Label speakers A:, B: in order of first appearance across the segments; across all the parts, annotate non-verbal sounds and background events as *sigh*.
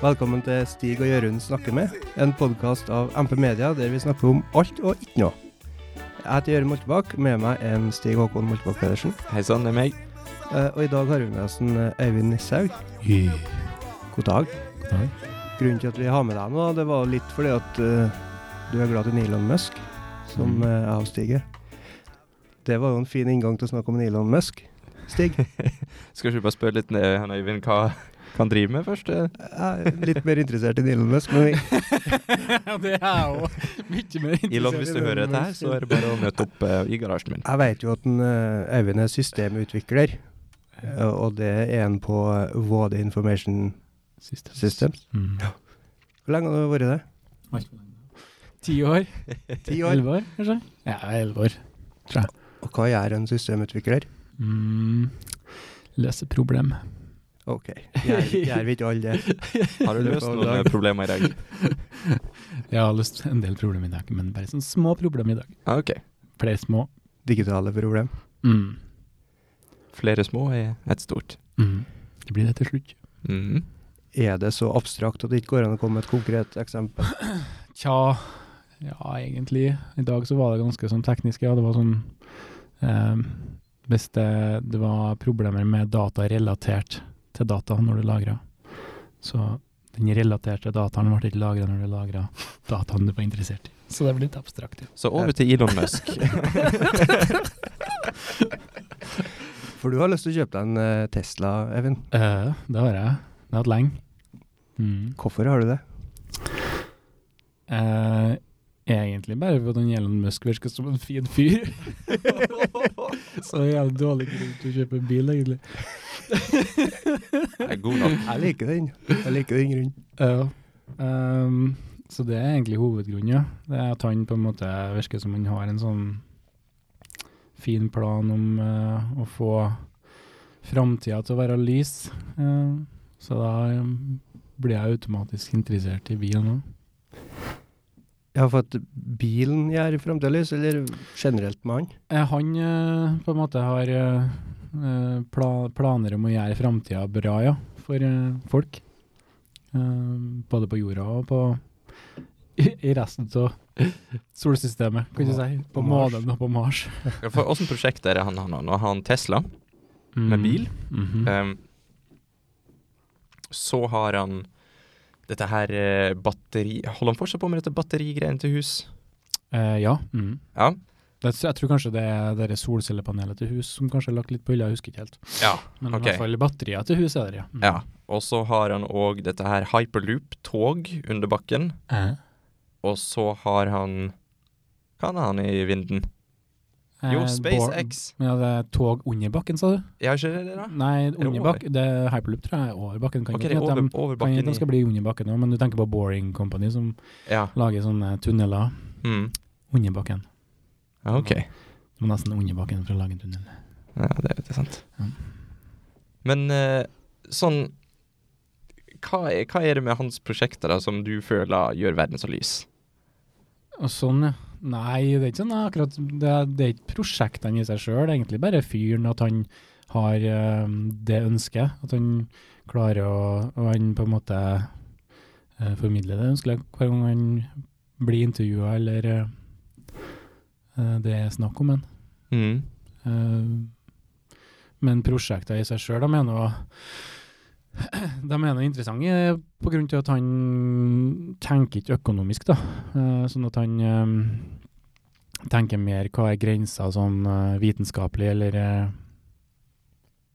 A: Velkommen til Stig og Jørund snakker med, en podkast av MP Media der vi snakker om alt og ikke noe. Jeg heter Jørund Moltebakk, med meg er en Stig Håkon Moltebakk Pedersen.
B: Hei sann, det er meg.
A: Eh, Og i dag har vi med oss en eh, Øyvind Nishaug. God dag. God
B: dag.
A: Grunnen til at vi har med deg nå, det var litt fordi at eh, du er glad i Elon Musk, som
B: Mm.
A: eh, jeg og Stig er. Det var jo en fin inngang til å snakke om en Elon Musk. Stig, *laughs*
B: Skal ikke vi bare spørre litt ned, han Øyvind hva hva han driver med først? eh?
A: jeg er litt mer interessert i Elon Musk, men
C: *laughs* det er jeg òg. Mye mer
B: Elon, hvis du hører dette her, så er det bare å møte opp eh, i
A: *laughs*
B: garasjen min.
A: Jeg vet jo at en, eh, Øyvind er systemutvikler, eh, og det er han på eh, Våde Information Systems. Hvor lenge har du vært det?
C: Ti år?
A: Ti år.
C: Elleve år, kanskje? Ja, elleve år.
A: Og hva gjør en systemutvikler?
C: Mm. Løse problem.
A: Ok, gjør, gjør vi ikke alle det?
B: Har du løst noen eh, problemer i dag?
C: Jeg har løst en del problemer i dag, men bare sånne små problemer i dag.
B: Ah, ok.
C: Flere små.
A: Digitale problem.
C: Mm.
B: Flere små er et stort.
C: Mm. Det blir det til slutt.
B: Mhm.
A: Er det så abstrakt at det ikke går an å komme med et konkret *laughs* eksempel?
C: Tja, ja egentlig. I dag så var det ganske sånn teknisk, ja. Det var sånn eh, Hvis det, det var problemer med data relatert til data når du lagra, så den relaterte dataen ble ikke lagra når du lagra dataen du var interessert i. Så det blir litt abstrakt. Ja.
B: Så over til Elon Musk.
A: For du har lyst til å kjøpe deg en eh, Tesla, Eivind.
C: Eh, det har jeg. Det har jeg hatt lenge. Mm.
A: Hvorfor har du det?
C: Eh, egentlig bare fordi han Elon Musk virker som en fin
B: *laughs*
C: fyr. så jeg har dårlig grunn til å kjøpe bil, egentlig.
B: Det er god nok.
A: Jeg liker den. Jeg liker den grunnen.
C: Ja. Ehm, så det er egentlig hovedgrunnen, ja. Det er at han på en måte virker som han har en sånn fin plan om eh, å få framtida til å være lys. Eh, så da ehm, blir jeg automatisk interessert i bilen òg.
A: Ja, for at bilen gjør fremdeles, eller generelt med han?
C: Eh, Han eh, på en måte har eh, eh, pla planer om å gjøre framtida bra, ja, for eh, folk. Eh, både på jorda og på i, i resten av solsystemet, kan du
A: På-
C: si.
A: på
C: På
A: Mars.
C: månen og på Mars.
B: Ja, For Åssen prosjekt er det han har nå? Nå har han Tesla.
A: Mm.
B: Med bil?
A: Mm-hmm.
C: Mhm.
B: Ehm, så har han dette her eh, batteri... Holder han fortsatt på med dette batterigreiene til hus?
C: Eh, ja.
A: Mm.
C: mhm.
B: Ja.
C: Det, jeg tror kanskje det er det der solcellepanelet til hus som kanskje er lagt litt på hylla, jeg husker ikke helt.
B: ja.
C: Men
B: Ok.
C: i hvert fall batterier til hus er der, ja. Mhm.
B: Ja. Og så har han òg dette her hyperloop-tog under bakken.
C: Eh,
B: Og så har han Hva er han i vinden? Jo,
C: eh,
B: SpaceX.
C: bor- Ja, det er tog under bakken, sa du?
B: Ja, ikke det, det da?
C: Nei,
B: det
C: under
B: over?
C: bak, det er hyperloop tror jeg er over bakken. Kan
B: Ok,
C: ikke
B: det er
C: at de-
B: over, over
C: Kan hende
B: bakken
C: de skal
B: i
C: bli under bakken òg, men du tenker på Boring Company, som
B: Ja.
C: lager sånne tunneler
B: Mm.
C: under bakken.
B: Ja, OK.
C: Du må nesten under bakken for å lage en tunnel.
B: Ja, det er ikke sant.
C: Ja.
B: Men eh, sånn hva er, hva er det med hans prosjekter da som du føler gjør verden så lys?
C: Og sånn, ja. Nei, det er ikke sånn akkurat Det er, det er ikke prosjektene i seg sjøl, egentlig bare fyren at han har eh, det ønsket. At han klarer å Og han på en måte eh, formidler det ønsket hver gang han blir intervjua eller eh, eh, det er snakk om han.
B: Mm.
C: Eh, Men prosjekter i seg sjøl, de er noe *clears throat* de er noe interessante på grunn til at han tenker ikke økonomisk, da. Eh, Sånn at han eh, tenker mer hva er grensa sånn eh, vitenskapelig eller eh,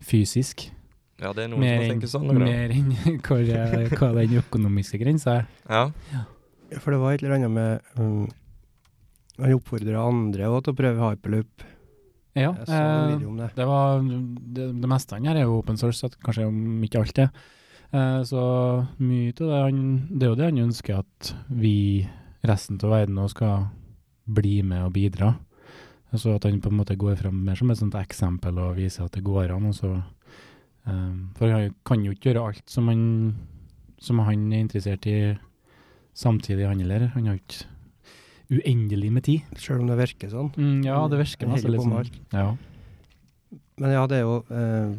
C: fysisk.
B: Ja, det er noen
C: Mer
B: som
C: enn,
B: tenker sånn. eller?
C: mer enn *laughs* hvor, eh, hva den økonomiske grensa er.
B: Ja.
A: Ja, For det var et eller annet med um, Han oppfordra andre òg til å prøve hyperloop.
C: Ja,
A: Jeg så en
C: eh,
A: video om det.
C: Det, var, det, det meste han gjør er jo open source, så kanskje om ikke alt det. Eh, så mye av det han Det er jo det han ønsker at vi, resten av verden, nå skal bli med og bidra. Så at han på en måte går fram mer som et sånt eksempel og viser at det går an. Og så, eh, for han kan jo ikke gjøre alt som han, som han er interessert i samtidig han heller. Han har jo ikke uendelig med tid.
A: Selv om det virker sånn.
C: Mm, ja, det virker
A: Han
C: masse
A: holder
C: litt
A: på med
C: sånn. Ja.
A: Men ja, det er jo eh,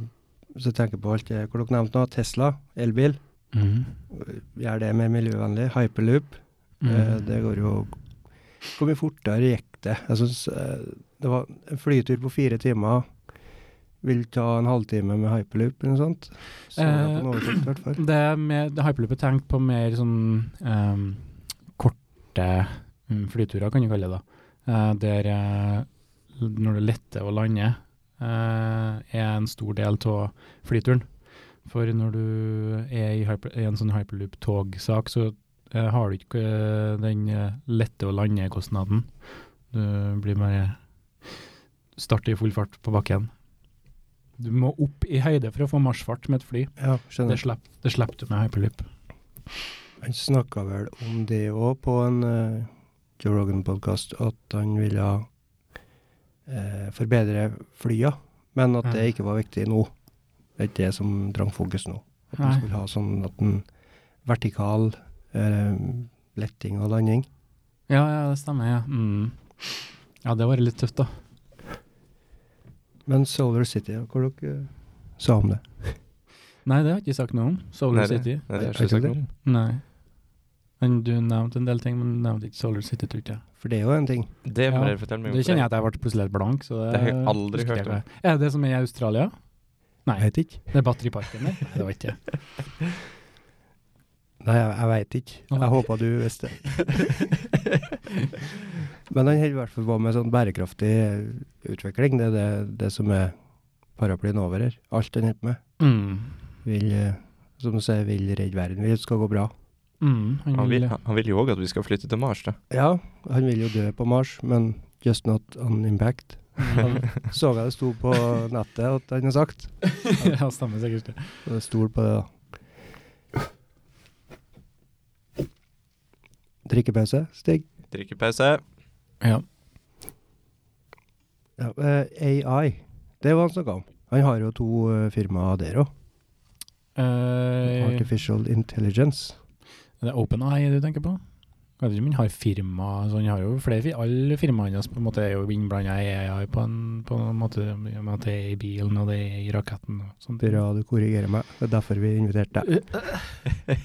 A: Så tenker jeg på alt det hvor dere nevnte nå. Tesla, elbil.
C: Mhm.
A: Gjør det mer miljøvennlig. Hyperloop, eh,
C: Mhm.
A: det går jo Hvor mye fortere gikk det? Jeg synes, eh, det var en flytur på fire timer. Vil ta en halvtime med hyperloop eller noe sånt. Så jeg
C: Eh,
A: på en oversikt, i hvert fall.
C: *clears throat* Det er med hyperloop er tenkt på mer sånn ehm, korte mm, flyturer, kan du kalle det. da. Eh, der eh, når du letter og lander, eh, er en stor del av flyturen. For når du er i, hyper, i en sånn hyperloop-togsak, så eh, har du ikke eh, den eh, lette og lande-kostnaden. Du blir bare starter i full fart på bakken. Du må opp i høyde for å få marsjfart med et fly.
A: Ja,
C: Det
A: skjønner.
C: slapp, det slapp du med hyperloop.
A: Han snakka vel om det òg på en eh, Joe Rogan-podkast, at han ville eh, forbedre flya, men at det
C: Mm.
A: ikke var viktig nå. Det er ikke det som trang fokus nå. At man
C: Nei.
A: skulle ha sånn at en vertikal eh, letting og landing.
C: Ja, ja, det stemmer, ja. Mm. Ja, det var litt tøft, da.
A: Men Solar City, hvor dere eh, sa om det?
C: Nei, det har jeg ikke sagt noe om. Solar
B: Nei, det-
C: City.
B: Nei, det har
A: Er- er
B: jeg ikke
A: ikke
B: sagt noe om.
C: Nei. Men du nevnte en del ting, men du nevnte ikke Solar City, tror ikke jeg.
A: For det er jo en ting.
B: Det må
C: Ja,
B: dere fortelle meg om.
C: Det kjenner jeg at jeg ble plutselig helt blank. Så det,
B: Det har jeg aldri
C: husker jeg
B: hørt om.
C: ikke. Er det det som er i Australia? Nei,
A: Jeg vet ikke.
C: det er Batteriparken der. Nei, det var ikke det.
A: Nei, jeg, jeg veit ikke.
C: Nei.
A: Jeg håpa du visste *laughs* det. Men han holder i hvert fall på med sånn bærekraftig utvikling. Det er det, det som er paraplyen over her. Alt han holder på med.
C: Mm.
A: Vil, eh, som du sier, vil redde verden. Vil at det skal gå bra.
C: Mm, han
B: Han vil,
C: vil-
B: han vil jo òg at vi skal flytte til Mars, da.
A: Ja, han vil jo dø på Mars, men just not on impact. Han så jeg det sto på nettet at han har sagt.
C: *laughs* ja, stemmer sikkert. det.
A: Så jeg stol på det, da. Drikkepause, Stig.
B: Drikkepause.
C: Ja.
A: Ja, eh, AI, det var han snakka om. Han har jo to eh, firmaer der òg.
C: Eh,
A: Artificial Intelligence.
C: Det er OpenEye du tenker på? Jeg vet ikke om han har firma så han har jo flere, fir- Alle firmaene hans på en måte er jo innblanda i AI på en, på en måte. Med at det er i bilen, og det er i raketten og sånt.
A: Bra du korrigerer meg, det er derfor vi inviterte *laughs* deg.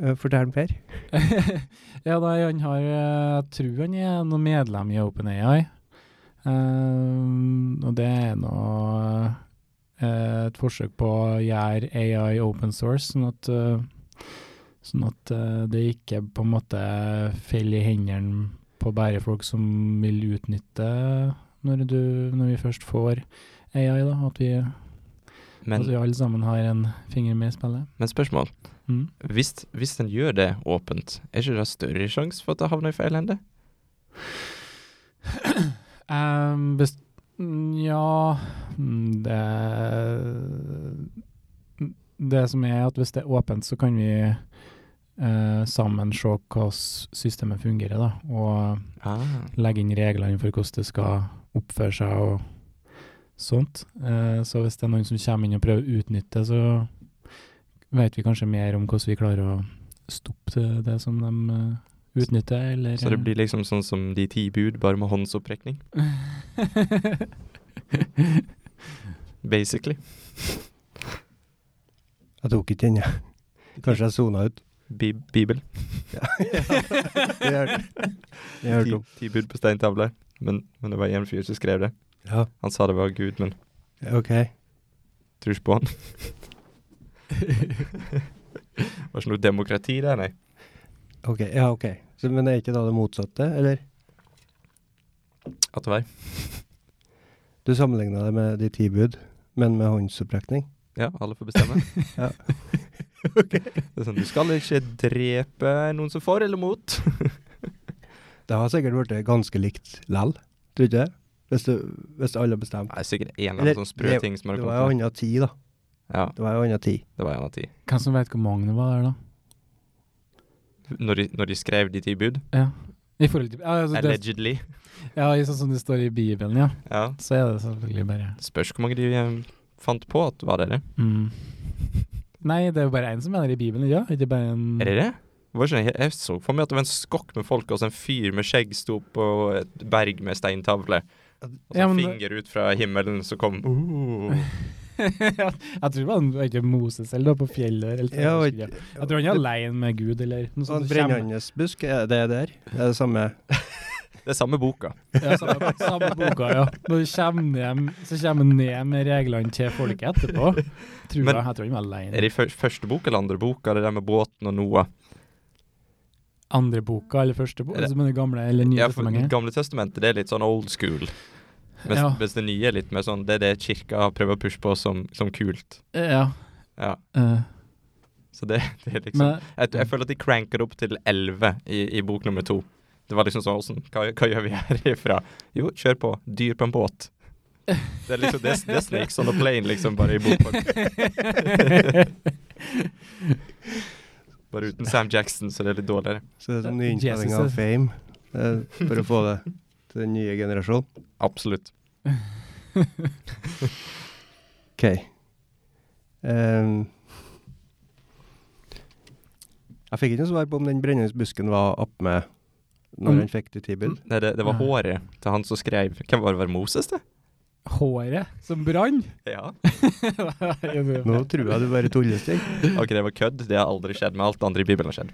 A: Eh, Fortell, Per.
C: *laughs* ja, da, han har eh, Jeg tror han er noe medlem i OpenAI. Eh, og det er nå eh, et forsøk på å gjøre AI open source, sånn at, eh, sånn at eh, det ikke på en måte faller i hendene på bare folk som vil utnytte når, du, når vi først får AI, da. At vi,
B: Men,
C: at vi alle sammen har en finger med i spillet.
B: men spørsmål.
C: Mm.
B: Hvis, hvis den gjør det åpent, er ikke det større sjanse for at det havner i feil hende?
C: Ehm, best Nja mm, det, det som er at hvis det er åpent, så kan vi eh, sammen se hvordan systemet fungerer, da, og
B: Ah.
C: legge inn reglene for hvordan det skal oppføre seg og sånt. Eh, så hvis det er noen som kommer inn og prøver å utnytte, så vet vi kanskje mer om hvordan vi klarer å stoppe det, det som de eh, utnytter, eller
B: Så det
C: eh, *laughs*
B: blir liksom sånn som De ti bud, bare med håndsopprekning? Basically.
A: Jeg tok ikke den, jeg. Kanskje jeg sona ut.
B: Bi Bibel.
A: Jeg hørte, jeg
B: Ti,
A: hørte om.
B: ti bud på steintavler. Men, men det var en fyr som skrev det.
A: Ja,
B: Han sa det var Gud, men
A: OK.
B: tror ikke på han. var ikke noe demokrati der, nei.
A: ok, ja, ok. Så, men er ikke da det motsatte, eller?
B: At det var.
A: Du sammenligna det med de ti bud, men med håndsopprekning.
B: Ja, alle får bestemme. *laughs*
A: Ja.
B: Det er sånn, du skal ikke drepe noen som for eller mot.
A: Det har sikkert blitt ganske likt lell, tror du ikke det? Hvis, du, hvis alle har bestemt.
B: Nei, sikkert en eller
A: Eller,
B: annen sånn sprø
A: det-
B: ting som har
A: Det var jo
B: kommet.
A: anna tid, da.
B: til. Ja,
A: Det var jo anna tid.
B: det var en av ti.
C: Hvem som vet hvor mange det var der, da?
B: Når de, når de skrev de ti bud,
C: Ja. I forhold til ja, altså, det,
B: allegedly.
C: ja, i sånn som det står i Bibelen, ja.
B: Ja.
C: Så er det selvfølgelig bare
B: Spørs hvor mange de eh, fant på at var det det.
C: mm. Nei, det er jo bare én som mener i Bibelen, ja. Ikke bare en
A: Mm.
B: Er det det? Det Var ikke, det- jeg så for meg at det var en skokk med folk, og så en fyr med skjegg sto på et berg med steintavle. Og så
C: Ja,
B: en
C: men-
B: finger ut fra himmelen som kom.
C: *laughs* jeg tror han var ikke Moses eller da, på fjellet. Eller,
A: Ja, og-
C: jeg tror han er alene med Gud eller noe sånn
A: Og
C: sånt.
A: en brennende busk, Sånn er det der? Det er det samme.
B: Det er samme boka.
C: Ja, samme, samme boka, ja. Når du kommer hjem, så kommer han ned med reglene til folket etterpå. Tror
B: Men-
C: jeg, jeg tror han var
B: Er
C: alene.
B: det i fyr- første bok eller andre boka, det der med båten og Noah?
C: Andre boka eller første boka?
B: Er det-
C: Altså, men det gamle eller nye
B: Ja, for Det
C: testamentet?
B: gamle testamentet det er litt sånn old school. Mens,
C: Ja.
B: mens det nye er litt mer sånn Det er det kirka prøver å pushe på som, som kult.
C: Ja.
B: Ja,
C: eh,
B: så det, *laughs* det er liksom
C: men
B: jeg, jeg føler at de cranker opp til 11 i, i bok nummer to. Det var liksom sånn «Åssen- hva, hva gjør vi *laughs* herifra? Jo, kjør på. Dyr på en båt. Det er liksom det, det er Snakes on a plane, liksom, bare i bokform. Bare uten Sam Jackson, så det er litt dårligere.
A: Så det er sånn
C: Ja,
A: nyinnspilling
C: Jesus,
A: av
C: det-
A: Fame eh, for å få det til den nye generasjonen.
B: Absolutt.
A: OK. Ehm, jeg fikk ikke noe svar på om den brennende busken var attmed
C: Om-
A: når han fikk det tilbud.
B: Nei, det, det var
C: Ja.
B: håret til han som skrev Hvem var det? Var det Moses, det?
C: *laughs* håret som brann
B: Ja.
C: Mm.
A: Nå tror jeg du bare tuller, Stig.
B: *laughs* Ok, det var kødd. Det har aldri skjedd med alt det andre i Bibelen har
C: *laughs*
B: skjedd.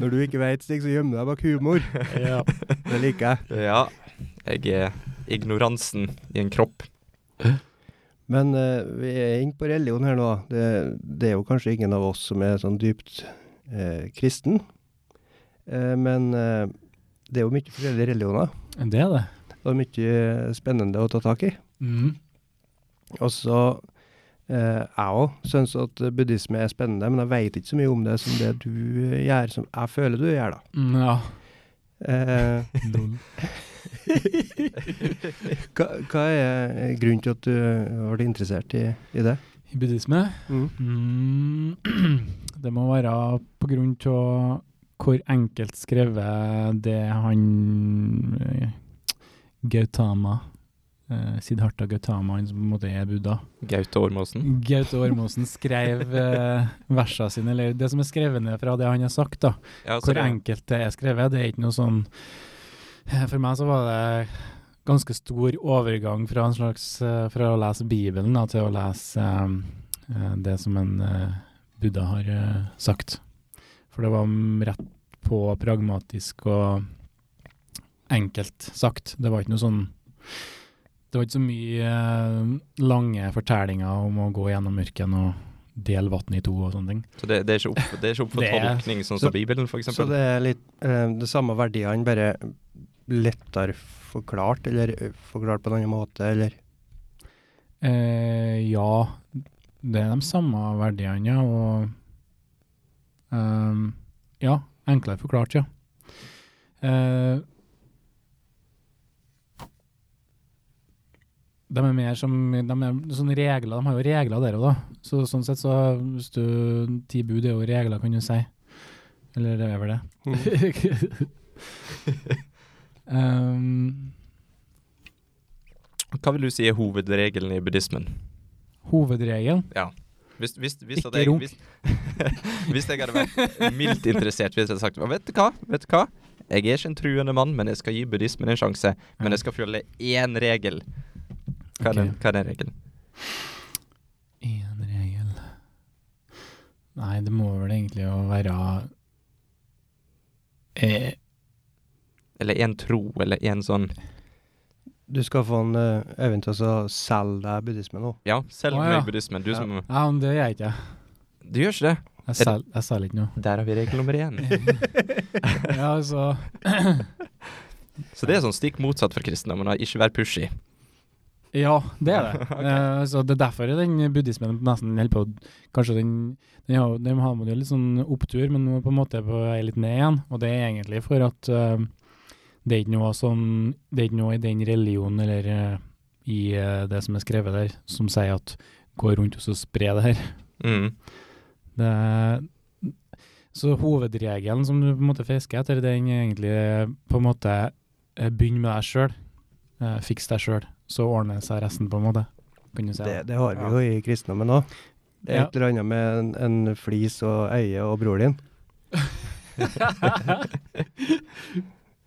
A: Når du ikke vet, Stig, så gjemmer du deg bak humor.
C: ja.
A: Det liker jeg.
B: Ja. Jeg er ignoransen i en
C: *laughs*
B: kropp.
A: Men eh, vi er inne på religion her nå. Det, det er jo kanskje ingen av oss som er sånn dypt eh, kristen. Eh, men eh, det er jo mye forskjellige religioner.
C: Det er det.
A: Og mye spennende å ta tak i.
C: Mm.
A: Og så eh, Jeg òg syns at buddhisme er spennende, men jeg veit ikke så mye om det som det du gjør, som jeg føler du gjør, da.
C: Mm, Ja. *laughs*
A: Eh,
C: Lol.
A: hva, hva er eh, grunnen til at du ble interessert i, i det?
C: I buddhisme
A: Mm.
C: Mm, *clears throat* det må være på grunn av hvor enkelt skrevet det han eh, Gautama eh, Siddhartha Gautama, han som på en måte er Buddha.
B: Gaute Ormåsen.
C: Gaute Ormåsen skrev eh, versene sine, eller det som er skrevet ned fra det han har sagt. da.
B: Ja, så
C: Hvor
B: det-
C: enkelt det er skrevet, det er ikke noe sånn eh, For meg så var det ganske stor overgang fra, en slags, eh, fra å lese Bibelen da, til å lese eh, eh, det som en eh, Buddha har eh, sagt. For det var mm, rett på pragmatisk og enkelt sagt. Det var ikke noe sånn Det var ikke så mye eh, lange fortellinger om å gå gjennom ørkenen og dele vann i to og sånne ting.
B: Så det, det, er ikke opp, det er ikke opp for
C: Det er-
B: tolkning, sånn
A: så-
B: som Bibelen, for eksempel.
A: Så det er litt eh, det samme verdiene, bare lettere forklart, eller ø, forklart på en annen måte, eller
C: Eh, ja, det er de samme verdiene, ja. Og ehm, Ja, enklere forklart, ja. Eh, de er mer som de er sånne regler, de har jo regler der òg, da. Så sånn sett, så hvis du Ti bud er jo regler, kan du si. Eller det er vel det.
B: Mm.
C: Ehm,
B: Hva vil du si er hovedregelen i buddhismen?
C: hovedregelen
B: Hvis, hvis, hvis at
C: Ikke
B: jeg,
C: runk.
B: Hvis, *laughs* hvis jeg hadde vært mildt interessert, hvis jeg hadde sagt «Å, Vet du hva, vet du hva? Jeg er ikke en truende mann, men jeg skal gi buddhismen en sjanse. Men jeg skal følge én regel. Hva er, den,
C: Ok.
B: hva er den regelen?
C: En regel Nei, det må vel egentlig å være eh,
B: Eller én tro, eller én sånn
A: *laughs* Du skal få en uh, evne til å selge deg buddhisme nå.
B: Ja, selg
C: Å,
B: meg
C: ja.
B: buddhismen. Du som
C: Ja, men det gjør jeg ikke.
B: Du gjør ikke det.
C: Jeg selger, jeg selger *laughs* ikke noe.
B: Der har vi regel nummer én.
C: Ja, altså
B: Så det er sånn stikk motsatt for kristendommen. å Ikke være pushy.
C: Ja, det er *laughs* det. Eh, så det er derfor den buddhismen nesten holder på å- Kanskje den Den har, den har man jo litt sånn opptur, men nå er på en måte på vei litt ned igjen. Og det er egentlig for at eh, det er ikke noe som Det er ikke noe i den religionen eller eh, i eh, det som er skrevet der, som sier at gå rundt og så spre det her.
B: Mm.
C: Det er, så hovedregelen som du på en måte fisker etter, den er egentlig på en måte eh, Begynn med deg sjøl. Eh, Fiks deg sjøl, så ordner det seg resten, på en måte. Kan du si.
A: Det, det har vi jo i kristendommen òg. Det er
C: Ja.
A: et eller annet med en, en flis og øye og bror din.
B: *laughs*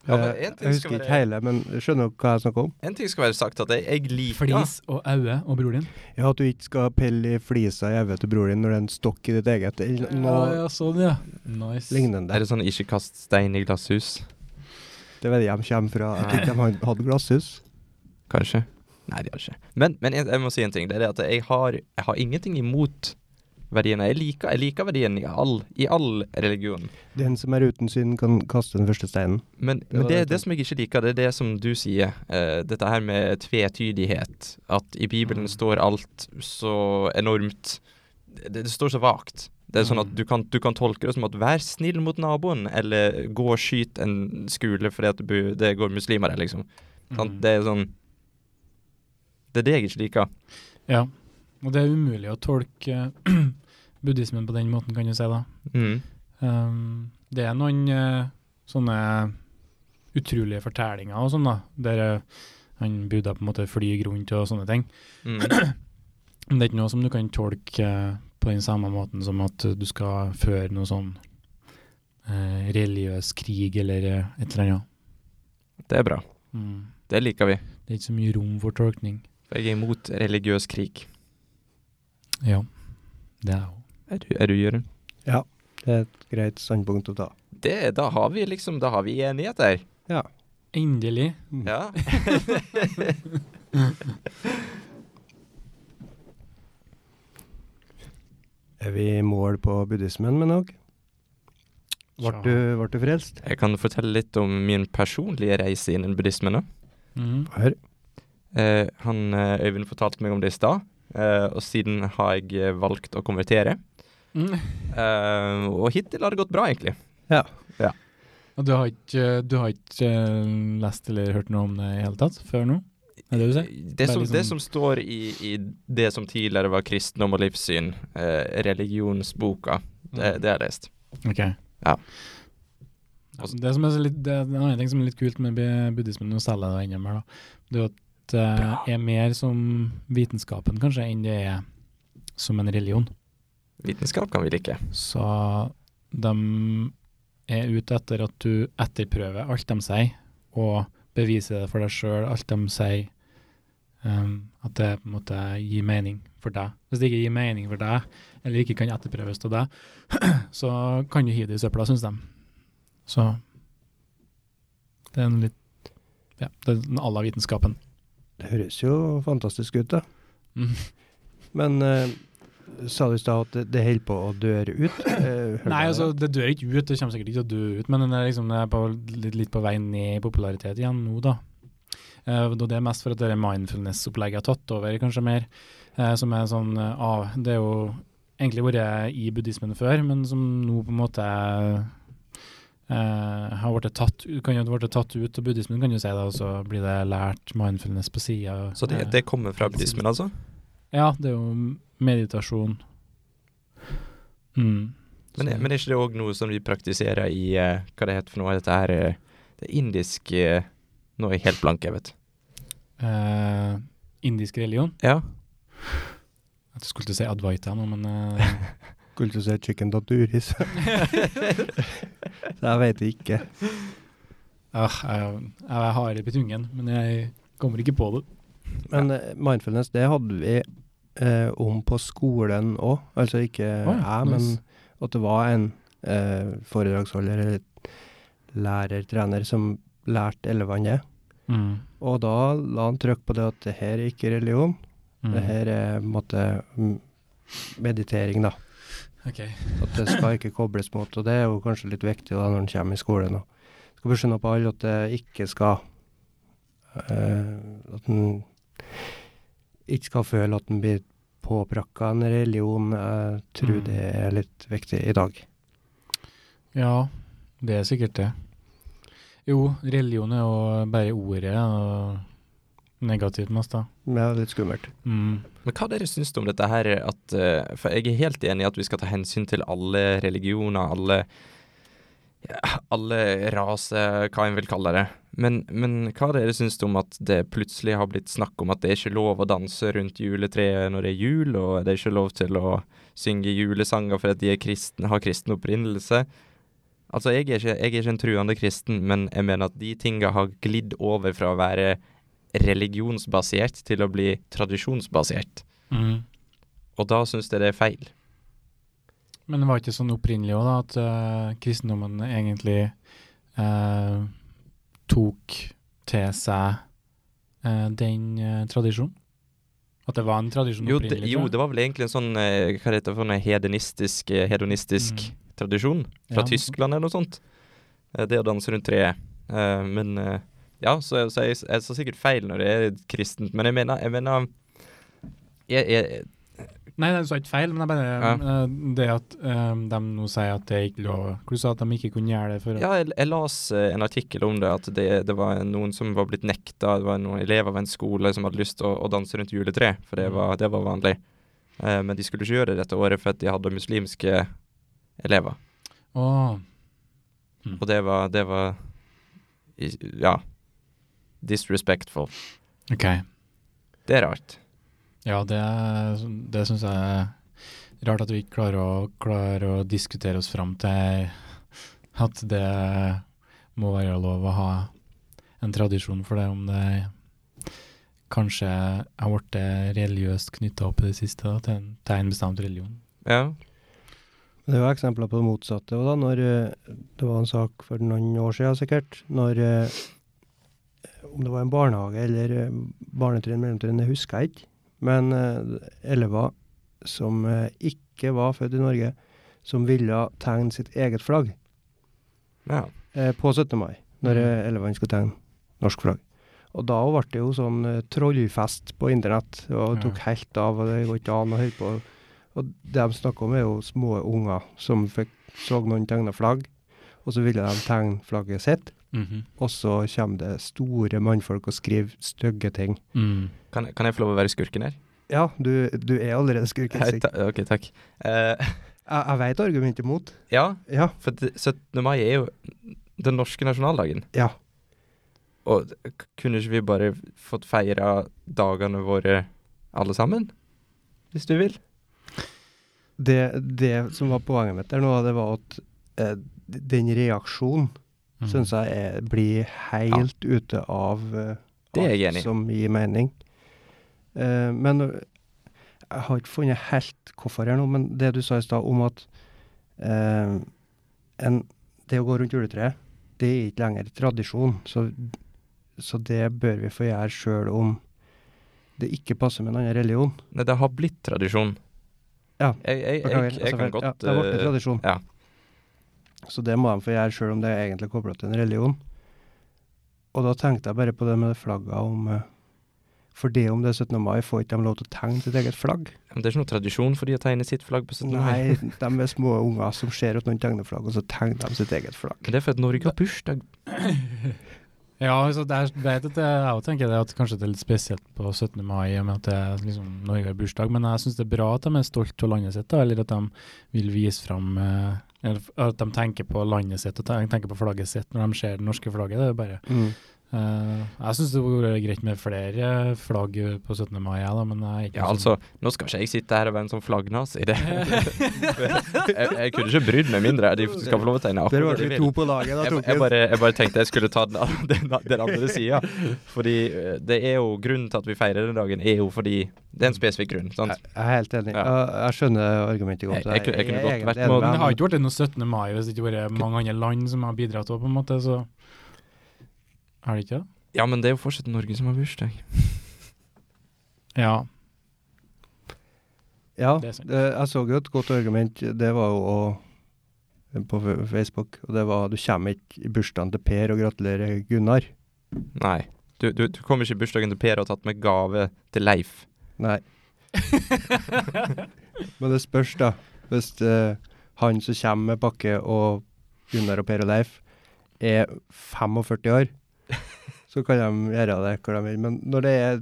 B: Ja, men
A: Eh,
B: en
A: jeg
B: ting skal
A: husker ikke
B: være-
A: hele, men skjønner dere hva jeg snakker om?
B: En ting skal være sagt, at jeg, jeg liker
C: Flis og øye og bror din.
A: Ja, At du ikke skal pelle i flisa i øyet til bror din når det er en stokk i ditt eget, eller noe
C: Ja, ja, sånn, ja. Nice.
A: lignende.
B: Er det sånn ikke kast stein i glasshus,
A: Det vet jeg de kommer fra. Jeg tror ikke de hadde- hadde glasshus.
B: kanskje? Nei, det gjør det ikke. Men, men jeg, jeg må si en ting. Det er det at jeg har, jeg har ingenting imot verdiene. Jeg liker, jeg liker verdiene i all, i all religion.
A: Den som er uten synd, kan kaste den første steinen.
B: Men det,
A: var
B: men
A: det
B: det,
A: jeg
B: det som jeg ikke liker, det er det som du sier. eh, dette her med tvetydighet. At i Bibelen
C: Mm.
B: står alt så enormt Det, det står så vagt. Det er sånn at
C: Mm.
B: du kan, du kan tolke det som at 'vær snill mot naboen', eller 'gå og skyt en skole fordi at det bu- det går muslimer der', liksom. Sant?
C: Mm.
B: Det er sånn Det er det jeg ikke liker.
C: Ja. Og det er umulig å tolke eh, *clears throat* buddhismen på den måten, kan du si, da.
B: Mm.
C: Um, det er noen eh, sånne utrolige fortellinger og sånn, da, der eh, han Buddha på en måte flyr rundt og sånne ting.
B: Mm.
C: Men det er ikke noe som du kan tolke eh, på den samme måten som at du skal føre noe sånn eh, religiøs krig eller eh, et eller annet.
B: Det er bra.
C: Mm.
B: Det liker vi.
C: Det er ikke så mye rom for tolkning.
B: For jeg er imot religiøs krig.
C: Ja, det er jo
B: Er du, er du Jørund?
A: Ja, det er et greit standpunkt å ta.
B: Det, da har vi liksom Da har vi enighet der.
A: Ja.
C: Endelig.
B: Ja.
A: Er vi i mål på buddhismen, men òg? Ble
C: Tja.
A: du, ble du frelst?
B: Jeg Eh, kan fortelle litt om min personlige reise innen buddhismen. da.
C: Mhm.
A: Hør.
B: Eh, han eh, Øyvind fortalte meg om det i stad, eh, og siden har jeg eh, valgt å konvertere.
C: Mm.
B: Eh, og hittil har det gått bra, egentlig.
C: Og du har ikke, du har ikke eh, lest eller hørt noe om det i hele tatt før nå? Er det det du sier?
B: Eh, Det
C: Det er
B: som,
C: liksom-
B: det som står i, i det som tidligere var kristendom og livssyn, eh, religionsboka, det,
C: Mm.
B: det har jeg lest.
C: Ok.
B: Ja.
C: Altså, det, som er så litt, det er en annen ting som er litt kult med bu- buddhismen, nå selger jeg det enda mer, da. det er jo at det er mer som vitenskapen, kanskje, enn det er som en religion.
B: Vitenskap kan vi like.
C: Så de er ute etter at du etterprøver alt de sier, og beviser det for deg sjøl, alt de sier. Um, at det på en måte gir mening for deg. Hvis det ikke gir mening for deg, eller ikke kan etterprøves av deg, *clears throat* så kan du hive det i søpla, syns de. Så det er en litt Ja, det er den aller vitenskapen.
A: Det høres jo fantastisk ut, da.
C: Mm.
A: Men eh, sa du i stad at det- det holder på å døre ut? Eh, hørte
C: Nei,
A: jeg
C: altså,
A: det?
C: det dør ikke ut. Det kommer sikkert ikke til å dø ut, men den er, liksom, den er på, litt, litt på vei ned i popularitet igjen nå, da. Eh, og det er mest for at det er mindfulness-opplegget har tatt over, kanskje mer. eh, som er sånn eh, av Det er jo egentlig vært i buddhismen før, men som nå på en måte eh, har blitt tatt, kan jo ha vært tatt ut av buddhismen, kan du si, da, og så blir det lært mindfulness på sida.
B: Så det, det kommer fra buddhismen, altså?
C: Ja, det er jo meditasjon. Mm.
B: Men,
C: Så-
B: men er ikke det òg noe som de praktiserer i eh, Hva det heter for noe? Dette her eh, Det er indisk eh, Nå er jeg helt blank, jeg vet.
C: eh, indisk religion.
B: Ja.
C: Jeg skulle til å si Advaita nå, men eh,
A: Skulle til å si chicken daturis.
C: *laughs*
A: *laughs* Så jeg vet ikke.
C: ah, jeg, jeg har det på tungen, men jeg kommer ikke på det.
A: Men eh, mindfulness, det hadde vi eh, om på skolen òg. Altså ikke
C: Å ja,
A: jeg, men
C: nice.
A: at det var en eh, foredragsholder eller lærer, trener, som lærte elevene det.
C: Mm.
A: Og da la han trykk på det at det her er ikke religion,
C: mm.
A: det her er på en måte mm, meditering, da.
C: Ok.
A: At det skal ikke kobles mot. Og det er jo kanskje litt viktig da når en kommer i skolen og skal forskjønne på alle at det ikke skal eh, At en ikke skal føle at en blir påprakka en religion. Jeg tror
C: Mm.
A: det er litt viktig i dag.
C: Ja, det er sikkert det. Jo, religion er jo bare ordet og negativt mest, da.
A: Men det er litt skummelt.
C: Mm.
B: Men hva dere syns om dette her at eh, For jeg er helt enig i at vi skal ta hensyn til alle religioner, alle ja, alle raser, hva en vil kalle det. Men, men hva dere syns om at det plutselig har blitt snakk om at det er ikke lov å danse rundt juletreet når det er jul, og det er ikke lov til å synge julesanger fordi de er kristne, har kristen opprinnelse? Altså, jeg er, ikke, jeg er ikke en truende kristen, men jeg mener at de tinga har glidd over fra å være religionsbasert til å bli tradisjonsbasert.
C: mm.
B: Og da syns jeg det er feil.
C: Men det var ikke sånn opprinnelig òg, da, at eh, kristendommen egentlig eh, tok til seg eh, den eh, tradisjonen? At det var en tradisjon
B: Jo, det,
C: opprinnelig?
B: jo,
C: tror jeg.
B: det var vel egentlig en sånn eh, Hva heter det for noe hedonistisk, eh, hedonistisk
C: Mm.
B: tradisjon? Fra
C: Ja, noe sånt.
B: Tyskland eller noe sånt. Eh, Det å danse rundt treet. Eh, Men eh, Ja, så, så jeg, jeg sa sikkert feil når det er kristent, men jeg mener, jeg mener jeg, jeg,
C: Nei, det er ikke feil, men det er bare eh, det at eh, de nå sier at det er ikke lov. Hvor du sa at de ikke kunne gjøre det for
B: Ja, jeg, jeg las eh, en artikkel om det, at det, det var noen som var blitt nekta, det var noen elever ved en skole som hadde lyst til å, å danse rundt juletre, for
C: Mm.
B: det var, det var vanlig. Eh, men de skulle ikke gjøre det dette året, for at de hadde muslimske elever.
C: Åh,
B: Og det var, det var i- Ja. Disrespectful.
C: OK.
B: Det er rart.
C: Ja, det, er- det syns jeg er rart at vi ikke klarer å, klarer å diskutere oss fram til at det må være lov å ha en tradisjon for det, om det kanskje har blitt religiøst knytta opp i det siste da, til, en, til en bestemt religion.
B: Ja.
A: Men Det var eksempler på det motsatte. Og da, når, eh, det var en sak for noen år siden sikkert, når eh, om det var en barnehage eller eh, barnetrinn, mellomtrinn, det husker jeg ikke. Men eh, elever som eh, ikke var født i Norge, som ville tegne sitt eget flagg
B: ja.
A: eh, på 17. mai, når eh, elevene skulle tegne norsk flagg. Og da ble det jo sånn eh, trollfest på internett, og det tok helt av, og det går ikke an å holde på. Og det de snakker om, er jo små unger som fikk, så noen tegne flagg, og så ville de tegne flagget sitt, og så kommer det store mannfolk og skriver stygge ting.
C: mm.
B: Kan, kan jeg få lov å være skurken her?
A: Ja, du, du er allerede
B: Hei,
A: skurkensikt. Jeg,
B: ta, OK, takk. Eh,
A: jeg vet argumentet imot.
B: ja,
A: Ja,
B: for det- 17. mai er jo den norske nasjonaldagen.
A: ja.
B: Og k- kunne ikke vi bare fått feira dagene våre alle sammen? Hvis du vil.
A: Det, det som var poenget mitt der nå, det var at eh, den reaksjonen
B: Mhm.
C: Mm.
A: syns jeg er, blir helt ute av eh,
B: Det er jeg enig i.
A: som gir mening. Eh, men eh, jeg har ikke funnet helt hvorfor her nå, men det du sa i stad om at eh, en, det å gå rundt juletreet, det er ikke lenger tradisjon. Så, så det bør vi få gjøre sjøl om det ikke passer med en annen religion.
B: Nei, det har blitt tradisjon.
A: Ja,
B: Jeg, jeg, jeg,
A: Beklager,
B: jeg,
A: altså
B: kan
A: feil.
B: godt
A: ja, Det er vårt
B: eh,
A: tradisjon.
B: ja.
A: Så det må de få gjøre, sjøl om det er egentlig kobla til en religion. Og da tenkte jeg bare på det med det flagget om eh, For det om det er 17. mai, får ikke de lov til å tegne sitt eget
B: *laughs*
A: flagg?
B: Men det er ikke noe tradisjon for de å tegne sitt flagg på 17. mai.
A: Nei, de er små unger som ser at noen tegner flagg, og så tegner de sitt eget flagg.
B: Men det er for at Norge har bursdag.
C: *coughs* Ja, altså, det er, vet at det, jeg også tenker det at kanskje det er litt spesielt på 17. mai, i og med at det er liksom, Norge har bursdag, men jeg syns det er bra at de er stolte av landet sitt, da, eller at de vil vise fram eh, eller f- At de tenker på landet sitt og ten- tenker på flagget sitt når de ser det norske flagget. Det er jo bare
B: Mm.
A: Mm.
C: eh, Jeg syns det hadde vært greit med flere eh, flagg på 17. mai, ja, da, men jeg er ikke sånn-
B: Ja, altså, nå skal ikke jeg sitte her og være en sånn flaggnase i det. *laughs* jeg, jeg kunne ikke brydd meg mindre. De skal få lov å
A: Der
B: tegne
A: ble
B: akkurat det
A: vi
B: de
A: to
B: vil.
A: på laget, da,
B: Jeg, jeg,
A: Torkild.
B: bare, jeg bare tenkte jeg skulle ta den, *laughs* an- den, an- den andre sida. Fordi eh, det er jo grunnen til at vi feirer den dagen, er jo fordi Det er en spesifikk grunn. sant?
A: Jeg jeg er helt enig.
B: Ja.
A: Jeg, jeg skjønner argumentet
B: Jeg-
A: godt.
B: jeg kunne- jeg kunne
A: er
B: godt
A: egentlig
B: vært
A: enig
B: med-
A: deg,
C: Men det har jo ikke vært noe 17. mai hvis det ikke har vært mange andre land som har bidratt òg, på en måte, så Har det ikke det?
B: Ja, men det er jo fortsatt Norge som har bursdag.
C: Ja.
A: Ja,
C: Det er
A: det,
C: sant.
A: jeg så jo et godt argument. Det var jo å, på F- Facebook. Og det var du kommer ikke i bursdagen til Per og gratulerer Gunnar.
B: Nei. Du, du, du kom ikke i bursdagen til Per og tatt med gave til Leif.
A: Nei. Men det spørs, da. Hvis eh, han som kommer med pakke og Gunnar og Per og Leif er 45 år, så kan de gjøre det hva de vil. Men når det er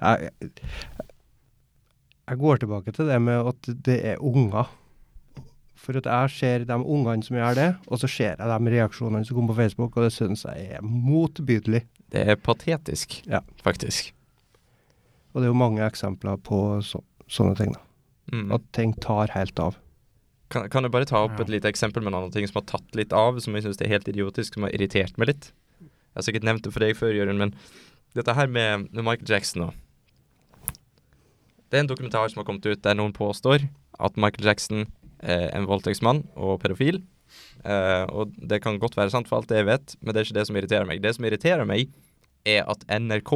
A: jeg, jeg går tilbake til det med at det er unger. For at jeg ser de ungene som gjør det, og så ser jeg de reaksjonene som kommer på Facebook, og det syns jeg er motbydelig.
B: Det er patetisk,
A: Ja.
B: faktisk.
A: Og det er jo mange eksempler på så, sånne ting, da.
B: Mm.
A: *laughs* At ting tar helt av.
B: Kan, kan jeg bare ta opp
C: Ja.
B: et lite eksempel med en annen ting som har tatt litt av, som jeg syns er helt idiotisk, som har irritert meg litt? Jeg har sikkert nevnt det for deg før, Jørund, men dette her med, med Michael Jackson nå. Det er en dokumentar som har kommet ut der noen påstår at Michael Jackson er en voldtektsmann og pedofil. Eh, og det kan godt være sant for alt det jeg vet, men det er ikke det som irriterer meg. Det som irriterer meg, er at NRK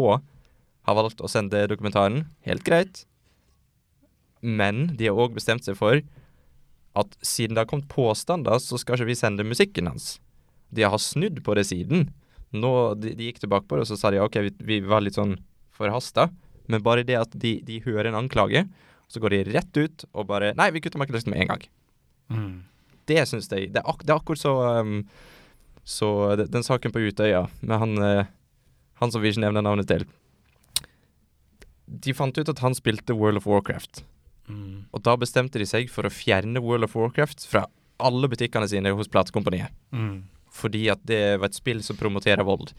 B: har valgt å sende dokumentaren. Helt greit. Men de har òg bestemt seg for at siden det har kommet påstander, så skal ikke vi sende musikken hans. De har snudd på det siden. Nå, de, de gikk tilbake på det, og så sa de OK, vi, vi var litt sånn forhasta. Men bare det at de, de hører en anklage, så går de rett ut og bare Nei, vi kutter Michael Jackson med en gang.
C: Mm.
B: Det syns jeg Det er, ak det er akkurat så um, Så de- den saken på Utøya med han eh, Han som vi ikke nevner navnet til. De fant ut at han spilte World of Warcraft.
C: Mm.
B: Og da bestemte de seg for å fjerne World of Warcraft fra alle butikkene sine hos platekompaniet.
C: Mm.
B: Fordi at det var et spill som promoterer vold.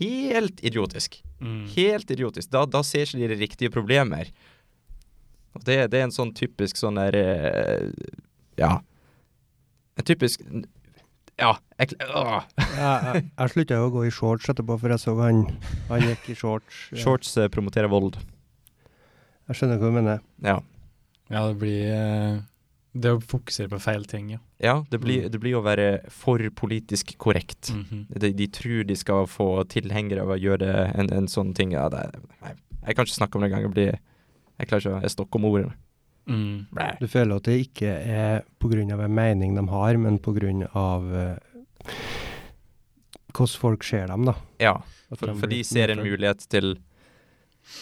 B: Helt idiotisk.
C: Mm.
B: Helt idiotisk. Da, da ser ikke de det riktige problemet her. Og det, det er en sånn typisk sånn der eh, Ja. En typisk Ja. Jeg, åh.
A: Jeg, jeg, jeg slutta jo å gå i shorts etterpå, for jeg så han, han gikk i shorts. *laughs* Ja.
B: Shorts eh, promoterer vold.
A: Jeg skjønner hva du mener.
B: Ja.
C: Ja, det blir eh, Det å fokusere på feil ting, ja.
B: ja det, blir, det blir å være for politisk korrekt.
C: Mhm.
B: De, de tror de skal få tilhengere av å gjøre det, en, en sånn ting. Ja, det, er- nei, jeg kan ikke snakke om det engang. Jeg, blir- jeg klarer ikke å Jeg stokker om ordene.
C: Mm.
B: Blæ.
A: Du føler at det ikke er pga. en mening de har, men pga. Uh, hvordan folk ser dem, da.
B: Ja,
A: At
B: for, for
A: blir
B: de ser en
A: nedtrykt.
B: mulighet til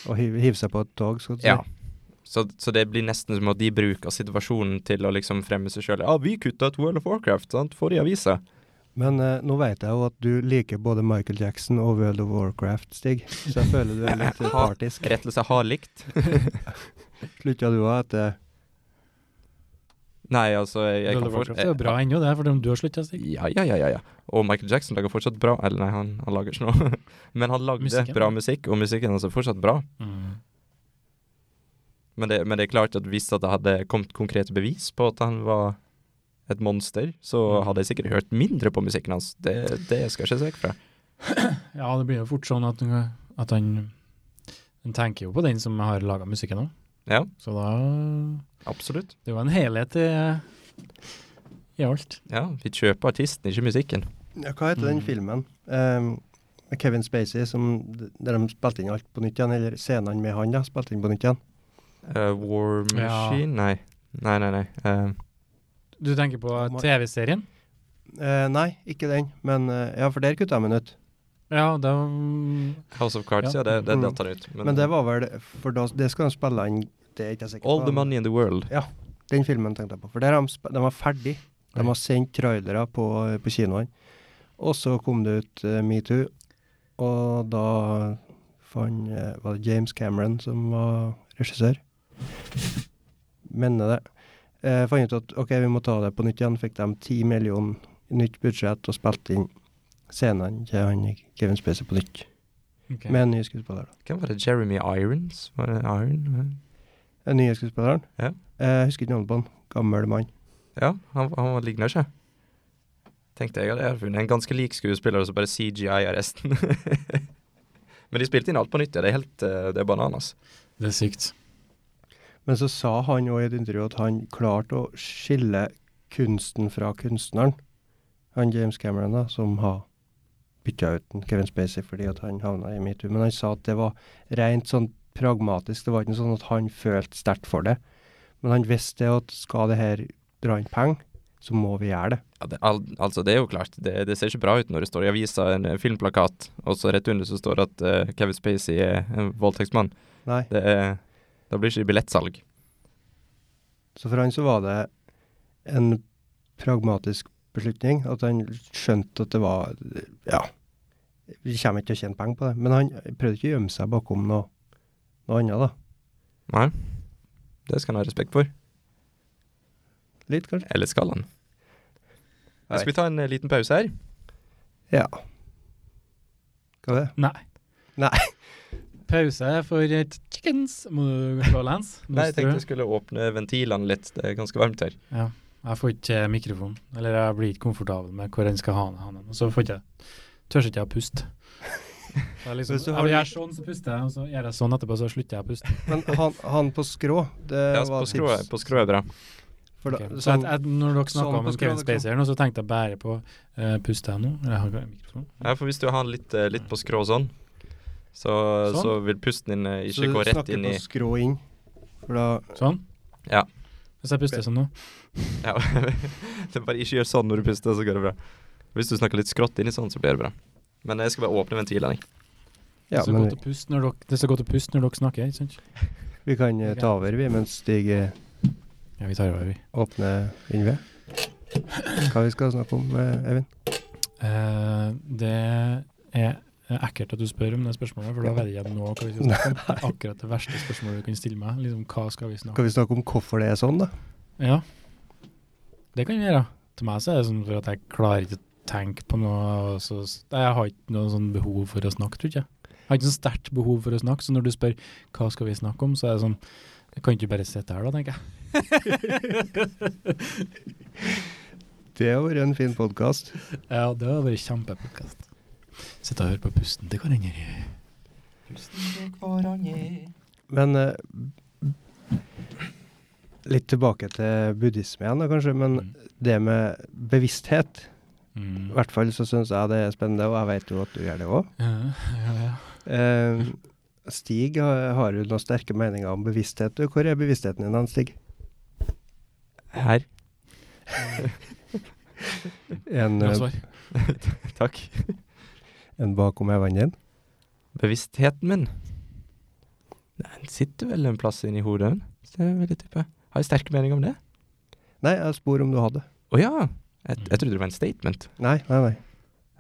A: Å hive, hive seg på et tog, skal du si.
B: Ja. Så, så det blir nesten som at de bruker situasjonen til å liksom fremme seg sjøl. Ja, vi kutta ut World of Warcraft, sant, for i avisa.
A: Men eh, nå vet jeg jo at du liker både Michael Jackson og World of Warcraft, Stig. Så jeg føler du er *laughs* litt eh, partisk.
B: Rettelse har likt.
A: Slutta du òg etter
B: *laughs* Nei, altså jeg, jeg
C: World
B: kan
C: of Warcraft
B: fort-
C: er jo bra ennå, det, for om du har slutta, Stig.
B: Ja, ja, ja, ja, ja. Og Michael Jackson lager fortsatt bra Eller nei, han, han lager ikke noe. *laughs* Men han lagde
C: Musikken.
B: bra musikk, og musikken hans er altså fortsatt bra.
C: Mm.
B: Men det, men det er klart at hvis at det hadde kommet konkrete bevis på at han var et monster, så
C: Mm.
B: hadde jeg sikkert hørt mindre på musikken hans. Det, det skal jeg ikke se vekk fra.
C: Ja, det blir jo fort sånn at, at han Han tenker jo på den som har laga musikken òg,
B: Ja,
C: så da
B: absolutt.
C: Det var en helhet i, i alt.
B: Ja, Vi kjøper artisten, ikke musikken.
A: Ja, hva heter den
C: Mm.
A: filmen? Ehm, med Kevin Spacey, som, der de spilte inn alt på nytt igjen, eller scenene med han, da, spilte inn på nytt igjen.
B: Eh, War
C: Ja.
B: Machine? Nei. Nei, nei, nei. Eh,
C: Du tenker på
A: Mar-
C: TV-serien?
A: Eh, nei, ikke den, men eh, ja, for der kutta de den ut.
C: Ja, da
B: House of Cards, ja.
C: Ja.
B: det, det
A: Mm.
B: datt han ut.
A: Men det var vel For da, det skal de spille inn, det er ikke jeg sikker
B: eh, All the
A: på. men
B: money in the world.
A: Den filmen tenkte jeg på. For der har de, sp- de var ferdig. De
C: Oi.
A: har sendt trailere på, på kinoene. Og så kom det ut eh, Metoo, og da fant, eh, var det James Cameron som var regissør. Mener det. Eh, fant ut at OK, vi må ta det på nytt igjen. Fikk de ti millioner i nytt budsjett og spilte inn scenene til han Kevin Spacey på nytt.
C: Ok.
A: Med en ny skuespiller. da.
B: Hvem var det? Jeremy Irons? Var det Iron?
A: Den nye skuespilleren?
B: Ja.
A: Eh, jeg husker ikke navnet på han. Gammel mann.
B: Ja, han, han ligner ikke. Tenkte jeg at jeg hadde funnet en ganske lik skuespiller, og så bare CGI er resten. *laughs* Men de spilte inn alt på nytt, ja. Det er helt eh, Det er bananas.
C: Det er sykt.
A: Men så sa han òg i et intervju at han klarte å skille kunsten fra kunstneren. Han James Cameron, da, som har bytta ut en Kevin Spacey fordi at han havna i metoo. Men han sa at det var rent sånn pragmatisk. Det var ikke sånn at han følte sterkt for det. Men han visste det at skal det her dra inn penger, så må vi gjøre det.
B: Ja, det, al altså, det er jo klart. Det, det ser ikke bra ut når det står i avisa en eh, filmplakat, og så rett under så står det at eh, Kevin Spacey er en voldtektsmann.
A: Nei.
B: Det er Da blir ikke det billettsalg.
A: Så for han så var det en pragmatisk beslutning, at han skjønte at det var Ja, vi kommer ikke til å tjene penger på det. Men han prøvde ikke å gjemme seg bakom noe, noe annet, da.
B: Nei. Det skal han ha respekt for.
A: Litt, kanskje.
B: Eller skal han?
A: Nei.
B: Skal vi ta en eh, liten pause her?
A: Ja. Hva er det?
C: Nei.
A: Nei.
C: Pause for et chickens. Må du gå lens?
A: Eh,
B: Nei, jeg tenkte jeg skulle åpne ventilene litt. Det er ganske varmt her.
C: ja. Jeg får ikke til mikrofon. Eller jeg blir ikke komfortabel med hvor jeg skal ha den. ha den, Og så får ikke jeg Tør ikke jeg å puste.
A: *laughs*
C: Det er liksom,
A: Hvis du har-
C: jeg gjør sånn, så puster jeg, og så gjør jeg sånn etterpå, så slutter jeg å puste.
A: Men han, han på skrå, det
B: Ja,
A: var
B: på
A: tips.
B: skrå, på skrå er bra.
A: For da,
C: Ok, Så
A: sånn,
C: jeg, jeg, når dere
A: sånn
C: snakka
A: på
C: om Kevin
A: skrådet kan-
C: Spacey her nå, så tenkte jeg bare på uh, Puster jeg nå? Eller jeg har ikke mikrofon.
B: Ja, for hvis du har litt, eh, litt på skrå sånn, så,
C: Sånn?
B: så vil pusten din eh,
A: så
B: ikke
A: du
B: gå rett
A: snakker
B: inn i
A: på skrå inn. For da
C: Sånn?
B: Ja.
C: Hvis jeg puster sånn nå?
B: *laughs* ja. Så Bare ikke gjør sånn når du puster, så går det bra. Hvis du snakker litt skrått inn i sånn, så blir det bra. Men jeg skal bare åpne ventilene. jeg.
A: Ja,
C: det, er så
A: men
C: godt å puste når dere, det er så godt å puste når dere snakker, ikke sant?
A: vi kan eh, ta over, vi, mens Stig eh,
C: Ja, vi tar over, vi.
A: åpner *clears throat* Yngve. Hva vi skal snakke om, eh, Eivind?
C: Eh, det er ekkelt at du spør om det spørsmålet, for da vet jeg ikke nå hva vi skal snakke om. Det er akkurat det verste spørsmålet du kan stille meg. Liksom, hva skal vi snakke om?
A: Skal vi snakke om hvorfor det er sånn, da?
C: Ja, det kan vi gjøre. Til meg så er det sånn for at jeg klarer ikke å tenke på noe. og Så, jeg har ikke noe sånn behov for å snakke, tror jeg. Jeg har ikke så sterkt behov for å snakke, så når du spør hva skal vi snakke om, så er det sånn jeg kan ikke bare sitte her da, tenker jeg.
A: Det har vært en fin podkast.
C: *laughs* Ja, det har vært kjempepodkast. Sitte og høre på pusten til hverandre.
A: Men eh, litt tilbake til buddhisme igjen, da, kanskje. Men det med bevissthet I
C: Mm.
A: hvert fall så syns jeg det er spennende, og jeg vet jo at du gjør det òg.
C: Ja, ja, ja.
A: Eh, Stig har har jo noen sterke meninger om bevissthet. Du, Hvor er bevisstheten din, han, Stig?
B: Her. *laughs*
A: En,
C: Bra
A: eh,
B: *laughs*
C: svar.
B: Takk.
A: en bakom øynene din?
B: Bevisstheten min Nei, Den sitter vel en plass inni hodet, den. Så jeg vil jeg tippe. Har jeg sterke meninger om det?
A: Nei, jeg spor om du hadde.
B: Å ja! Jeg, jeg trodde det var en statement.
A: Nei, nei, nei.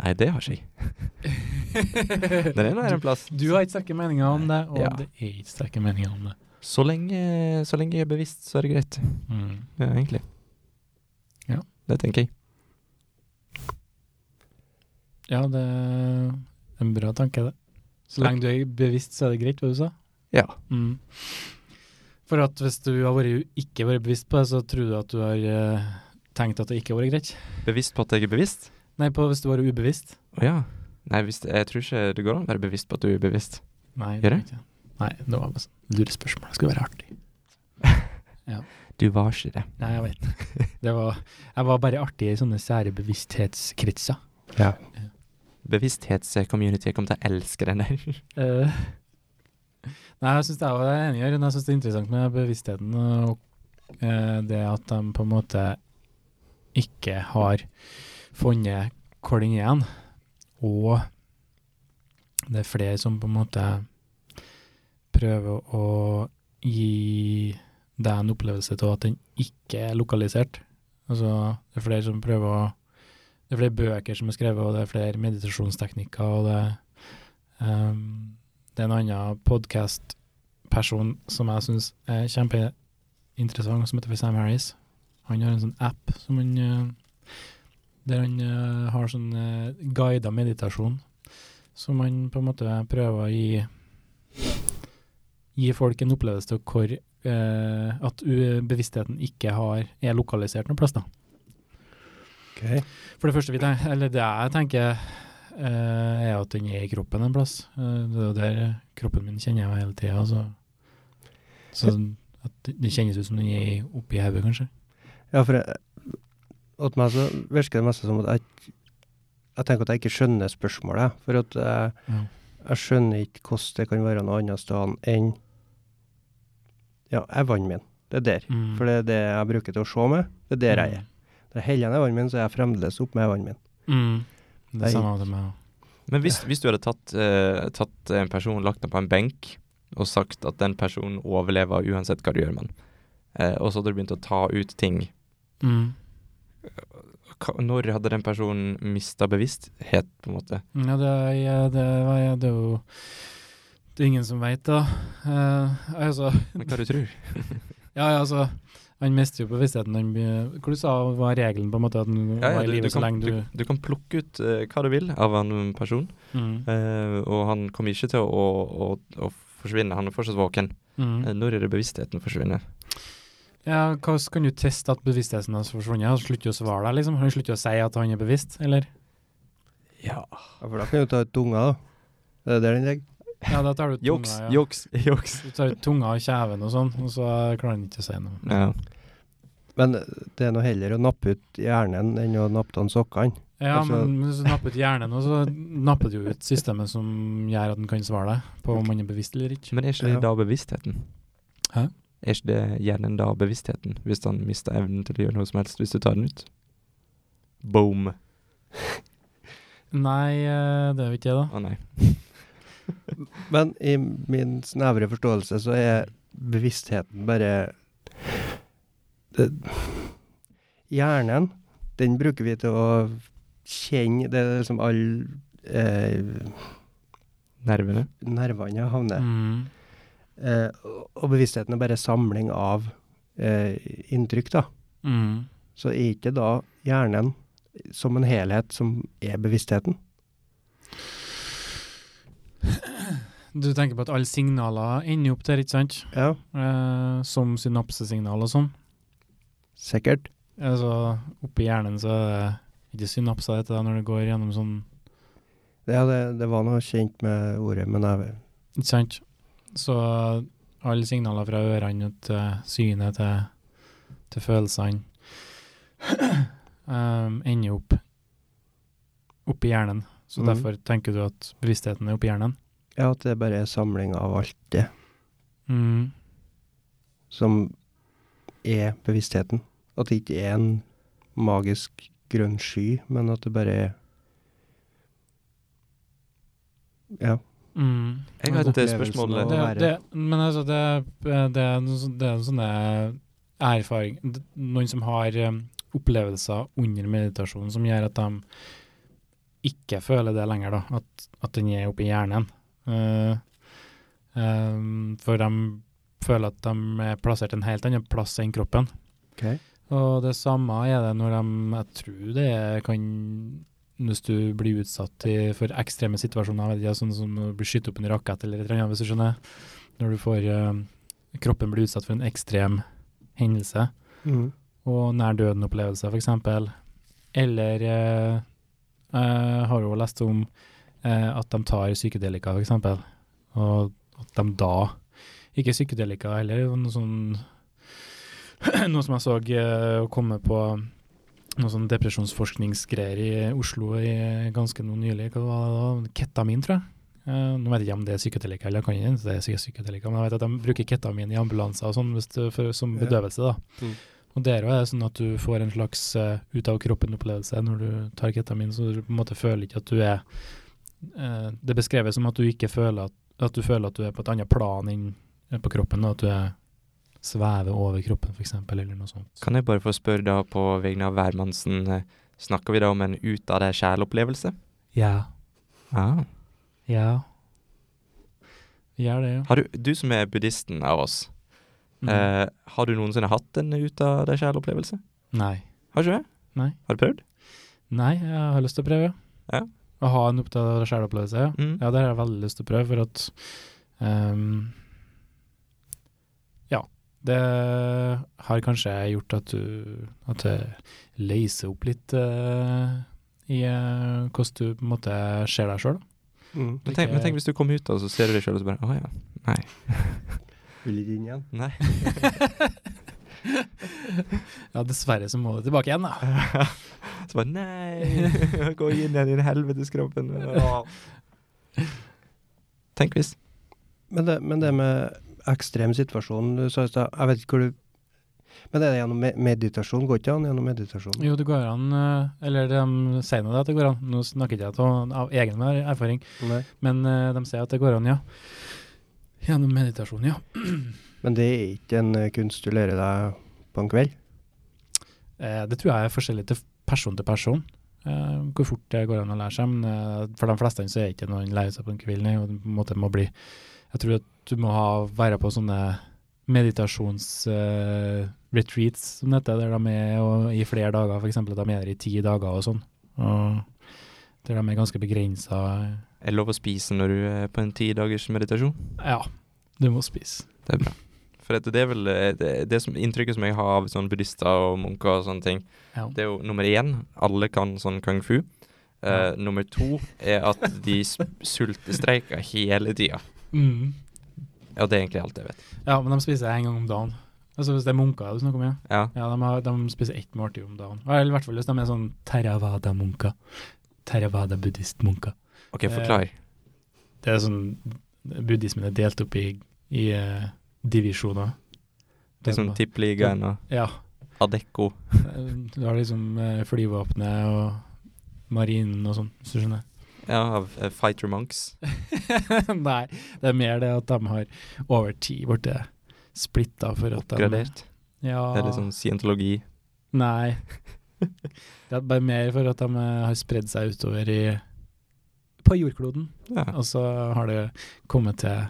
B: Nei, det har ikke jeg. Den er nå en plass.
C: Du har ikke sterke meninger om det, og
B: Ja.
C: det er ikke sterke meninger om det.
B: Så lenge, så lenge jeg er bevisst, så er det greit.
C: Mm.
B: Ja, egentlig.
C: Ja.
B: Det tenker jeg.
C: Ja, det er en bra tanke, det. Så lenge du er bevisst, så er det greit, hva du sa.
B: Ja.
C: Mm. For at hvis du har vært, ikke vært bevisst på det, så tror du at du har eh, tenkt at det ikke har vært greit.
B: Bevisst på at jeg er bevisst?
C: Nei, på hvis du har vært ubevisst.
B: Å ja. Nei, hvis, jeg tror ikke det går an å være bevisst på at du er bevisst.
C: Nei,
B: Gjør
C: vet jeg ikke. Nei, det var bare sånn lurespørsmål. Det skulle være artig.
B: Du var ikke det.
C: Nei, jeg vet
B: *laughs*
C: det. Var, jeg var bare artig i sånne sære bevissthetskretser.
A: Ja.
B: Bevissthetscommunity. Jeg kommer til å elske den *laughs* der.
C: Eh, nei, jeg syns det er jeg er enig i. Jørund. Jeg synes det er interessant med bevisstheten og eh, det at de på en måte ikke har funnet hvor den er igjen. Og det er flere som på en måte prøver å gi deg en opplevelse av at den ikke er lokalisert. Altså, det er flere som prøver å Det er flere bøker som er skrevet, og det er flere meditasjonsteknikker, og det er Um, det er en annen podcast-person som jeg syns er kjempeinteressant, som heter for Sam Harris. Han har en sånn app som han eh, der han eh, har sånn uh, guida meditasjon, som han på en måte prøver å gi gi folk en opplevelse av hvor eh, at u- bevisstheten ikke har, er lokalisert noe plass. da.
A: Ok.
C: For det første vi tenker, eller det jeg tenker, eh, er at den er i kroppen en plass. Eh, det er jo der eh, kroppen min kjenner jeg jo hele tida. Så, så at det- det kjennes ut som den er oppi hodet, kanskje.
A: Ja, for jeg, åt meg så virker det meste som at jeg, jeg tenker at jeg ikke skjønner spørsmålet. For at jeg,
C: Ja.
A: jeg skjønner ikke hvordan det kan være noe annet sted enn Ja, jeg er vannet min. Det er der.
C: Mm.
A: For det er det jeg bruker til å se med. Det er der jeg er. Når jeg heller igjen i vannet min, så er jeg fremdeles oppe med vannet min.
C: Mm. Det
A: Nei.
C: er samme med meg.
B: Men hvis, hvis du hadde tatt, eh, tatt en person, lagt den på en benk, og sagt at den personen overlever uansett hva du gjør med den, eh, og så hadde du begynt å ta ut ting
C: Mm.
B: hva, Når hadde den personen mista bevissthet, på en måte?
C: Ja, det er, ja, det, var, ja, det er jo det er ingen som veit, da. Eh, altså,
B: Men hva du tror?
C: ja, ja, altså, han mister jo bevisstheten. Han, blir- hva du sa var regelen, på en måte? At han var i
B: du,
C: live
B: du,
C: så
B: kan,
C: lenge
B: du,
C: du
B: du kan plukke ut eh, hva du vil av en person,
C: mm.
B: eh, og han kommer ikke til å, å, å, å forsvinne. Han er fortsatt våken.
C: Mm.
B: Eh, Når er det bevisstheten forsvinner?
C: Ja, hva s- kan du teste at bevisstheten hans forsvunnet? Han slutter jo å svare deg, liksom. Han slutter å si at han er bevisst, eller?
B: Ja.
A: Ja, for da kan du ta ut tunga, da. Er det der den ligger?
C: Ja, da tar du tunga,
B: Juks,
C: ja.
B: juks, juks.
C: Du tar ut tunga og kjeven og sånn, og så klarer han ikke å si noe.
B: Ja.
A: Men det er nå heller å nappe ut hjernen enn å nappe av sokkene.
C: Ja,
A: Altså-
C: men hvis du napper ut hjernen, og så napper du ut systemet som gjør at den kan svare deg på om han er bevisst eller ikke.
B: Men er ikke det
A: Ja.
B: da bevisstheten?
C: Hæ?
B: Er ikke det hjernen da bevisstheten, hvis han mister evnen til å gjøre noe som helst, hvis du tar den ut? Boom. Å
C: Nei, eh, det er jo ikke det, da.
B: nei.
A: Men i min snevre forståelse så er bevisstheten bare det, Hjernen, den bruker vi til å kjenne Det er liksom alle eh,
B: Nervene.
A: nervene havner.
C: Mm.
A: Eh, og- og bevisstheten er bare samling av eh, inntrykk, da.
C: Mm.
A: Så er ikke da hjernen som en helhet som er bevisstheten?
C: Du tenker på at alle signaler ender opp der, ikke sant?
A: Ja,
C: Eh, som synapsesignal og sånn.
A: sikkert.
C: Altså, oppi hjernen så er det ikke synapser dette da, når det går gjennom sånn,
A: Ja, det, det var noe kjent med ordet, men jeg
C: ikke sant? Så eh, alle signaler fra ørene til synet til, til følelsene *clears throat* um, ender opp oppi hjernen. Så
A: Mhm.
C: derfor tenker du at bevisstheten er oppi hjernen.
A: Ja, at det bare er samling av alt det.
C: Mm.
A: som er bevisstheten. At det ikke er en magisk grønn sky, men at det bare er Ja.
C: Mm.
B: Jeg har et eh,
A: Opplevelsen
B: spørsmål.
A: av-
B: eh,
C: det,
A: være.
C: det, men altså, det, det, er noen sån- det er noen sånne erfaring d- Noen som har um, opplevelser under meditasjon som gjør at de ikke føler det lenger, da. At, at den er oppi hjernen. Eh, em, for de føler at de er plassert en helt annen plass enn kroppen.
A: Ok.
C: Og det samme er det når de Jeg tror det er- kan Hvis du blir utsatt i, for ekstreme situasjoner, jeg vet ikke, sånn som å bli skutt opp en rakett eller et eller annet, hvis du skjønner. Når du får eh, Kroppen blir utsatt for en ekstrem hendelse,
A: Mm,
C: og nær døden-opplevelse, f.eks. Eller eh, jeg har jo lest om eh, at de tar psykedelika, f.eks. Og at de da Ikke psykedelika heller, det var noe sånn *clears throat* Noe som jeg så eh, komme på noe sånn depresjonsforskningsgreier i Oslo i ganske noe nylig. Hva var det da? Ketamin, tror jeg. Eh, nå vet jeg ikke om det er psykedelika eller kan ikke det er psy- psykedelika, men jeg vet at de bruker ketamin i ambulanser og sånn hvis det- for- som
A: Ja.
C: bedøvelse. da.
A: Mm.
C: Og der også er det sånn at du får en slags eh, ut-av-kroppen-opplevelse når du tar ketamin, så du på en måte føler ikke at du er eh, Det beskreves som at du ikke føler at, at du føler at du er på et annet plan enn eh, på kroppen, og at du er svever over kroppen, f.eks., eller noe sånt.
B: Kan jeg bare få spørre da på vegne av hvermannsen, eh, snakker vi da om en ut av deg sjæl-opplevelse?
C: Ja.
B: Ah.
C: Ja. Gjør det, jo.
B: Har du, du som er buddhisten av oss,
C: Mm.
B: eh, har du noensinne hatt en ut av deg sjæl-opplevelse?
C: Nei.
B: Har du ikke det?
C: Nei.
B: Har du prøvd?
C: Nei, jeg har lyst til å prøve,
B: Ja.
C: Å ha en oppdatert sjeleopplevelse, ja.
B: Mm.
C: Ja, det har jeg veldig lyst til å prøve, for at ehm, Ja. Det har kanskje gjort at du At jeg løser opp litt eh, i eh, hvordan du på en måte ser deg sjøl.
A: Mm.
B: Men tenk, men tenk hvis du kommer ut da, så ser du deg sjøl og så bare Å *laughs* ja. Nei.
A: Vil ikke inn igjen.
B: Nei.
C: Ja, dessverre så må du tilbake igjen, da.
B: Så bare nei, gå inn igjen i den helvetes kroppen. *laughs* Åh. Tenk hvis.
A: Men det, men det med ekstrem situasjon du sa i stad, jeg vet ikke hvor du Men er det gjennom me- meditasjon? Går ikke an gjennom meditasjon?
C: Jo, det går an eh, Eller de sier nå det at det går an. Nå snakker ikke jeg av, av egen erfaring,
A: Nei.
C: men eh, de sier at det går an, ja. Gjennom meditasjon, ja.
A: Men det er ikke en eh, kunst du lærer deg på en kveld?
C: Eh, det tror jeg er forskjellig til person til person. Eh, hvor fort det går an å lære seg. Men eh, for de fleste så er det ikke noe en lærer seg på en kveld. nei, og du på en måte må bli, jeg tror at du må ha, være på sånne meditasjonsretreats, som det heter, der de er og, i flere dager. F.eks. at de er der i ti dager og sånn. Og der de er ganske begrensa.
B: Er det lov å spise når du er på en ti dagers meditasjon?
C: Ja, du må spise.
B: Det er bra. For at det er vel eh, det, det som, inntrykket som jeg har av sånn buddhister og munker og sånne ting,
C: Ja.
B: det er jo nummer én alle kan sånn kung fu. Eh,
C: Ja.
B: Nummer to er at de s- sultestreiker hele tida.
C: Mm.
B: Ja, det er egentlig alt jeg vet.
C: ja, men de spiser en gang om dagen. Altså Hvis det er munker du snakker om, ja.
B: Ja.
C: ja de, har, de spiser ett måltid om dagen. Eller i hvert fall hvis de er sånn Theravada-munker. Theravada-buddhist-munker.
B: OK, forklar.
C: Det er sånn Buddhismen er delt opp i, i eh, divisjoner.
B: Det er sånn Tippeligaen og
C: Ja. *laughs*
B: Adecco.
C: eh, Du har liksom eh, flyvåpenet og marinen og sånn, hvis du skjønner. *laughs*
B: Ja, av eh, Fighter Monks.
C: Nei, det er mer det at de har over tid blitt splitta for at de
B: Oppgradert.
C: Ja,
B: Det er litt sånn scientologi.
C: Nei. *laughs* Det er bare mer for at de eh, har spredd seg utover i på jordkloden.
B: Ja.
C: Og så har det kommet til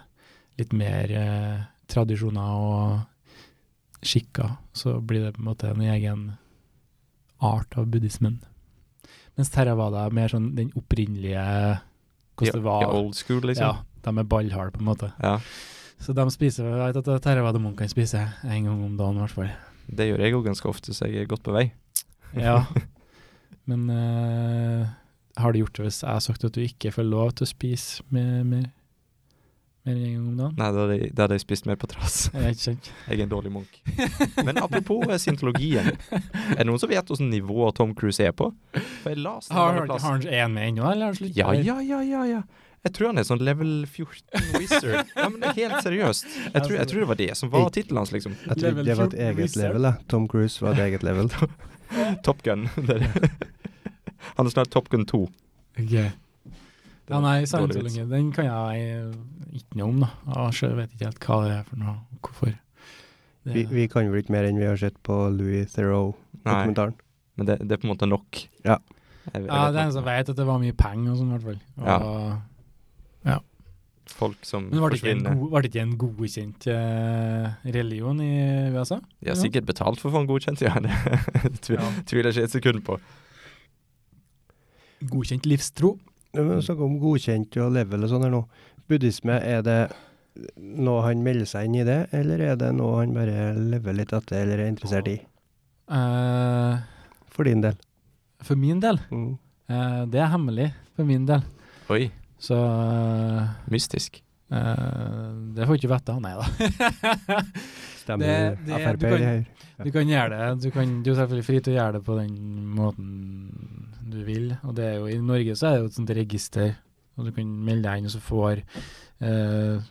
C: litt mer eh, tradisjoner og skikker. Så blir det på en måte en egen art av buddhismen. Mens Theravada er mer sånn den opprinnelige
B: I,
C: hvordan det var.
B: I old school,
C: Ja,
B: liksom.
C: de er ballharde, på en måte.
B: Ja.
C: Så de spiser Jeg vet at Theravada-munkene spiser en gang om dagen, i hvert fall.
B: Det gjør jeg jo ganske ofte, så jeg er godt på vei.
C: Ja. *laughs* Men eh, har du gjort det hvis jeg har sagt at du ikke får lov til å spise mer, mer, mer enn en gang om dagen?
B: Nei, da hadde jeg- da hadde jeg spist mer på trass. *laughs*
C: Jeg er ikke sant.
B: Jeg er en dårlig
C: *laughs*
B: munk. Men apropos eh, scientologien. Er det noen som vet hvilket nivå Tom Cruise er på? For jeg leste en
C: Har
B: eller annen
C: har
B: plass-
C: han én med ennå, eller har han sluttet?
B: Ja, ja, ja, ja, ja. Jeg tror han er sånn level 14 wizard. Ja, men det er helt seriøst. Jeg tror, jeg tror det var det som var tittelen hans, liksom.
A: Jeg trodde
C: Level
A: det var et
C: 14
A: eget
C: wizard.
A: level. Jeg. Tom Cruise var et eget level.
B: liksom. Top Gun. *laughs* Det er det. Han er snart Top Gun 2.
C: Ok.
B: Det
C: Ja,
B: var
C: nei,
B: dårlig vits.
C: Sandsolongen, den kan jeg eh, ikke noe om, da. Jeg sjøl vet ikke helt hva det er for noe, og hvorfor. Det-
A: Vi, vi kan vel ikke mer enn vi har sett på Louis
B: Nei,
A: Theroux-dokumentaren.
B: men det, det er på en måte nok.
A: Ja.
B: Jeg- jeg
C: ja,
B: vet
C: det er
B: nok.
C: en sånn som vet at det var mye penger og sånn, i hvert fall. Og,
B: Folk som
C: Men var det ikke en,
B: forsvinner.
C: god, var det ikke en godkjent eh, religion i USA?
B: De har sikkert betalt for å få den godkjent, ja. *laughs* Det tvi-
C: Ja.
B: tviler jeg ikke et sekund på.
C: *laughs* Godkjent livstro.
A: Nei, men Snakk om godkjent og level og sånn her nå. Buddhisme, er det noe han melder seg inn i det, eller er det noe han bare lever litt etter eller er interessert i?
C: Eh,
A: For din del.
C: for min del.
A: Mm.
C: eh, det er hemmelig for min del.
B: Oi,
C: Så
B: mystisk.
C: eh, det får ikke vite. Nei da. *laughs*
A: Stemmer
C: Det- det-
A: Frp
C: du
A: det
C: kan-
A: her?
C: du kan gjøre det. Du, kan, du er selvfølgelig fri til å gjøre det på den måten du vil. Og det er jo, I Norge så er det jo et sånt register, og du kan melde deg inn, og så får eh,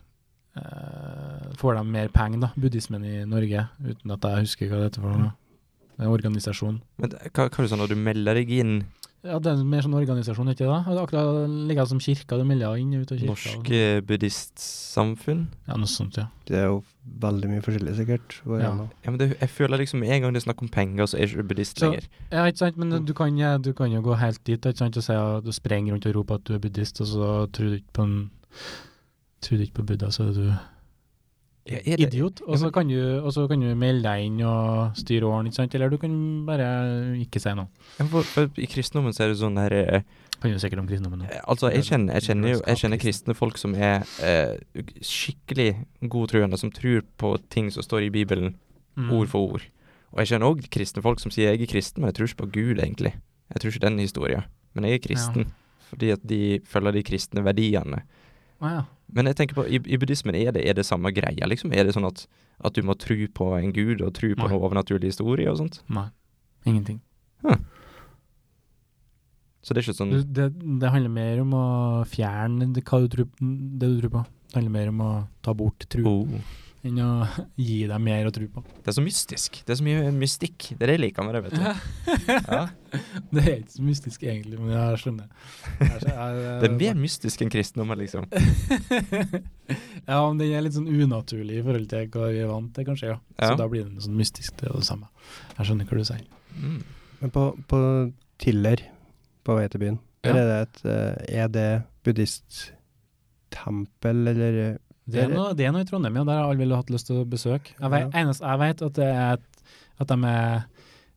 C: eh, Får de mer penger, da, buddhismen i Norge, uten at jeg husker hva det heter for noe. Det er en organisasjon.
B: Men det- hva, hva er det sånn når du melder deg inn
C: Ja, det er mer sånn organisasjon, ikke det? da? Akkurat like som kirka, du melder deg inn og ut av kirka. og sånn.
B: Norsk eh, buddhistsamfunn?
C: Ja, noe sånt, ja.
A: Det er jo veldig mye forskjellig, sikkert. Hva er
C: Ja.
A: det nå?
B: Ja, men det, jeg føler liksom med en gang det er snakk om penger, så er ikke du buddhist
C: Så-
B: lenger.
C: Ja, ikke sant, men du kan, ja, du kan jo gå helt dit, ikke sant, og si at du sprenger rundt og roper at du er buddhist, og så tror du ikke på en tror du ikke på Buddha, så er du
B: Ja, er det,
C: idiot. Og så kan, du- og så kan du melde deg inn og styre åren, ikke sant, eller du kan bare ikke si noe.
B: Ja, for, for I kristendommen så er det sånn her eh,
C: Kan jo sikkert om kristendommen nå.
B: eh, Altså, jeg kjenner, jeg kjenner jo jeg kjenner kristne folk som er eh, skikkelig godtroende, som tror på ting som står i Bibelen,
C: Mm.
B: ord for ord. Og jeg kjenner òg kristne folk som sier jeg er kristen, men jeg tror ikke på Gud, egentlig. Jeg tror ikke den historien. Men jeg er kristen fordi at de følger de kristne verdiene.
C: Ah, ja.
B: Men jeg tenker på, i, i buddhismen er det, er det samme greia, liksom? Er det sånn at, at du må tro på en gud, og tro på
C: Nei.
B: noe overnaturlig historie og sånt?
C: Nei, ingenting.
B: Så det er ikke sånn
C: Du, det, det handler mer om å fjerne det, hva du tror, det du tror på. Det handler mer om å ta bort tro.
B: oh.
C: enn å *laughs* gi deg mer å tro på.
B: Det er så mystisk. Det er så mye mystikk. Det er det jeg liker med det,
C: *laughs*
B: vet du. *laughs* Ja.
C: Det er ikke så mystisk egentlig, men jeg skjønner. *laughs* *laughs* Jeg skjønner-
B: Det er mer mystisk enn kristendommen, liksom.
C: ja, men den er litt sånn unaturlig i forhold til hva vi er vant til, kanskje. ja.
B: Ja.
C: Så da blir den sånn mystisk, det er jo det samme. Jeg skjønner hva du sier.
B: Mm.
A: Men på, på Tiller, på vei til byen,
C: Ja.
A: er, det et, eh, er det buddhisttempel, eller eh,
C: Det er noe, det er noe i Trondheim, ja. Der har alle vel hatt lyst til å besøke. Jeg vet, Eneste jeg vet, at, det er, et- at de er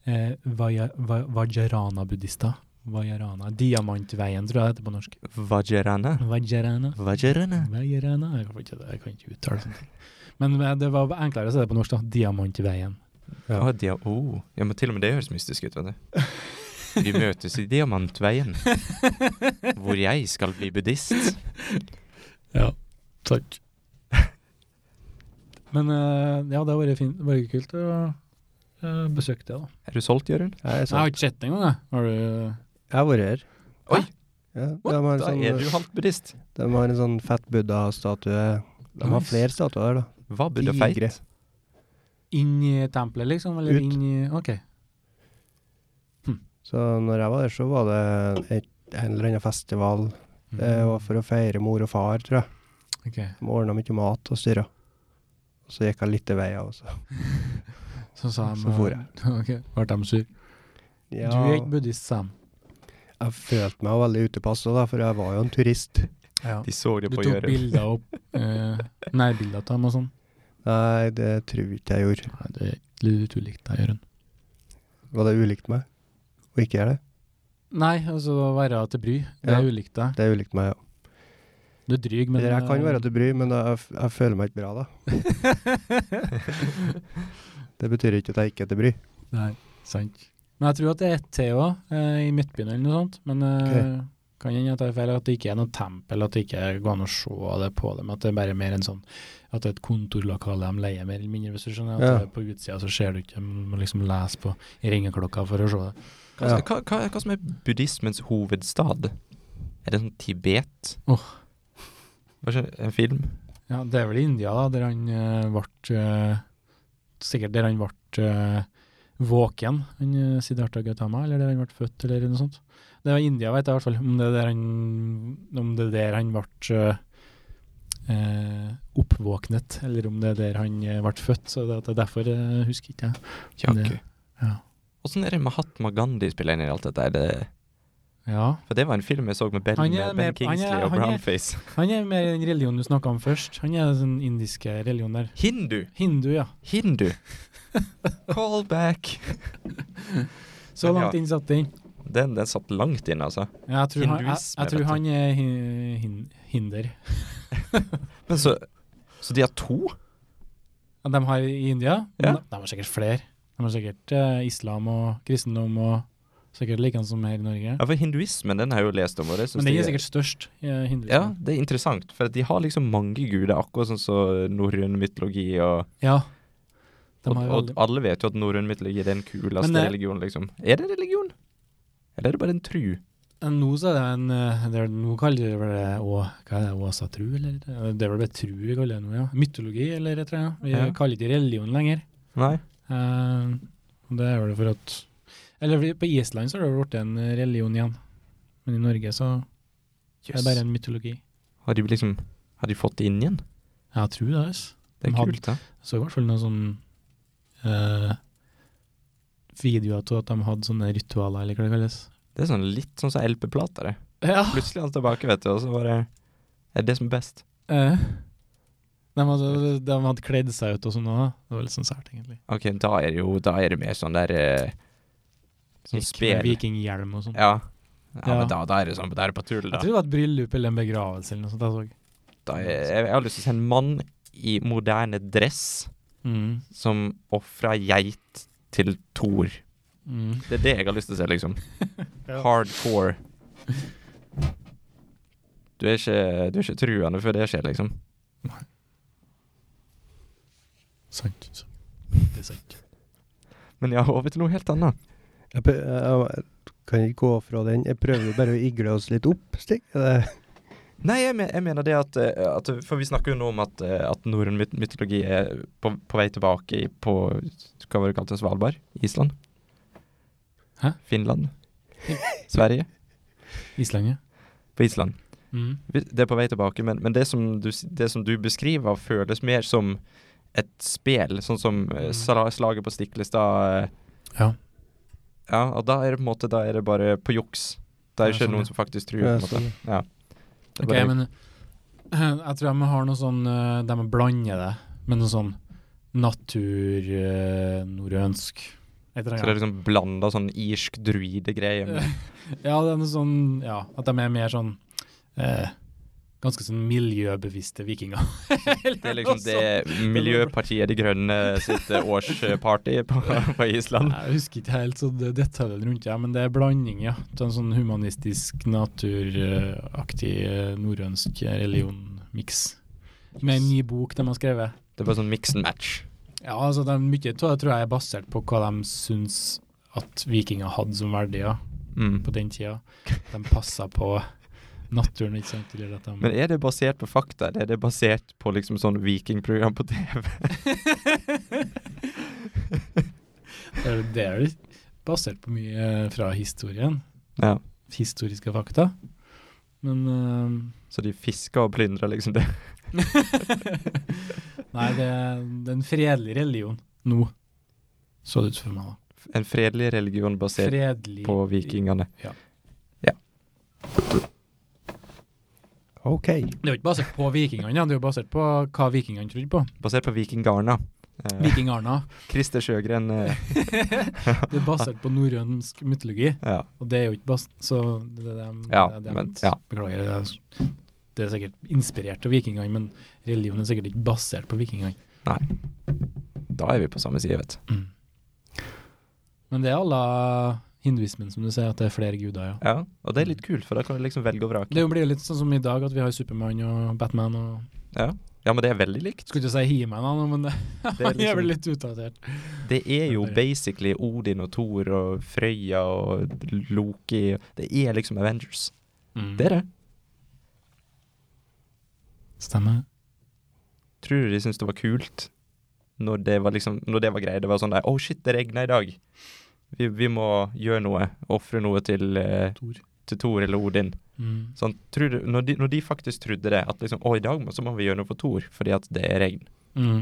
C: eh, vaja- va- vajarana-buddhister. Vajarana. Diamantveien, tror jeg det heter på norsk.
B: Vajerana.
C: Vajarana.
B: Vajerana.
C: Vajarana. Jeg kan ikke, det- jeg kan ikke uttale sånne ting. Men eh, det var enklere å si det på norsk, da. *laughs* Diamantveien.
B: Ja. Ah, dia oh. ja, men til og med det høres mystisk ut, vet du. Vi møtes i Diamantveien, hvor jeg skal bli buddhist.
C: Ja, takk. Men eh, ja, det har vært fint. Det har vært kult å eh, besøke det, da.
B: Er du solgt, Jørund?
A: Jeg er
C: Jeg har
A: sånn.
C: ikke sett det engang, jeg. Har du
A: Jeg har vært her.
B: Oi!
A: Ja, de,
B: What?
A: har en
B: Da er du
A: sånn,
B: halvt buddhist.
A: de har en sånn fett buddha-statue. De har
C: Nice.
A: flere statuer her, da.
B: Hva burde feit?
A: Digre.
C: inn i tempelet, liksom? Eller
A: Ut.
C: inn i OK.
A: Så når jeg var der, så var det et, en eller annen festival.
C: Mhm.
A: Det var for å feire mor og far, tror jeg.
C: Ok.
A: De ordna mye mat og styra. Og så gikk jeg litt til veia også.
C: Så sa de
A: Så for jeg.
C: *laughs* OK, ble de sur?
A: Ja,
C: Du er ikke buddhist, Sam.
A: jeg følte meg veldig utepass også da, for jeg var jo en turist.
C: Ja.
B: De så det
C: Du
B: på
C: tok
B: Jørund.
C: bilder
A: *laughs*
C: opp eh, Nærbilder av dem og sånn?
A: Nei, det tror jeg ikke jeg gjorde.
C: Nei, det er litt ulikt deg, Jørund.
A: Var det ulikt meg å ikke gjøre det?
C: Nei, altså å være til bry. Det
A: Ja.
C: er ulikt deg.
A: Det er ulikt meg, ja.
C: Du er dryg, men
A: Eller jeg kan
C: eh,
A: være til bry, men jeg, f- jeg føler meg ikke bra
C: *laughs*
A: da. Det betyr ikke at jeg ikke er til bry.
C: Nei, sant. Men jeg tror at det er ett til òg, eh, i Midtbyen eller noe sånt. Men eh,
A: Ok.
C: kan hende jeg tar feil, at det ikke er noe tempel, at det ikke går an å se det på dem. At det er bare mer en sånn At det er et kontorlokale de leier, mer eller mindre, hvis du skjønner. At
A: Ja.
C: det er på utsida så ser du ikke, men du må liksom lese på ringeklokka for å se det.
B: Hva,
A: Ja.
B: hva, hva, hva som er buddhismens hovedstad? Er det sånn Tibet?
C: Åh.
B: Kanskje en film?
C: Ja, det er vel i India, da, der han eh, ble eh, Sikkert der han ble eh, våken, han eh, Siddhartha Gautama, eller der han ble født, eller noe sånt. Det var India, vet jeg i hvert fall, om det er der han, om det er der han ble eh, eh, oppvåknet, eller om det er der han eh, ble født. Så det, det er derfor eh, husker ikke jeg.
B: Ja,
C: Det-
B: ok.
C: ja.
B: Åssen er det Mahatma Gandhi spiller inn i alt dette? Er det,
C: Ja.
B: for det var en film jeg så med Ben,
C: Han er
B: med ben
C: med- han er-
B: Kingsley og
C: han er-
B: Brownface.
C: Han er mer den religionen du snakka om først. Han er den indiske religionen der.
B: Hindu!
C: Hindu, ja.
B: Hindu!
C: *laughs*
B: Call back! Men
C: Så
B: ja.
C: langt inn satt den.
B: Den, den satt langt inne, altså.
C: Ja, jeg tror han, jeg,
B: Hinduisme,
C: jeg tror
B: vet du.
C: han er hin- hin- hinder.
B: Men så Så de har to?
C: Ja, De har i India?
B: Ja.
C: De, de har sikkert flere. De har sikkert eh, islam og kristendom og sikkert like som her i Norge.
B: Ja, for hinduismen den har jeg jo lest om, og det syns
C: Men den
B: jeg
C: er sikkert størst. eh,
B: Ja,
C: hinduismen.
B: det er interessant, for at de har liksom mange guder, akkurat sånn som norrøn mytologi og
C: ja. De
B: Og,
C: har
B: og
C: veldig
B: alle vet jo at norrøn mytologi er den kuleste
C: Men eh, det-
B: religionen, liksom. Er det religion? Eller er det bare en tru?
C: Eh, Nå så er det en eh, det er, Nå kaller de vel det å, hva er det, åsatru, eller? Eh, Det er vel bare tru vi kaller det nå, ja. Mytologi, eller et eller annet. Vi
B: Ja.
C: kaller det ikke religion lenger.
B: Nei.
C: Eh, og det er vel for at Eller fordi på Island så har det vel blitt en religion igjen. Men i Norge så er
B: Yes.
C: det bare en mytologi.
B: Har de liksom Har de fått det inn igjen?
C: Jeg tror det. Altså.
B: Det er
C: De hadde-
B: kult, da.
C: Så i hvert fall noen sånn eh, videoer til at de hadde sånne ritualer, eller hva det kalles.
B: Det er sånn litt sånn som LP-plater. det.
C: Ja.
B: Plutselig er han tilbake, vet du, og så bare Er det det som er best?
C: Eh, de, hadde, de hadde kledd seg ut og sånn òg. Det var litt sånn sært, egentlig.
B: OK, da er det jo Da er det mer sånn der eh, Sånn
C: Gikk med
B: spel.
C: Vikinghjelm og sånn.
B: Ja. ja,
C: Ja.
B: men da, da er det sånn Da er det på tull,
C: Jeg
B: da.
C: tror det var et bryllup eller en begravelse eller noe sånt. Jeg så.
B: da er, jeg, jeg har lyst til å se en mann i moderne dress
C: Mm.
B: som ofra geit til Thor.
C: Mm.
B: Det er det jeg har lyst til å se, liksom.
C: *laughs* Ja.
B: Hardcore. Du er ikke, du er ikke truende før det skjer, liksom.
C: Sant. sant. Det er sant.
B: Men ja, over til noe helt annet.
A: Jeg, prø- jeg, jeg kan ikke gå fra den. Jeg prøver jo bare å igle oss litt opp. Stig. Er det-
B: Nei, jeg, men, jeg mener det at, eh, at For vi snakker jo nå om at, eh, at norrøn myt mytologi er på, på vei tilbake i- på Hva var det kalt? Svalbard? Island?
C: Hæ? *laughs*
B: Finland? Sverige?
C: Island, ja.
B: På Island.
C: Mm.
B: Vi- Det er på vei tilbake, men, men det, som du, s- det som du beskriver, føles mer som et spel, sånn som eh,
C: Mm.
B: sla, slaget på Stiklestad. eh.
C: Ja.
B: ja. Og da er det på en måte Da er det bare på juks. Det er
C: Ja,
B: ikke
C: sånn, ja.
B: noen som faktisk tror.
A: Ja,
B: på en måte.
A: sånn,
B: Ja. Det er
C: Ok,
B: bare-
C: men *clears throat* eh, jeg tror de har noe sånn eh, De blander det med noe sånn eh, natur-norrønsk.
B: så det er liksom blanda sånn irsk druidegreie. med-
C: ja, det er noe sånn Ja, at de er mer sånn eh, ganske sånn miljøbevisste vikinger. *laughs*
B: Det er liksom det *laughs* Miljøpartiet De Grønne sitt eh, årsparty på, på Island.
C: Jeg husker ikke helt så det- detaljene rundt det, men det er blanding, ja. Til en sånn humanistisk, naturaktig, eh, norrønsk religion-miks. Med en ny bok de har skrevet.
B: Det er bare sånn mix and match.
C: Ja, altså de, Mye av det tror jeg er basert på hva de syns at vikinger hadde som verdier
B: Mm.
C: på den tida. De passa på naturen, ikke sant. Eller at de,
B: Men er det basert på fakta? eller Er det basert på liksom sånn vikingprogram på TV?
C: Eller det er jo basert på mye eh, fra historien.
B: Ja.
C: Historiske fakta. Men eh,
B: Så de fisker og plyndrer liksom det.
C: *laughs* Nei, det, det er en fredelig religion nå, så det ut for meg. da.
B: En fredelig religion basert
C: Fredelig
B: på vikingene.
A: OK.
C: Det er jo ikke basert på vikingene, ja. det er jo basert på hva vikingene trodde på.
B: Basert på vikinggarna. Eh,
C: Vikingarna.
B: Christer Sjøgren eh,
C: *laughs* Det er basert på norrønsk mytologi,
B: ja.
C: og det er jo ikke basert Så det er det de,
B: Ja,
C: det er det de
B: men- ja.
C: Beklager. Det er, det er sikkert inspirert av vikingene, men religionen er sikkert ikke basert på vikingene.
B: Da er vi på samme side, vet du.
C: Mm. Men det er alle hinduismen, som du sier, at det er flere guder, ja.
B: Ja, og det er litt kult, for da kan du liksom velge og vrake.
C: Det blir jo litt sånn som i dag, at vi har Supermann og Batman og
B: Ja, men det er veldig *laughs* likt.
C: Skulle ikke si He-Man, han, men *laughs* det,
B: Det er,
C: han er vel
B: liksom,
C: litt utdatert.
B: det er jo basically Odin og Thor og Frøya og Loki. Det er liksom Avengers.
C: Mm.
B: Det er det.
C: Stemmer.
B: Tror du de syntes det var kult når det var liksom, når det var greia? Det var sånn der Oh shit, det regner i dag. Vi, vi må gjøre noe. Ofre noe til, eh,
C: Thor.
B: til Thor eller Odin.
C: Mm.
B: Sånn, tror du, når, de, når de faktisk trodde det, at liksom Å, i dag må, så må vi gjøre noe for Thor fordi at det er regn.
C: Mm.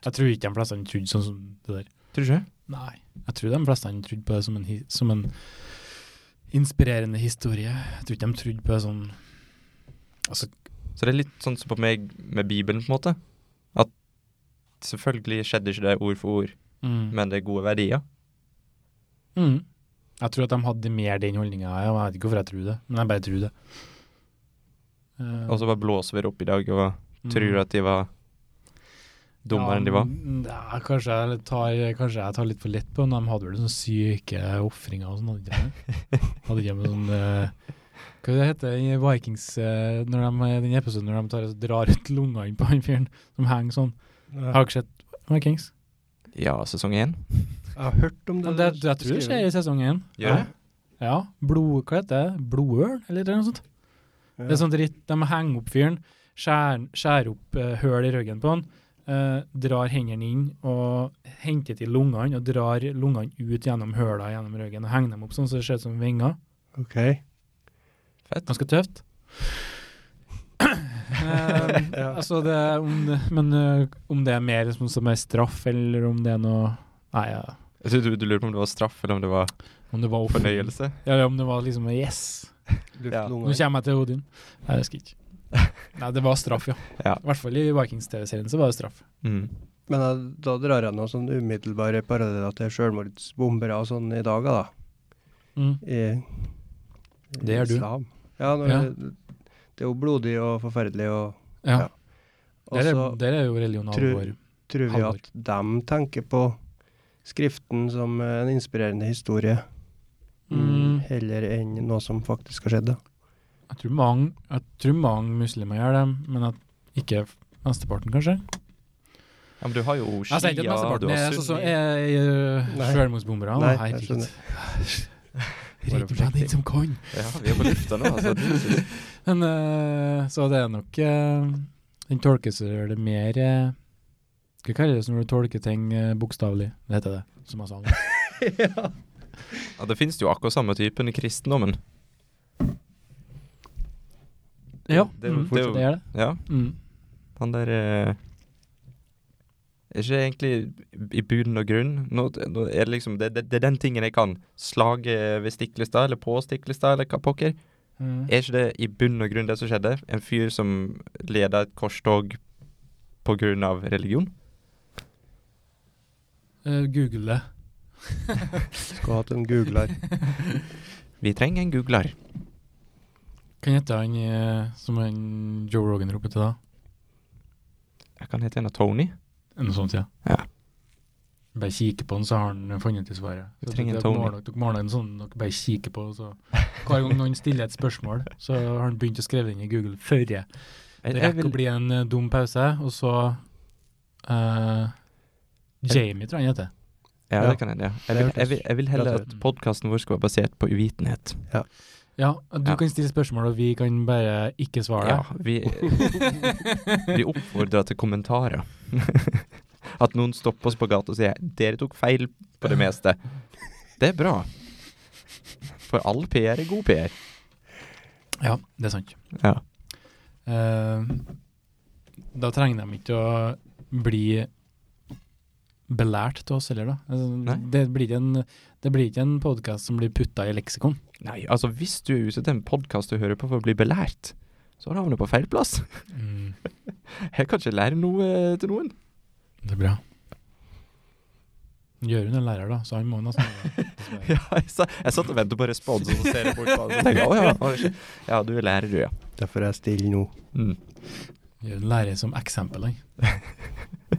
C: Jeg tror ikke de fleste han trodde sånn som det der.
B: Tror du ikke?
C: Nei. Jeg tror de fleste han trodde på det som en, hi- som en inspirerende historie. Jeg tror ikke de trodde på det sånn
B: Så det er litt sånn som på meg med Bibelen, på en måte. At selvfølgelig skjedde ikke det ord for ord,
C: mm.
B: men det er gode verdier.
C: Mm. Jeg tror at de hadde mer den holdninga. Jeg vet ikke hvorfor jeg tror det, men jeg bare tror det. Eh,
B: Og så bare blåser vi det opp i dag og
C: Mm.
B: tror at de var dummere enn de var.
C: men- Ja, kanskje, jeg tar, kanskje jeg tar litt for lett på den. De hadde vel sånne syke ofringer og sånn, hadde de ikke det? Hadde de med sånn eh, Hva det heter det i Vikings eh, når de, den episoden når de tar, og drar ut lungene på han fyren som henger sånn? Har ikke sett Vikings?
B: Ja, sesong én.
A: Jeg har hørt om
C: Ja,
A: det.
C: det, jeg tror det skjer i sesong én.
B: Gjør det?
C: Ja. Blod, hva heter det? Blodørn, eller noe sånt?
A: Ja.
C: Det er sånn dritt, De henger opp fyren, skjærer skjærer opp uh, høl i ryggen på han, eh, drar hendene inn og henter til lungene og drar lungene ut gjennom høla gjennom ryggen og henger dem opp sånn så det ser ut som vinger.
A: OK.
B: Fett.
C: Ganske tøft. *laughs* Eh, altså det, om det, men eh, om det er mer som, som er straff, eller om det er noe Nei, ja.
B: Jeg tror du, du lurer på om det var straff, eller om det var
C: om det var opp-
B: fornøyelse.
C: Ja, ja, om det var liksom Yes!
B: Ja.
A: Luftlunga.
C: Nå kommer jeg til Odin. Nei, jeg husker ikke. Nei, det var straff, ja.
B: Ja.
C: I hvert fall i Vikings-TV-serien så var det straff.
B: Mm.
A: Men da, da drar jeg noen sånn umiddelbare paralleller til selvmordsbombere og sånn i dag, da.
C: Mm.
A: I, i
C: Det gjør du.
A: Islam. Ja, når,
C: Ja.
A: Det, er jo blodig og forferdelig, og,
C: Ja.
A: Ja. altså, og
C: Der,
A: så
C: er, der er jo religion
A: tror-
C: alvor.
A: tror vi
C: Halvor.
A: at de tenker på Skriften som en inspirerende historie,
C: Mm.
A: heller enn noe som faktisk har skjedd. da.
C: Jeg, tror mange, jeg tror mange muslimer gjør det, men at ikke mesteparten, kanskje.
B: Ja, men du har jo
C: Jeg
B: Shia,
C: sier ikke at
B: du
C: mesteparten er
B: har
C: sånn som
B: Sunni.
A: Nei.
C: sjølmordsbombere.
A: Nei, jeg
C: Herregud.
A: skjønner.
C: *laughs* Redd meg den som kan.
B: Ja, vi er på lufta nå, altså.
C: *laughs*
B: Du-
C: Men, eh, så det er nok eh, Den tolkes vel det mer eh, Hva kaller det når du tolker ting eh, bokstavelig? Det heter det, som jeg sa nå.
B: *laughs* Ja, det finnes jo akkurat samme typen i kristendommen.
C: Ja,
B: Det er jo-
C: mm,
B: det er jo-
C: det er det.
B: Ja,
C: Mm.
B: han der eh, Er ikke egentlig i bunn og grunn. Nå, nå er det liksom det, det, det er den tingen jeg kan. Slaget ved Stiklestad, eller på Stiklestad, eller hva pokker.
C: Mm.
B: Er ikke det i bunn og grunn det som skjedde? En fyr som leda et korstog på grunn av religion?
C: Eh, Google det.
B: *laughs*
A: Skulle hatt en googler.
B: Vi trenger en googler.
C: Hva heter han eh, som han Joe Rogan roper til da?
B: Jeg kan hete en av Tony.
C: Noe sånt, ja.
B: Ja.
C: Bare kikke på den, så har han funnet ut svaret.
B: Vi
C: Så
B: trenger en
C: dere
B: Tony.
C: må nok- Dere må ha en sånn dere bare kikker på, så hver gang noen stiller et spørsmål, så har han begynt å skrive det inn i Google før jeg.
B: Jeg, jeg
C: Det rekker
B: vil,
C: å bli en eh, dum pause, og så eh, Jamie, tror jeg han heter.
B: ja,
A: Ja.
B: det kan hende, ja. Jeg
A: Det
B: vil,
A: hørtes
B: jeg vil, jeg vil heller
A: rett
B: at
C: ut.
B: podkasten vår skal være basert på uvitenhet.
C: Ja, du
B: Ja.
C: kan stille spørsmål, og vi kan bare ikke svare. *laughs*
B: Ja, vi, vi oppfordrer til kommentarer. *laughs* At noen stopper oss på gata og sier 'dere tok feil på det meste'. Det er bra. For all PR er god PR.
C: Ja, det er sant.
B: Ja.
C: Eh, da trenger de ikke å bli belært til oss heller, da. Altså,
B: Nei.
C: det, blir ikke en, det blir ikke en podkast som blir putta i leksikon.
B: Nei, altså hvis du er ute til en podkast du hører på for å bli belært, så har du havnet på feil plass.
C: Mm,
B: Jeg kan ikke lære noe eh, til noen. *laughs*
C: det er bra. Jørund er lærer, da, så han må nesten
B: *laughs* Ja, jeg, sa, jeg satt og ventet på respons, og så ser jeg bort på han og tenker å ja, å, shit. ja, du er lærer, du, ja.
A: Derfor er jeg stille nå.
B: Mm.
C: Jørund lærer som eksempel, han.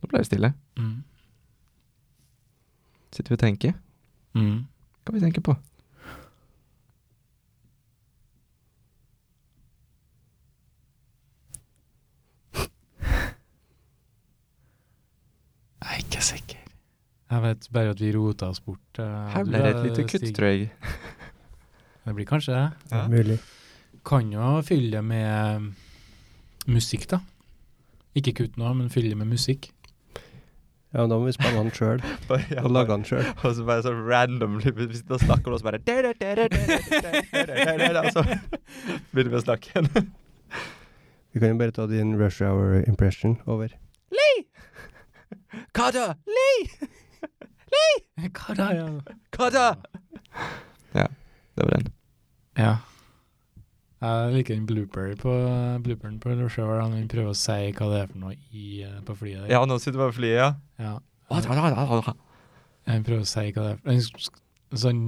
B: Nå ble det stille.
C: Mm.
B: Sitter vi og tenker.
C: Mm.
B: Hva kan vi tenke på?
C: *laughs* Jeg er ikke sikker. Jeg vet bare at vi rota oss bort. eh,
B: Her
C: du
B: ble det et
C: da,
B: lite kutt,
C: Stig.
B: tror jeg.
C: Det blir kanskje det.
B: Ja.
A: Mulig.
C: Kan jo fylle det med um, musikk, da. Ikke kutt nå, men fylle det med musikk.
A: Ja, men da må vi spille han sjøl,
B: *laughs* Bare- *laughs* ja,
A: og lage han sjøl.
B: bare- Og så bare sånn randomly *laughs* hvis- Da snakker du oss
C: *laughs*
B: bare «Dere, dere, dere, dere, dere, dere», Og så begynner vi å snakke
C: *laughs*
B: igjen.
A: Vi kan jo bare ta din rush hour impression over.
B: Hva da?
C: *laughs* Hva da? Ja.
B: Hva da? Det var den.
C: ja. Jeg liker den blooper på, blooperen på Lorshower. Han prøver å si hva det er for noe i, eh, på flyet. der.
B: Ja, nå sitter vi på flyet, ja.
C: Ja.
B: Ja,
C: Han prøver å si hva det er for han sk- sk- Sånn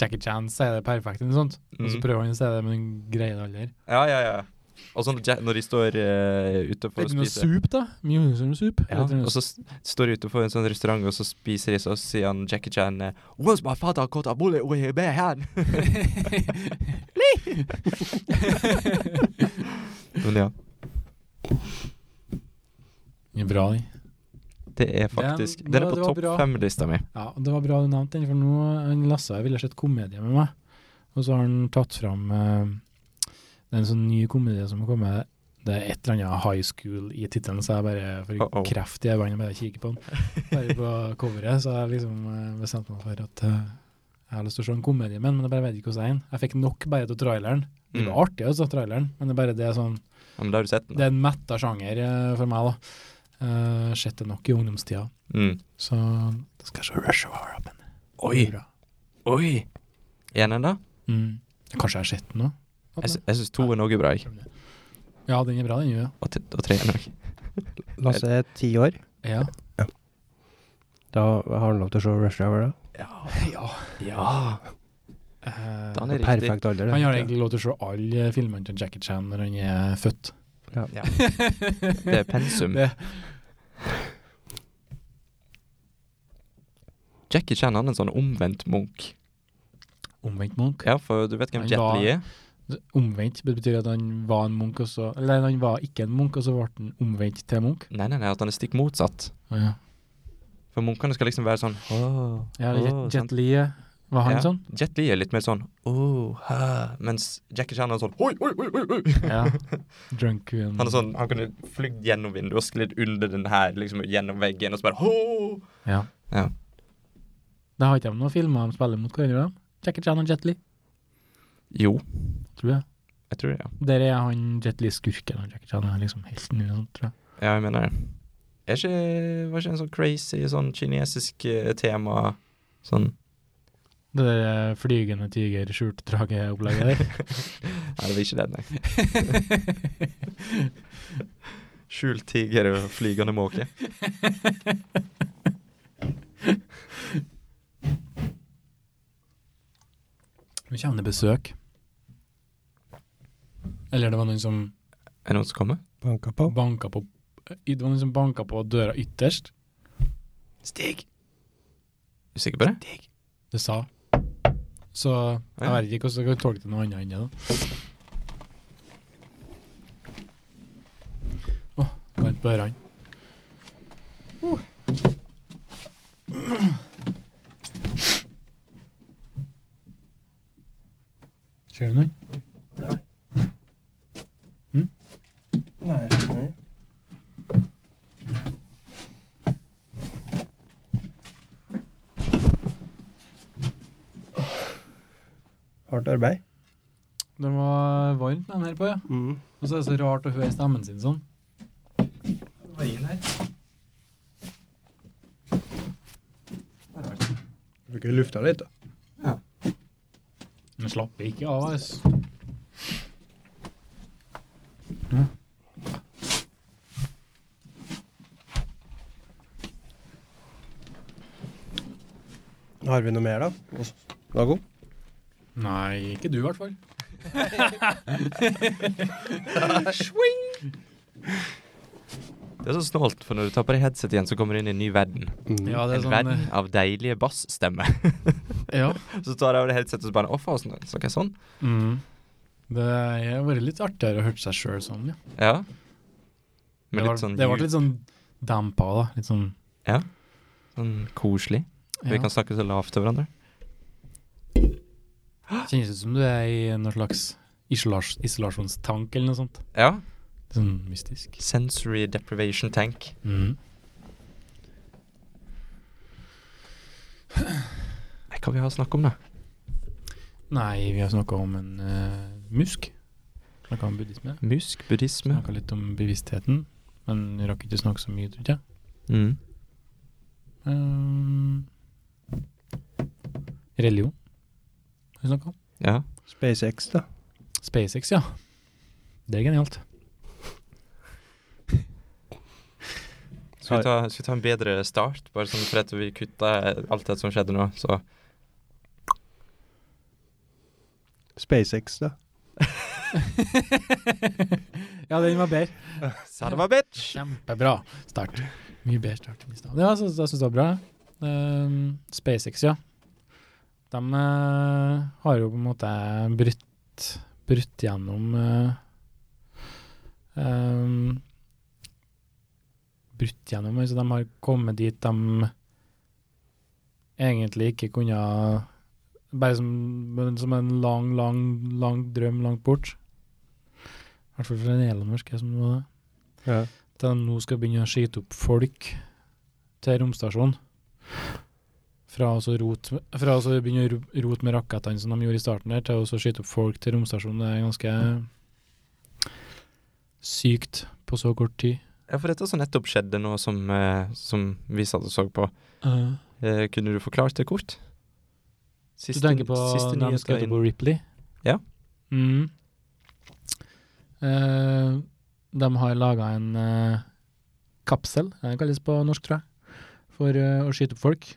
C: Jackie Chan sier det perfekt, eller noe sånt. Og så
B: Mm.
C: prøver han å si det, men han greier det aldri.
B: ja, ja. Og så når Ja- når de står eh, utenfor og
C: Litt noe
B: spiser
C: soup, da. Mye som soup.
B: ja,
C: Litt noe
B: Og så s- står de utenfor en sånn restaurant, og så spiser de, så sier han Jackie Chan eh, Once my father caught a bullet with his bare hand. *laughs* Men ja,
C: soup. Bra, den.
B: det er faktisk
C: Den-
B: Den er
C: nå,
B: på
C: det var bra.
B: topp fem-lista mi.
C: Ja, og det var bra du nevnte den, for nå han Lasse jeg ville sett komedie med meg. Og så har han tatt fram eh, det er en sånn ny komedie som har kommet. Det er et eller annet high school i tittelen, så jeg bare får
B: Uh-oh.
C: kreft i øynene bare jeg kikker på den. Bare på
B: *laughs*
C: coveret, så jeg liksom eh, bestemte meg for at eh, jeg har lyst til å se en komedie med den, men jeg bare vet ikke hvordan jeg er. Jeg fikk nok bare til traileren. Det var
B: Mm.
C: artig, altså, traileren, men det er bare det er sånn
B: Ja, men da har du sett den?
C: Det er en metta sjanger eh, for meg, da. Uh, Sett det nok i ungdomstida.
B: Mm.
C: Så da skal jeg se Rush Hour opp igjen.
B: Oi.
C: Bra.
B: Oi! Eneren, da?
C: Mm. Kanskje jeg har sett den nå?
B: Jeg, sy- jeg syns to er noe bra, jeg.
C: Ja, den er bra, den. jo,
B: Og, t- og tre er noe.
A: Lasse er ti år.
C: Ja.
A: Da har han lov til å se rush hour, da.
B: Ja.
C: *laughs* ja. Eh,
A: Det
B: Da er
A: er
B: det riktig.
A: Perfekt alder, det.
C: han har egentlig lov til å se alle filmene til Jackie Chan når han er født.
B: Ja. Det er pensum.
C: *laughs* Det-
B: Jackie Chan han er en sånn omvendt Munch.
C: Omvendt munk.
B: Ja, for du vet hvem
C: Han
B: Jet
C: var-
B: Li er?
C: Omvendt det betyr at han var en munk, og så Eller han var ikke en munk, og så ble han omvendt til munk.
B: Nei, nei, nei, at han er stikk motsatt.
C: Ja,
B: For munkene skal liksom være sånn åh,
C: ja
B: åh,
C: Jet-
B: sant?
C: Jet Li eh, Var han
B: Ja. *laughs*
C: sånn?
B: Jet Li er litt mer sånn åh, hæ, mens Jackie Chan er sånn oi, oi, oi, oi, oi.
C: Ja. Drunken
B: Han er sånn, han kunne flydd gjennom vinduet og sklidd under den her, liksom gjennom veggen, og så bare åh.
C: Ja.
B: Ja.
C: Da har ikke de noen filmer de spiller mot hverandre, da? Jackie Chan og Jet Li,
B: Jo,
C: tror jeg.
B: jeg tror det, ja.
C: Der er han Jet Li skurken, og Jackie Chan er liksom helten eller noe sånt, tror jeg.
B: Ja, jeg mener det. Er ikke, var ikke en sånn crazy sånn kinesisk eh, tema sånn
C: Det der eh, flygende tiger, skjult drage-opplegget der.
B: *laughs* Nei, det var ikke det, nei. *laughs* Skjult tiger og flygende måke.
C: *laughs* Nå kommer det besøk. Eller det var noen som
B: Er det noen som kommer?
A: Banka på.
C: banka på eh, Det var noen som banka på døra ytterst. Stig!
B: Er du sikker på det?
C: Det sa. Så jeg
B: Ja.
C: vet ikke hvordan jeg kan tolke det noe annet enn det. da. Å, varmt på ørene. Ser du noen?
A: Hardt arbeid.
C: Det var varmt med den her på, ja.
A: Mm.
C: Og så er det så rart å høre stemmen sin sånn.
A: Fikk jo lufta litt, da.
C: Den slapper ikke av, altså.
A: Har vi noe mer, da? Dago?
C: Nei, ikke du i hvert fall.
B: Det er så snålt, for når du tar på deg headset igjen, så kommer du inn i en ny verden.
A: Mm.
C: Ja,
B: En
C: det er sånn
B: verden
C: eh,
B: av deilige bassstemmer.
C: Ja.
B: *laughs* så tar jeg av det headsetet og så bare Å, faen, sånn, så, ok, sånn.
C: Mm. Det har vært litt artigere å høre seg sjøl sånn, ja.
B: Ja.
C: Det
B: Med
C: var-
B: litt sånn,
C: det ble
B: ljud,
C: litt sånn dempa, da. Litt sånn
B: sånn koselig. Vi
C: ja.
B: kan snakke så lavt til hverandre.
C: Kjennes ut som du er i noen slags isolas isolasjonstank eller noe sånt.
B: Ja.
C: Sånn mystisk.
B: Sensory deprivation tank.
C: Mm.
B: Nei, hva vi har å snakke om, da?
C: Nei, vi har snakka om en eh, musk. Snakka om buddhisme.
B: Musk, buddhisme
C: Snakka litt om bevisstheten. Men vi rakk ikke snakke så mye, tror jeg.
B: mm.
C: Um, religion har vi snakka om.
B: Ja.
A: SpaceX, da.
C: SpaceX, ja. Det er genialt.
B: Skal vi, ta, skal vi ta en bedre start, bare sånn for at vi kutta alt det som skjedde nå, så
A: SpaceX, da.
C: ja, den var bedre.
B: Son of a bitch!
C: Kjempebra start. Mye bedre start enn i stad. Ja, jeg syns jeg syns det var bra. Ehm, SpaceX, ja. De eh, har jo på en måte brutt, brutt gjennom eh, ehm, Brutt gjennom altså De har kommet dit de egentlig ikke kunne Bare som, men som en lang, lang, lang drøm langt bort. I hvert fall for en elennorsk, jeg som var det
A: Ja.
C: at de nå skal begynne å skyte opp folk til romstasjonen. Fra å så rote- fra å så begynne å ro- rote med rakettene som de gjorde i starten, der, til å så skyte opp folk til romstasjonen, det er ganske sykt på så kort tid.
B: Ja, for dette som nettopp skjedde nå, som, eh, som vi satt og så på, eh, kunne du forklart det kort?
C: du
B: Siste,
C: tenker på når de
B: nyheter
C: skjøt
B: inn-
C: opp på Ripley?
B: Ja.
C: Mm. Eh, de har laga en eh, kapsel, eh, det kalles på norsk, tror jeg, for eh, å skyte opp folk.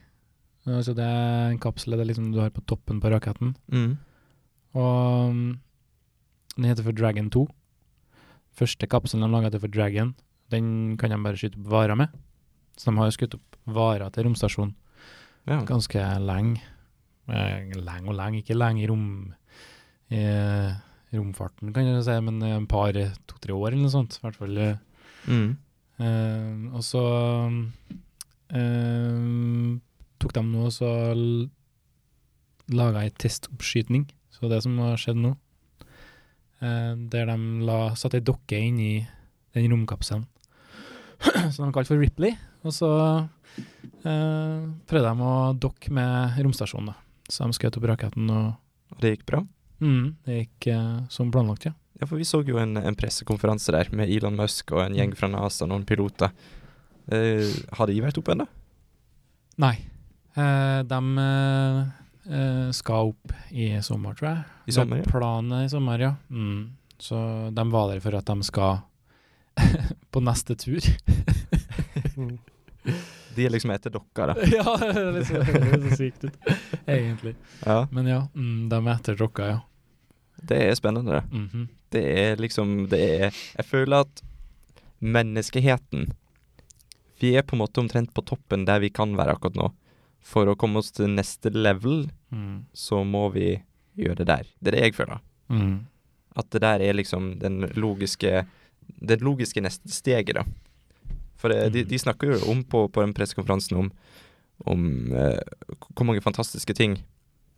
C: Eh, så det er en kapsel det er liksom du har på toppen på raketten.
B: Mm.
C: Og mm, den heter for Dragon 2. Første kapselen de laga heter for Dragon. Den kan de bare skyte opp varer med. Så de har jo skutt opp varer til romstasjonen
B: Ja.
C: ganske lenge. Eh, Lenge og lenge, ikke lenge i rom, i romfarten, kan jeg si, men eh, en par, to-tre år eller noe sånt. I hvert fall. eh.
B: Mm.
C: Eh, og så eh, tok de nå og så l- laga ei testoppskytning, så det som har skjedd nå, eh, der de la, satte ei dokke inni den romkapselen *clears throat* som de kalte for Ripley, og så eh, prøvde de å dokke med romstasjonen, da. Så de skjøt opp raketten, og
B: Og det gikk bra.
C: mm, det gikk eh, som planlagt, ja.
B: Ja, for vi så jo en, en pressekonferanse der med Elon Musk og en gjeng fra NASA, noen piloter. Eh, har de vært oppe ennå?
C: Nei. Eh, de eh, eh, skal opp i sommer, tror jeg.
B: I sommer?
C: Det er Planen er i sommer, ja. Mm. Så de var der *laughs*
A: *laughs*
C: for at de skal på neste tur.
A: Mm.
B: De er liksom etter dere, *laughs* da.
C: *laughs* ja, det er litt sånn- det høres så sykt ut, egentlig.
B: Ja.
C: Men ja, mm, de er etter dere, ja.
B: Det er spennende, det.
C: Mhm.
B: Det er liksom Det er Jeg føler at menneskeheten Vi er på en måte omtrent på toppen der vi kan være akkurat nå. For å komme oss til neste level,
C: mm.
B: så må vi gjøre det der. Det er det jeg føler.
C: Mm.
B: At det der er liksom den logiske Det logiske neste steget, da. For eh, de,
C: Mhm.
B: de snakker jo om på, på den pressekonferansen om, om eh, k- hvor mange fantastiske ting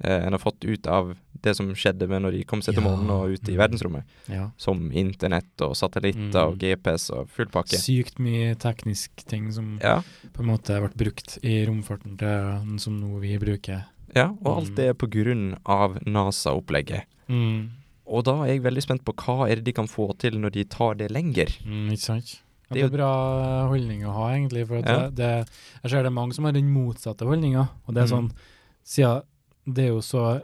B: eh, en har fått ut av det som skjedde med når de kom seg til
C: Ja.
B: månen og ut i
C: Mhm.
B: verdensrommet.
C: ja.
B: Som internett og satellitter
C: Mhm.
B: og GPS og full pakke.
C: Sykt mye teknisk ting som
B: Ja,
C: på en måte har vært brukt i romfarten til den som nå vi bruker.
B: ja, og alt
C: Mhm.
B: det er på grunn av NASA-opplegget.
C: Mm.
B: Og da er jeg veldig spent på hva er det de kan få til når de tar det lenger.
C: Mm, ikke sant? Ja,
B: Det
C: det
B: er
C: er bra eh, holdning å ha, egentlig. For at
B: Ja.
C: det, det, jeg ser det er mange som har den motsatte holdninga. Og det er sånn,
B: Mm.
C: siden det er jo så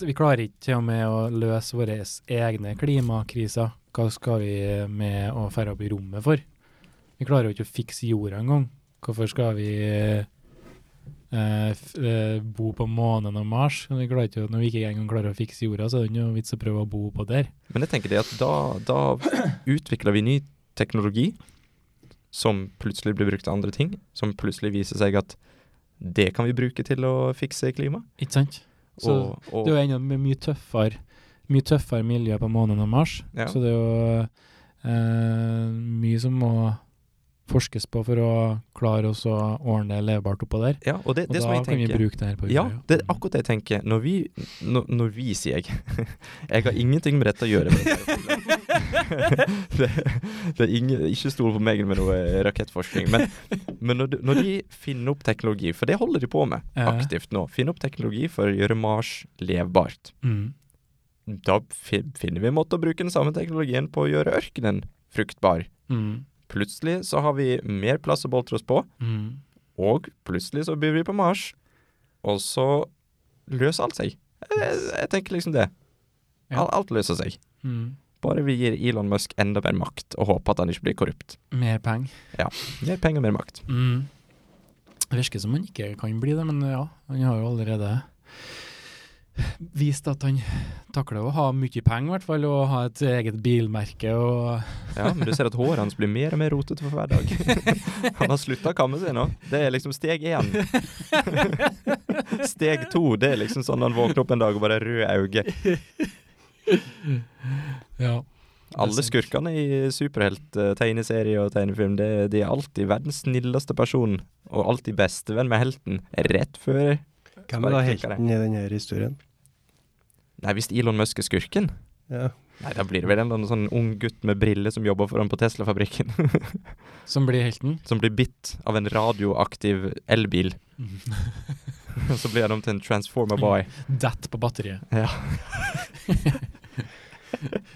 C: Vi klarer ikke til og med å løse våre egne klimakriser. Hva skal vi med å ferde opp i rommet for? Vi klarer jo ikke å fikse jorda engang. Hvorfor skal vi eh, f, eh, bo på månen og Mars? Vi klarer ikke, å- når vi ikke engang klarer å fikse jorda, så er det ikke noe vits å prøve å bo på der.
B: Men jeg tenker det at da, da utvikler vi ny teknologi som plutselig blir brukt til andre ting, som plutselig viser seg at det kan vi bruke til å fikse klima.
C: Ikke sant? Så
B: og, og,
C: Det er jo enda my- mye tøffere, mye tøffere miljø på månen og Mars.
B: Ja.
C: Så det er jo eh, mye som må forskes på for å klare oss å ordne det levbart oppå der.
B: ja, og det,
C: Og
B: det som
C: da
B: jeg
C: kan vi
B: tenker
C: bruke det her på
B: Ja,
C: jorda,
B: det er akkurat det jeg tenker. Når vi Når, når vi, sier jeg. *laughs* Jeg har ingenting med dette å gjøre. *laughs* det, det er ingen, ikke stol på meg med noe rakettforskning. Men, men når, de- når de finner opp teknologi, for det holder de på med
C: Ja.
B: aktivt nå, finne opp teknologi for å gjøre Mars levbart,
C: Mm.
B: da fi- finner vi en måte å bruke den samme teknologien på å gjøre ørkenen fruktbar.
C: Mm.
B: Plutselig så har vi mer plass å boltre oss på,
C: Mm.
B: og plutselig så blir vi på Mars. Og så løser alt seg. Jeg, jeg tenker liksom det.
C: Ja.
B: Al- Alt løser seg.
C: Mm.
B: Bare vi gir Elon Musk enda mer makt, og håper at han ikke blir korrupt.
C: Mer penger.
B: Mer penger, mer makt.
C: Mm. Det virker som han ikke kan bli det, men ja, han har jo allerede vist at han takler å ha mye penger, i hvert fall, og ha et eget bilmerke og
B: Ja, men du ser at håret hans blir mer og mer rotete for hver dag. Han har slutta å kamme seg nå. Det er liksom steg én. Steg to, det er liksom sånn han våkner opp en dag og bare har røde øyne.
C: Ja.
B: Alle skurkene i superhelt-tegneserie og tegnefilm, det, de er alltid verdens snilleste person, og alltid bestevenn med helten, rett før
A: Hvem er da
B: Sparker deg.
A: helten i denne historien?
B: Nei, hvis Elon Musk er skurken,
A: Ja.
B: nei, da blir det vel en eller annen sånn ung gutt med briller som jobber for ham på Tesla-fabrikken, *laughs*
C: Som blir helten. *laughs*
B: som blir bitt av en radioaktiv elbil, *laughs* og så blir han om til en Transformer Boy.
C: Dett på batteriet.
B: Ja.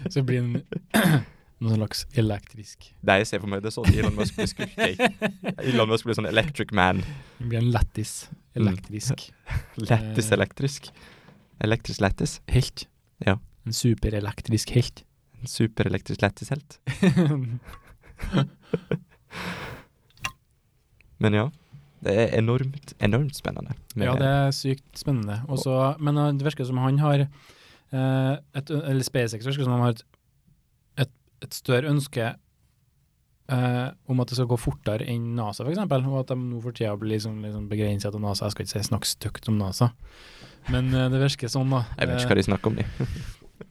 C: Så blir den *clears throat* noe slags elektrisk.
B: Nei, jeg ser for meg det er sånn Elon Musk blir
C: *laughs*
B: skurk. jeg. Elon Musk blir sånn electric man.
C: Den blir en lettis. Elektrisk.
B: Lættis
C: Eh.
B: elektrisk. Elektrisk lættis.
C: Helt.
B: Ja.
C: En superelektrisk helt. *laughs*
B: En Superelektrisk lættis helt. Men ja. Det er enormt, enormt spennende.
C: ja, det er sykt spennende. Og så- men eh, det virker som han har eh, et, Eller SpaceX virker som han har et, et, et større ønske eh, om at det skal gå fortere enn NASA, f.eks., og at de nå for tida blir liksom, liksom begrenset av NASA. Jeg skal ikke si snakke stygt om NASA, men eh, det virker sånn, da.
B: Jeg vet ikke hva de snakker om, de.
C: Eh,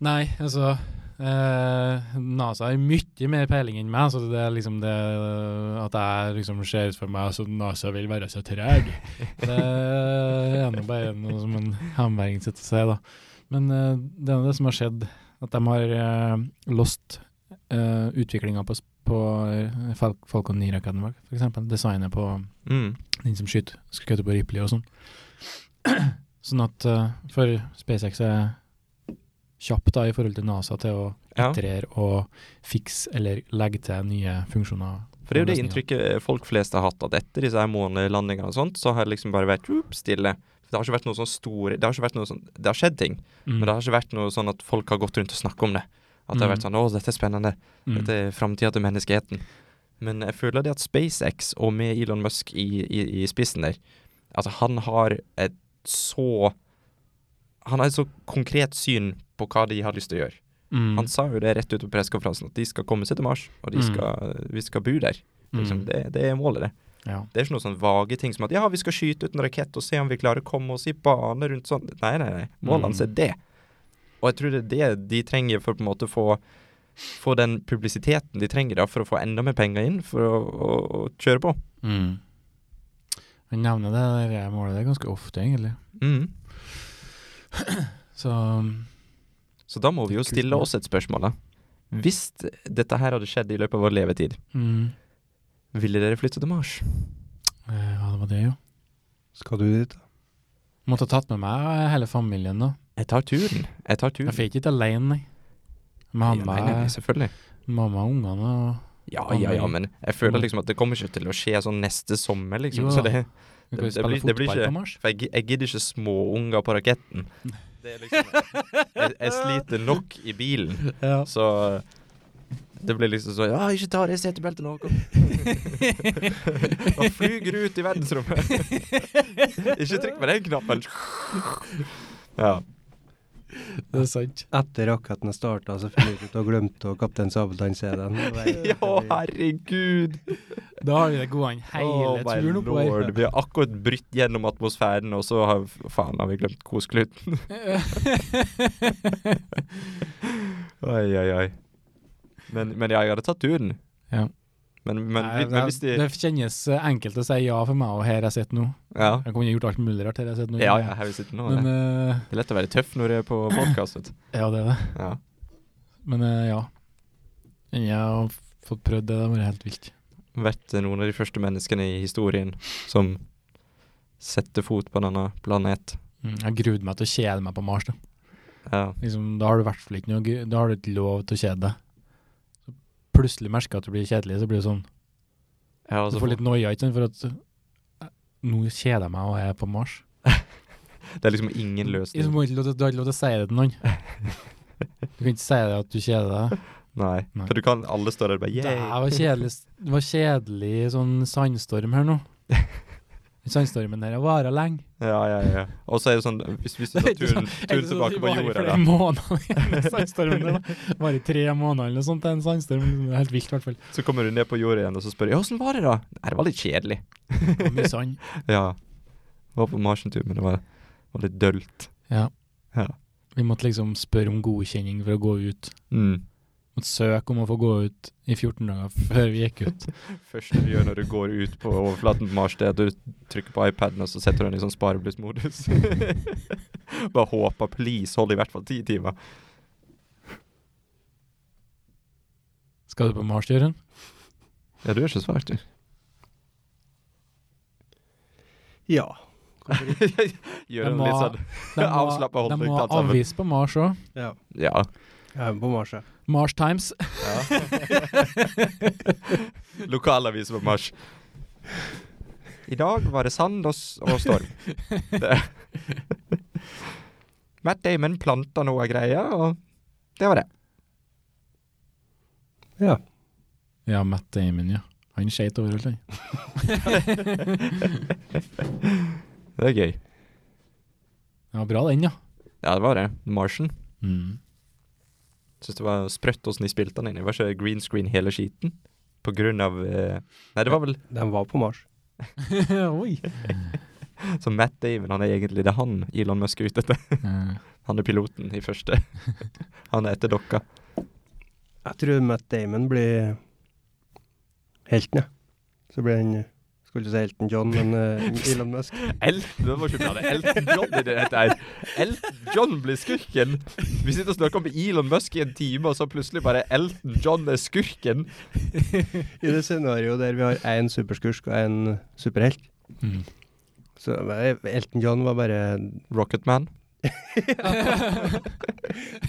C: Nei, altså eh, NASA har mye mer peiling enn meg, så det er liksom det at jeg liksom ser ut for meg at NASA vil være så treg. Det er nå bare noe som en hamværing sitter og sier, da. Men eh, det er nå det som har skjedd, at de har uh, lost uh, utviklinga på, s- på eh, Fal Falcon 9-raketten, vår, for eksempel. Designet på
B: Mm.
C: den som skyter, skutt på Ripley og sånn. sånn *clears throat* at eh, for SpaceX er kjapp da i forhold til NASA til å
B: Ja.
C: iterere og fikse eller legge til nye funksjoner.
B: For det er jo det inntrykket folk flest har hatt, at etter disse her månelandingene og sånt, så har det liksom bare vært whoop, stille. For det har ikke vært noe sånn store Det har ikke vært noe sånn Det har skjedd ting,
C: Mm.
B: men det har ikke vært noe sånn at folk har gått rundt og snakket om det. At det har vært sånn 'Å, dette er spennende.
C: Mm.
B: Dette er framtida til menneskeheten'. Men jeg føler det at SpaceX, og med Elon Musk i, i, i spissen der, at han har et så Han har et så konkret syn på hva de har lyst til å gjøre.
C: Mm.
B: Han sa jo det rett ut på pressekonferansen, at de skal komme seg til Mars, og de
C: Mm.
B: skal, vi skal bo der. Liksom,
C: Mm.
B: det, det er målet, det.
C: Ja.
B: Det er ikke noen sånn vage ting som at ja, vi skal skyte ut en rakett og se om vi klarer å komme oss i bane rundt sånn. Nei, nei, nei. Målet hans er
C: Mm.
B: det. Og jeg tror det er det de trenger for å på en måte få, få den publisiteten de trenger da, for å få enda mer penger inn for å, å, å kjøre på.
C: Mm. Han nevner det der målet der ganske ofte, egentlig.
B: Mm.
C: Så
B: Så da må vi jo stille oss et spørsmål, da. Hvis dette her hadde skjedd i løpet av vår levetid,
C: mm.
B: ville dere flytte til Mars?
C: Eh, Ja, det var det, jo.
A: Skal du dit?
C: Måtte ha tatt med meg hele familien, da.
B: Jeg tar turen. Jeg tar turen.
C: Jeg fikk ikke alene, nei. Må ha
B: Ja, nei, nei, nei,
C: med
B: selvfølgelig.
C: mamma og ungene og
B: Ja, ja, ja, men jeg føler
C: Mm.
B: liksom at det kommer ikke til å skje sånn neste sommer, liksom.
C: Jo
B: Så
C: da.
B: det,
C: Vi
B: Det-
C: kan jo
B: det
C: spille
B: blir- det blir
C: fotball
B: ikke-
C: på Mars.
B: For jeg, gi- jeg gidder ikke små unger på raketten. *laughs* Det er liksom, jeg, jeg sliter nok i bilen,
C: Ja.
B: så det blir liksom sånn Ja, ikke ta det setebeltet nå,
C: *laughs*
B: kom. Og flyger ut i
C: *laughs*
B: verdensrommet. ikke trykk på den knappen.
C: *laughs*
B: Ja.
C: Det er sant.
A: Etter raketten starta, så finner jeg ut og glemte å Kaptein *laughs* Sabeltann-CD-en.
B: ja, herregud.
C: Da har vi det gående
B: Oh
C: hele
B: my
C: turen oppover.
B: lord. Vi har akkurat brytt gjennom atmosfæren, og så har faen har vi glemt kosekluten. Oi, oi, oi. Men, men ja, jeg hadde tatt turen.
C: Ja.
B: Men, men,
C: Nei, *laughs*
B: vi- men hvis de
C: det, det kjennes eh, enkelt å si ja for meg og her jeg sitter nå.
B: Ja,
C: Jeg kunne gjort alt mulig rart her jeg sitter nå.
B: ja, ja her vi sitter nå.
C: Mm. Men
B: ja.
C: eh,
B: det er lett å være tøff når du er
C: *clears throat*
B: på podkast, vet du.
C: ja, det er det.
B: Ja.
C: Men eh, ja. Jeg har fått prøvd det, det har vært helt vilt.
B: Vært eh, noen av de første menneskene i historien som setter fot på denne planet.
C: Mm, Jeg grudde meg til å kjede meg på Mars. Da,
B: Ja.
C: liksom, da har du i hvert fall ikke noe gru- Da har du ikke lov til å kjede deg. Så Plutselig merker jeg at du blir kjedelig, så blir det sånn
B: Jeg har
C: Du
B: også
C: får
B: fått,
C: litt noia, ikke sant, for at eh, nå kjeder jeg meg og jeg er på Mars.
B: det er liksom ingen
C: Liksom,
B: løsning.
C: Du har ikke lov til- du har ikke lov til å si det
B: *laughs*
C: til noen. Du kan ikke si det at du kjeder deg.
B: Nei.
C: Nei.
B: For du kan alle står der og bare
C: Det
B: yeah.
C: her var kjedelig, det var kjedelig sånn sandstorm
B: *laughs*
C: her nå. Den Sandstormen her varer lenge.
B: Ja, ja, ja. Og så er det sånn Hvis, hvis du
C: *laughs*
B: tar
C: sånn-
B: turen, turen tilbake på jorda, da.
C: da. Sandstormen der da. varer i tre måneder eller noe sånt. det er En sandstorm det er helt vilt, i hvert fall.
B: Så kommer du ned på jorda igjen og så spør jeg, åssen var det, da? Nei, det var litt kjedelig.
C: Og Mye sand.
B: Ja. Var på Mars en tur, men det var, var litt dølt.
C: Ja.
B: Ja.
C: Vi måtte liksom spørre om godkjenning for å gå ut.
B: Mm.
C: Måtte søke om å få gå ut i 14 dager før vi gikk ut.
B: Første du gjør når du går ut på overflaten på Mars, det er at du trykker på iPaden og så setter du den i sånn spareblussmodus. *laughs* Bare håper, please, hold i hvert fall ti timer.
C: Skal du på
B: *laughs*
C: Mars, Jørund?
B: Ja, du er ikke svak, du.
A: Ja.
B: Gjør
C: De
B: en
C: må-
B: litt sånn
C: De må,
B: Avslappet holdt
C: de
B: litt
C: må
B: tatt
C: ha
B: sammen.
C: avis på Mars òg.
A: ja.
B: Ja.
A: Jeg er på Mars, jeg.
C: Mars Times.
B: ja. *laughs* Lokalavis på Mars. I dag var det sand og, s- og *laughs* storm. Det. Matt Damon planta noe greier, og det var det.
A: Ja.
C: *laughs* Ja, Matt Damon, ja. Han skeit overalt, han.
B: *laughs* Det er gøy.
C: Ja, bra den, ja.
B: Ja, det var det. Martian.
C: Mm.
B: Syns det var sprøtt åssen de spilte den inn. Det var ikke green screen hele skiten. På grunn av eh, Nei, det var vel
A: De var på Mars.
C: *laughs* Oi.
B: Så Matt Damon, han er egentlig det er han Elon Musk er ute etter. *laughs*
C: Eh,
B: Han er piloten i første. *laughs* Han er etter dokka.
A: Jeg tror Matt Damon blir helten, jeg. Så blir han eh, Skulle ikke si helten John, men eh, Elon Musk.
B: Elton, det var ikke bra, det er Elton John i det dette her. Elton John blir skurken. Vi sitter og snakker om Elon Musk i en time, og så plutselig bare Elton John er skurken.
A: I det scenarioet der vi har én superskurk og én superhelt.
C: mm.
A: Så eh, Elton John var bare
B: Rocketman.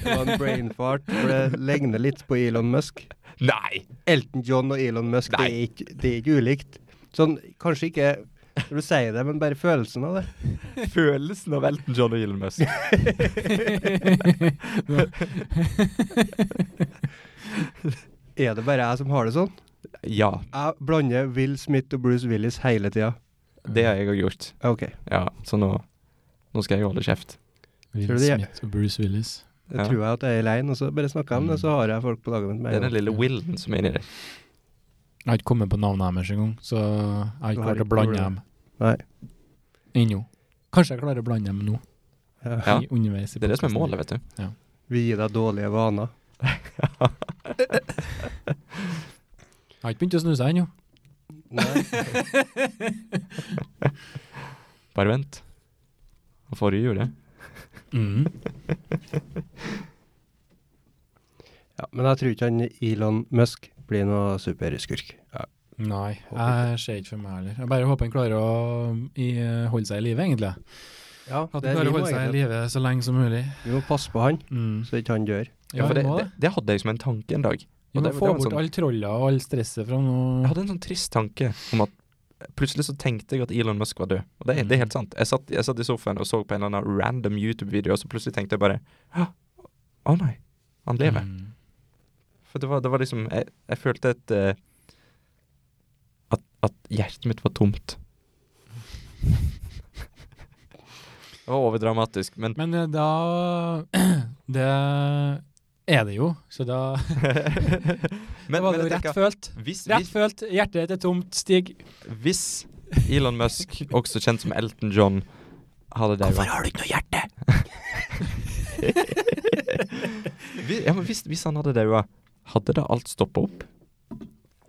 A: Det var en brain fart, for det ligner litt på Elon Musk.
B: Nei!
A: Elton John og Elon Musk, det er,
B: Nei.
A: ikke, det er ikke ulikt. Sånn, kanskje ikke når du sier det, men bare følelsen av det.
B: Følelsen av Elton John og Elon Musk.
A: Er det bare jeg som har det sånn?
B: Ja,
A: Jeg blander Will Smith og Bruce Willis hele tida.
B: *laughs* det har jeg òg gjort.
A: OK.
B: Ja, så nå, nå skal jeg holde kjeft.
A: Tror
C: Will
A: du det-
C: Smith og Bruce Willis.
A: Det
B: Ja.
A: tror jeg at jeg er aleine, og så bare snakker jeg om det, så har jeg folk på laget mitt
B: Det
A: med
B: er
A: en
B: den
A: gang.
B: lille willen som er inni deg.
C: Jeg har ikke kommet på navnet deres engang, så jeg har
A: Du
C: ikke
A: har
C: klart å
A: ikke
C: blande
A: problem.
C: dem
A: Nei.
C: ennå. Kanskje jeg klarer å blande dem nå,
A: Ja.
B: Ja.
C: i, underveis i
B: Det er det som er
C: podcasten.
B: målet, vet du.
A: Vi gir deg dårlige vaner.
C: Jeg har ikke begynt å snuse ennå.
B: Bare vent. Og forrige jul, ja.
C: Mm.
A: *laughs* Ja, men jeg tror ikke han Elon Musk blir noe superskurk. Ja.
C: Nei,
A: Håper
C: jeg ser ikke for meg heller. Jeg bare håper han klarer å i, holde seg i live, egentlig. At han
A: det, vi,
C: klarer å
A: må
C: holde seg i
A: egentlig-
C: live så lenge som mulig.
A: vi må passe på han,
C: Mm.
A: så ikke han dør.
C: Ja,
B: for
C: vi
B: det,
C: må
B: det,
C: det.
B: det hadde jeg som en tanke en dag.
C: Vi
B: og
C: må
B: det-
C: få
B: det var en
C: bort
B: sånn-
C: alle troller og all stresset fra
B: Jeg
C: nå.
B: hadde en sånn trist tanke om at plutselig så tenkte jeg at Elon Musk var død. Og
C: Mm.
B: det, er- det er helt sant. Jeg satt, jeg satt i sofaen og så på en eller annen random YouTube-video, og så plutselig tenkte jeg bare Å å nei, han lever.
C: Mm.
B: For det var, det var liksom Jeg, jeg følte et eh, at, at hjertet mitt var tomt. Det var overdramatisk,
C: *laughs*
B: men
C: Men eh, da *clears throat* Det er det jo, så da *laughs*
B: Men,
C: Det var
B: men
C: jo
B: jeg
C: rett
B: tenker,
C: følt.
B: hvis,
C: Rett
B: hvis,
C: følt. Hjertet ditt er tomt, Stig.
B: hvis Elon Musk,
C: *laughs*
B: også kjent som Elton John, hadde daua
C: har du ikke noe hjerte?
B: Vi- ja, men hvis, hvis han hadde daua, hadde da alt stoppa opp?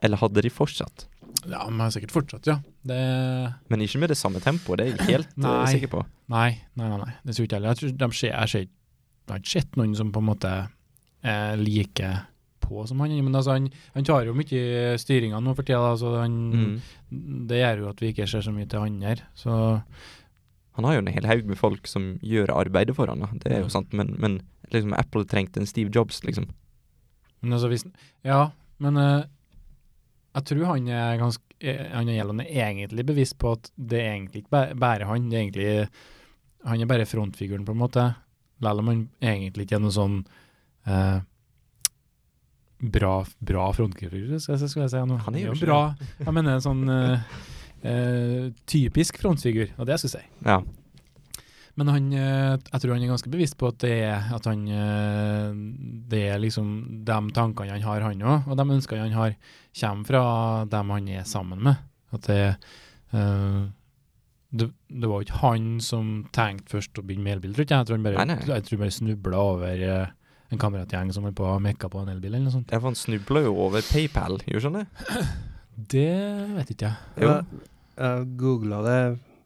B: Eller hadde de fortsatt?
C: Ja, men jeg har sikkert fortsatt, ja. Det
B: Men ikke med det samme tempoet, det er jeg helt eh,
C: Nei.
B: sikker på.
C: Nei, nei, nei. nei. Det tror jeg ikke heller. Jeg tror de ser, jeg ser, jeg har ikke sett noen som på en måte eh, liker på som han. Men altså, han, han tar jo mye styringa nå for tida, da, så han,
B: Mm.
C: det gjør jo at vi ikke ser så mye til han her. Så
B: Han har jo en hel haug med folk som gjør arbeidet for han, da. det er
C: Ja.
B: jo sant, men, men liksom Apple trengte en Steve Jobs, liksom.
C: Men altså hvis Ja, men eh, jeg tror han er ganske eh, Han er Elon er egentlig bevisst på at det er egentlig ikke bæ- bare han. Det er egentlig Han er bare frontfiguren, på en måte. Selv om han egentlig ikke er noe sånn eh, bra, bra frontfigur, skal jeg skal jeg si. nå.
B: Han er jo
C: jo
B: ikke
C: bra. Jeg mener en sånn eh, eh, typisk frontfigur, det var det jeg skulle si.
B: Ja.
C: Men han, eh, jeg tror han er ganske bevisst på at det er, at han, eh, det er liksom de tankene han har, han òg, og de ønskene han har, kommer fra dem han er sammen med. At det, eh, det, det var jo ikke han som tenkte først å begynne med elbil, tror ikke jeg. Jeg tror han bare,
B: Nei, nei.
C: jeg tror han bare snubla over eh, en kameratgjeng som holdt på å mekke på en elbil eller noe sånt.
B: Ja, for han snubla jo over PayPal, gjorde han det?
C: *clears throat* Det vet ikke jeg.
B: Jo.
A: Jeg, jeg googla det.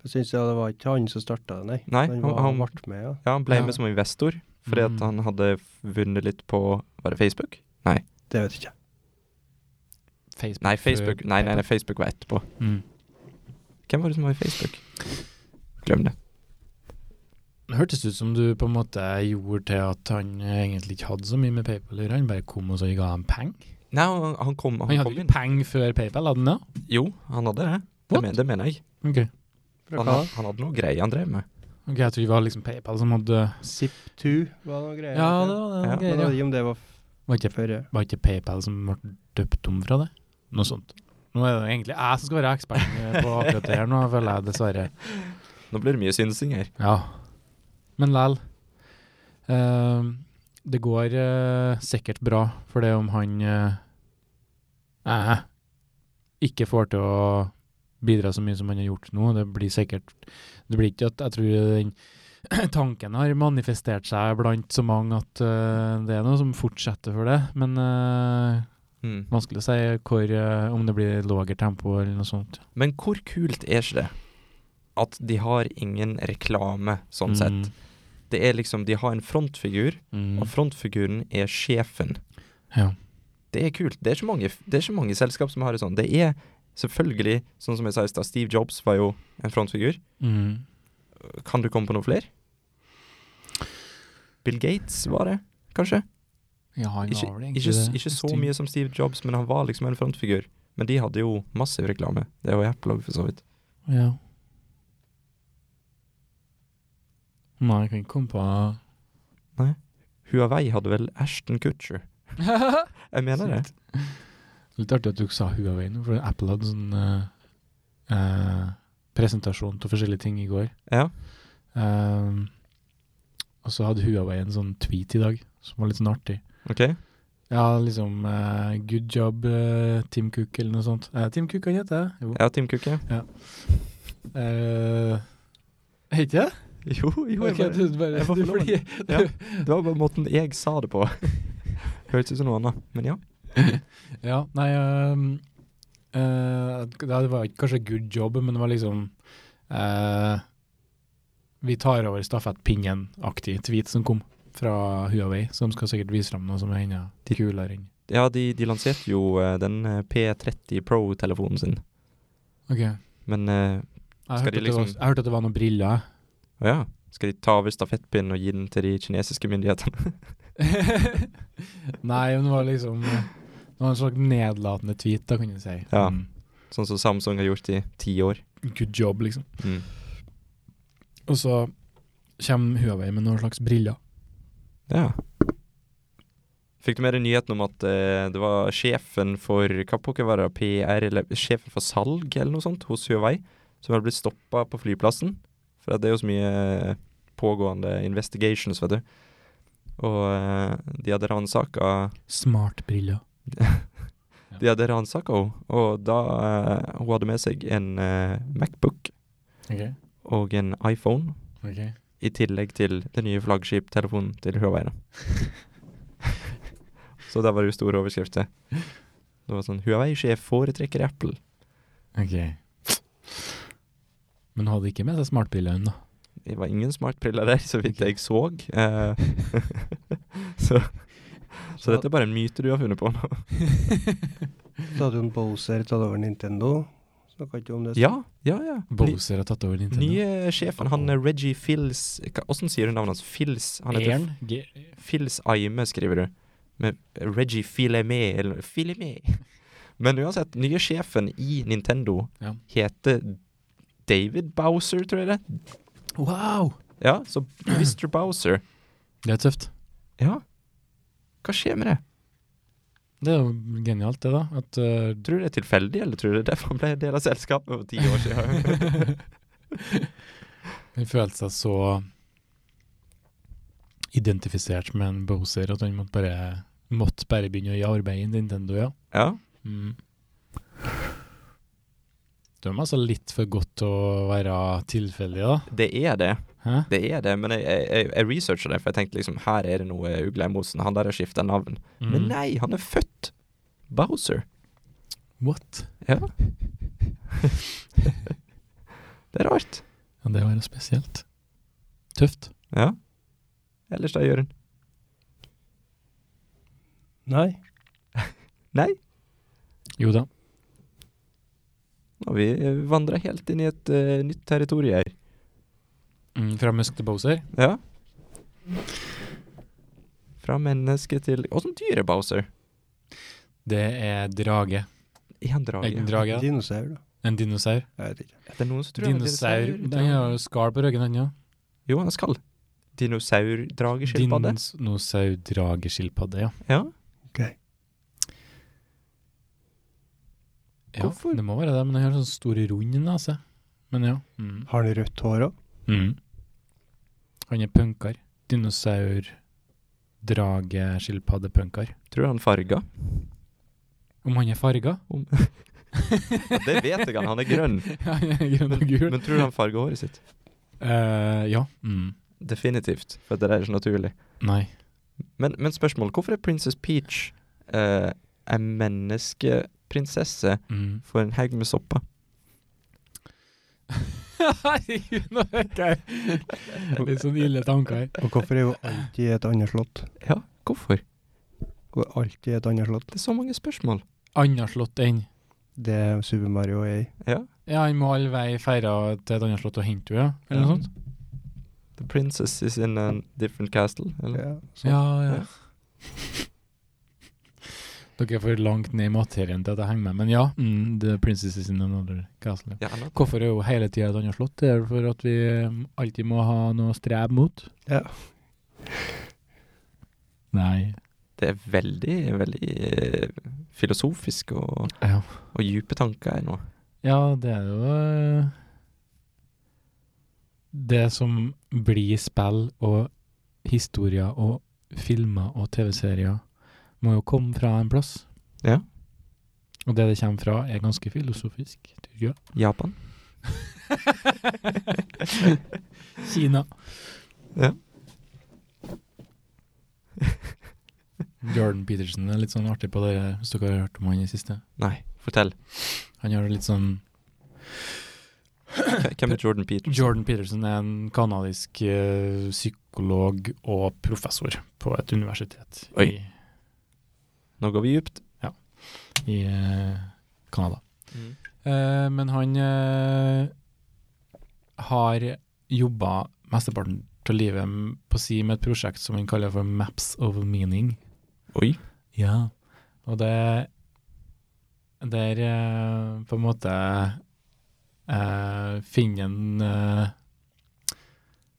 A: Jeg syns det var ikke han som starta det, nei.
B: Nei,
A: han,
B: han-
A: var,
B: han-
A: han ble med, ja.
B: Ja, han ble
C: Ja.
B: med som investor fordi
C: Mm.
B: at han hadde vunnet litt på Var det Facebook?
A: Det vet jeg ikke.
C: Mm. Facebook.
B: Nei, Facebook, nei, nei, nei, Facebook var etterpå.
C: Mm.
B: Hvem var det som var i Facebook? Glem det.
C: Det hørtes ut som du på en måte gjorde til at han egentlig ikke hadde så mye med PayPal å gjøre, han bare kom og så ga han penger.
B: Nei, han, han kom, han
C: Han hadde
B: kom
C: jo
B: inn.
C: ikke penger før PayPal, hadde han det?
B: Jo, han hadde det. Det,
C: What?
B: men, det mener jeg.
C: Ok,
A: Fra
B: Han,
A: hva?
B: had- han hadde noe greier han drev med.
C: Ok, jeg tror det var liksom PayPal som hadde
A: Zip2 var noe greier.
C: Ja, det var det.
B: Ja,
C: ok,
A: Men jeg
C: ja.
A: vet ikke om det var f-
C: Var, ikke,
A: før. ja.
C: var ikke PayPal som ble døpt om fra det? Noe sånt. Nå er det egentlig jeg som skal være eksperten på akkurat det her nå, føler jeg dessverre.
B: Nå blir det mye synsing her.
C: Ja. Men lell. Ehm, det går eh, sikkert bra for det om han eh, eh, ikke får til å bidra så mye som han har gjort nå. Det blir sikkert Det blir ikke at jeg tror den *clears throat* tanken har manifestert seg blant så mange at eh, det er noe som fortsetter for det. Men eh,
B: Mm.
C: vanskelig å si hvor, eh, om det blir lavere tempo eller noe sånt.
B: Men hvor kult er ikke det? At de har ingen reklame, sånn sett. Det er liksom, De har en frontfigur,
C: Mm,
B: og
C: mm,
B: frontfiguren er sjefen.
C: ja.
B: Det er kult. Det er ikke mange, det er ikke mange selskap som har det sånn. Det er selvfølgelig, sånn som jeg sa i stad, Steve Jobs var jo en frontfigur.
C: Mm.
B: Kan du komme på noen flere? Bill Gates var det, kanskje?
C: Ja, han
B: Ikke-
C: var vel egentlig
B: Ikke, s-
C: det.
B: ikke så
C: Stig.
B: mye som Steve Jobs, men han var liksom en frontfigur. Men de hadde jo massiv reklame. Det var jo Apple òg, for så vidt.
C: Ja. Nei, jeg kan ikke komme på *laughs*
B: Huawei hadde vel Ashton Kutcher. Jeg mener det.
C: Litt artig at du sa Huawei nå, for Apple hadde sånn eh, eh, presentasjon av forskjellige ting i går.
B: Ja.
C: Eh, og så hadde Huawei en sånn tweet i dag som var litt sånn artig.
B: Ok.
C: Ja, liksom eh, Good job, eh, Tim Cook, eller noe sånt. Eh, Tim Cook, han heter det? Jo.
B: Ja, Team Cook, ja.
C: Eh, heter det?
B: Jo, jo, jeg
C: Ok,
B: bare,
C: du bare,
B: jeg var
C: du
B: forloven.
C: *laughs* blir-
B: ja. Det var bare måten jeg sa det
C: *laughs*
B: på. Hørtes ut som noe annet, men ja.
C: Ja, nei ehm, eh, Det var ikke kanskje good job, men det var liksom eh, Vi tar over stafettpinnen-aktig tweet som kom fra Huawei, som skal sikkert vise fram noe som er enda kulere enn
B: Ja, de, de lanserte jo eh, den eh, P30 Pro-telefonen sin,
C: Ok, jeg
B: men eh, Skal
C: hørte,
B: de
C: at det var,
B: liksom-
C: jeg hørte at det var noen briller. *laughs*
B: Å ja. Skal de ta over stafettpinnen og gi den til de kinesiske myndighetene?
C: nei, men det var liksom eh, Det var en slags nedlatende tweet, da, kan du si.
B: Ja.
C: Mm.
B: sånn som Samsung har gjort i ti år.
C: Good job, liksom.
B: Mm.
C: Og så kommer Huawei med noen slags briller.
B: Ja. Fikk du med deg nyheten om at eh, det var sjefen for hva pokker var det, PR, eller sjefen for salg eller noe sånt hos Huawei, som hadde blitt stoppa på flyplassen? For at det er jo så mye eh, pågående investigations, vet du. Og eh, de hadde ransaka
C: Smart briller.
B: De hadde ransaka henne, og da eh, Hun hadde med seg en eh, Macbook
C: Okay.
B: og en iPhone,
C: Okay.
B: i tillegg til den nye flaggskiptelefonen til Huawei. Da. Så der var det jo store overskrifter. Det var sånn Huawei-sjef foretrekker Apple.
C: Ok. Men hun hadde ikke med seg smartbriller hun, da.
B: Det var ingen smartbriller der, så vidt jeg så. Eh, *laughs* så, så dette er bare en myte du har funnet på nå.
A: Så hadde jo en Bowser tatt over Nintendo. Snakka ikke om det.
B: Ja, ja, ja. Ny,
C: Bowser har tatt over Nintendo.
B: nye sjefen, han eh, Reggie Fils hva- Hvordan sier du navnet hans? Fils? Han heter
C: Eren? G
B: Fils Aime, skriver du. Med Reggie Fileme, eller Fileme. *laughs* Men uansett, nye sjefen i Nintendo
C: Ja.
B: heter David Bowser, tror jeg det. er.
C: wow!
B: Ja, så *clears throat* Mr. Bowser.
C: Det er tøft.
B: Ja. Hva skjer med det?
C: Det er jo genialt, det, da. At *laughs* eh,
B: Tror du det er tilfeldig, eller tror du det er derfor han ble en del av selskapet for ti år siden? *laughs*
C: hun følte seg så identifisert med en Bowser at hun måtte bare, måtte bare begynne å gjøre arbeid i Nintendo, ja.
B: ja.
C: Mm. De er altså litt for godt til å være tilfeldige, da.
B: Det er det.
C: Hæ?
B: Det er det, men jeg, jeg, jeg- jeg researcha det, for jeg tenkte liksom her er det noe Ugle Emosen. Han der har skifta navn. Men
C: Mm.
B: nei, han er født Bowser.
C: What?
B: Ja. det er rart.
C: Ja, det var jo spesielt. Tøft.
B: Ja. Ellers da, Jørund?
A: Nei.
B: Nei,
C: Jo da.
B: nå har vi eh, vandret helt inn i et eh, nytt territorium her.
C: Mm, fra Musk til Bowser.
B: Ja. Fra menneske til Åssen dyr er Bowser?
C: Det er drage.
B: Er han drage?
C: En drage, ja.
A: Dinosaur, da.
C: En dinosaur.
A: Jeg vet ikke.
B: Er det noen som tror han er
C: Dinosaur. altså. Den
B: Ja.
C: har jo skall på ryggen, den, ja.
B: Jo, han er skall. Dinosaurdrageskilpadde?
C: Dinosaurdrageskilpadde, ja.
B: Ja.
A: Ok.
C: ja.
B: Hvorfor?
C: Det må være det, men den har sånn stor rund nese. Men ja. Mm.
A: Har han rødt hår òg?
C: Mm. Han er punkar. Dinosaur, drage, skilpadde, punkar.
B: Tror du han farga?
C: Om han er farga? *laughs*
B: Ja, det vet jeg han, han er grønn.
C: Ja, *laughs* han er grønn og gul.
B: Men tror du han farga håret sitt?
C: Eh, ja. Mm.
B: Definitivt, for det der er så naturlig.
C: Nei.
B: Men, men spørsmålet, hvorfor er Princess Peach eh, en menneskeprinsesse
C: Mm.
B: for en haug med sopper?
C: Herregud, nå hører jeg litt sånn ille tanker her.
A: Og hvorfor er hun alltid i et annet slott?
B: Ja, hvorfor?
A: Hun er alltid i et annet slott.
B: Det er så mange spørsmål.
C: Annet slott enn
A: Det er Super Mario er i.
B: Ja,
C: Ja, han må all vei feire til et annet slott og hente henne, ja. Eller noe sånt.
B: The princess is in a different castle. Eller?
A: Ja, så-
C: Mm. Ja, Sånn. ja. *laughs* Dere er for langt ned i materien til at jeg henger med, men ja. Mm, the princess is in another castle.
B: Ja,
C: ja.
B: han er-
C: Hvorfor er hun hele tida et annet slott? Det er vel for at vi mm, alltid må ha noe å strebe mot.
A: Ja.
C: Nei.
B: Det er veldig, veldig eh, filosofisk og,
C: Ja.
B: og dype tanker her nå.
C: Ja, det er jo eh, det som blir spill og historier og filmer og TV-serier, må jo komme fra en plass.
B: Ja.
C: Og det det kommer fra, er ganske filosofisk. tror jeg.
B: Japan.
C: Kina.
B: Ja.
C: *laughs* Jordan Peterson er litt sånn artig på det, hvis dere har hørt om han i det siste.
B: Nei, fortell.
C: Han gjør det litt sånn
B: K- Hvem er Jordan Peter?
C: Jordan Peterson er en kanadisk eh, psykolog og professor på et universitet i,
B: Oi. Nå går vi djupt.
C: i eh, Canada. Eh, men han eh, har jobba mesteparten av livet m- på si med et prosjekt som han kaller for Maps of Meaning.
B: Oi.
C: Ja. Og det Der eh, på en måte eh, finner en eh,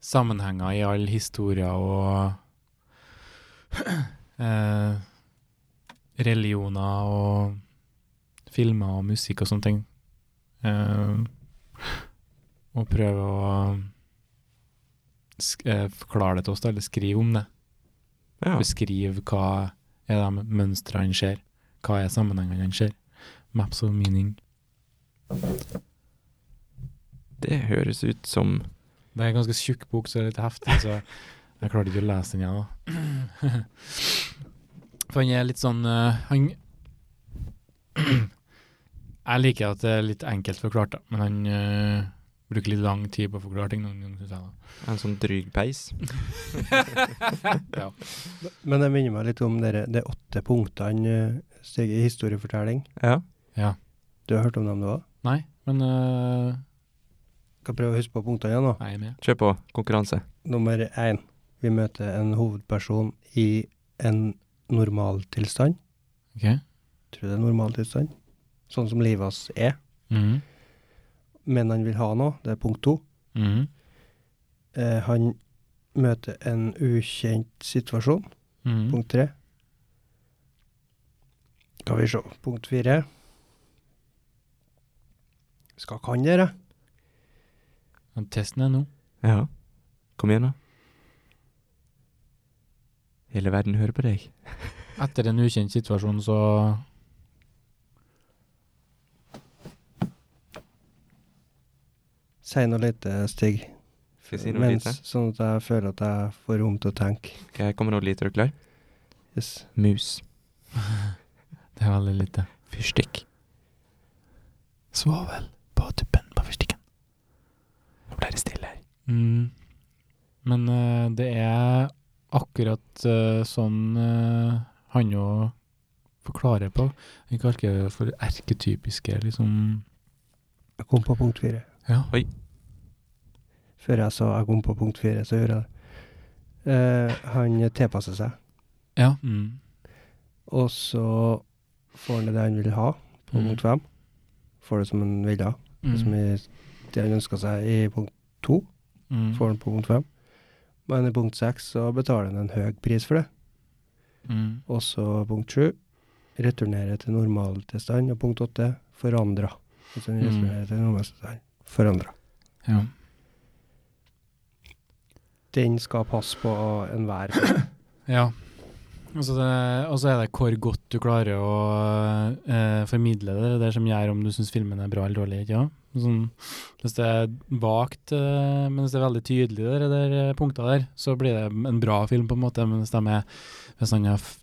C: sammenhenger i alle historier og *clears throat* eh, religioner og filmer og musikk og sånne ting. Eh, og prøve å eh, sk eh, forklare det til oss, da, eller skrive om det
B: Ja.
C: beskrive hva er de mønstrene han ser, hva er sammenhengene han ser. Maps of meaning.
B: Det høres ut som
C: Det er en ganske tjukk bok, så det er litt heftig, så jeg klarte ikke å lese den igjen. da. *clears throat* For han er litt sånn eh, Han *clears throat* Jeg liker at det er litt enkelt forklart, da, men han eh, bruker litt lang tid på å forklare ting. noen ganger, synes jeg, da.
B: en sånn dryg peis.
C: Ja.
A: Men det minner meg litt om dere, de åtte punktene eh, steg i historiefortelling.
B: Ja.
C: ja.
A: Du har hørt om dem, du òg?
C: Nei, men eh,
A: Skal prøve å huske på punktene igjen nå.
C: jeg er med.
B: Kjør på. Konkurranse.
A: Nummer én. Vi møter en hovedperson i en normaltilstand.
C: OK?
A: Tror du det er normaltilstand? Sånn som livet hans er.
C: Mhm.
A: Men han vil ha noe. Det er punkt to.
C: Mhm.
A: Eh, han møter en ukjent situasjon.
C: Mhm.
A: Punkt tre. Skal vi se. Punkt fire. Skal kan dere?
C: Men Testen er nå.
B: Ja. Kom igjen, da. Hele verden hører på deg.
C: Etter en ukjent situasjon, så
A: Si noe lite, Stig.
B: Skal jeg si noe
A: Mens,
B: lite?
A: Sånn at jeg føler at jeg får rom til å tenke.
B: Skal jeg komme med noe lite? Er du klar?
A: Yes.
B: Mus.
C: Det er veldig lite.
B: Fyrstikk.
C: Svovel på tuppen på fyrstikken.
B: Nå ble det stille her.
C: Mm. Men eh, det er akkurat eh, sånn eh, han jo forklarer på. Han kaller det for erketypiske, liksom
A: Jeg kom på punkt fire.
C: Ja.
A: Før jeg sa jeg kom på punkt fire, så gjorde jeg det. Eh, han tilpasser seg,
C: ja. Mm.
A: og så får han det han vil ha, på
C: Mm.
A: punkt fem. Får det som han vil ha,
C: Mm.
A: som i, det han ønska seg i punkt to,
C: Mm.
A: får han på punkt fem. Men i punkt seks så betaler han en høy pris for det.
C: Mm.
A: Og så punkt sju, returnerer til normaltilstand. Og punkt åtte, forandra. Hvis han
C: Mm.
A: returnerer til normaltilstand, forandra.
C: Ja.
A: Den skal passe på enhver.
C: Ja. Og så det- og så er det hvor godt du klarer å eh, formidle det, det er det som gjør om du syns filmen er bra eller dårlig. ikke sant? Sånn, hvis det er vagt, eh, men hvis det er veldig tydelig, der, der eh, punkter der, så blir det en bra film, på en måte. Men hvis, de er, hvis han har f-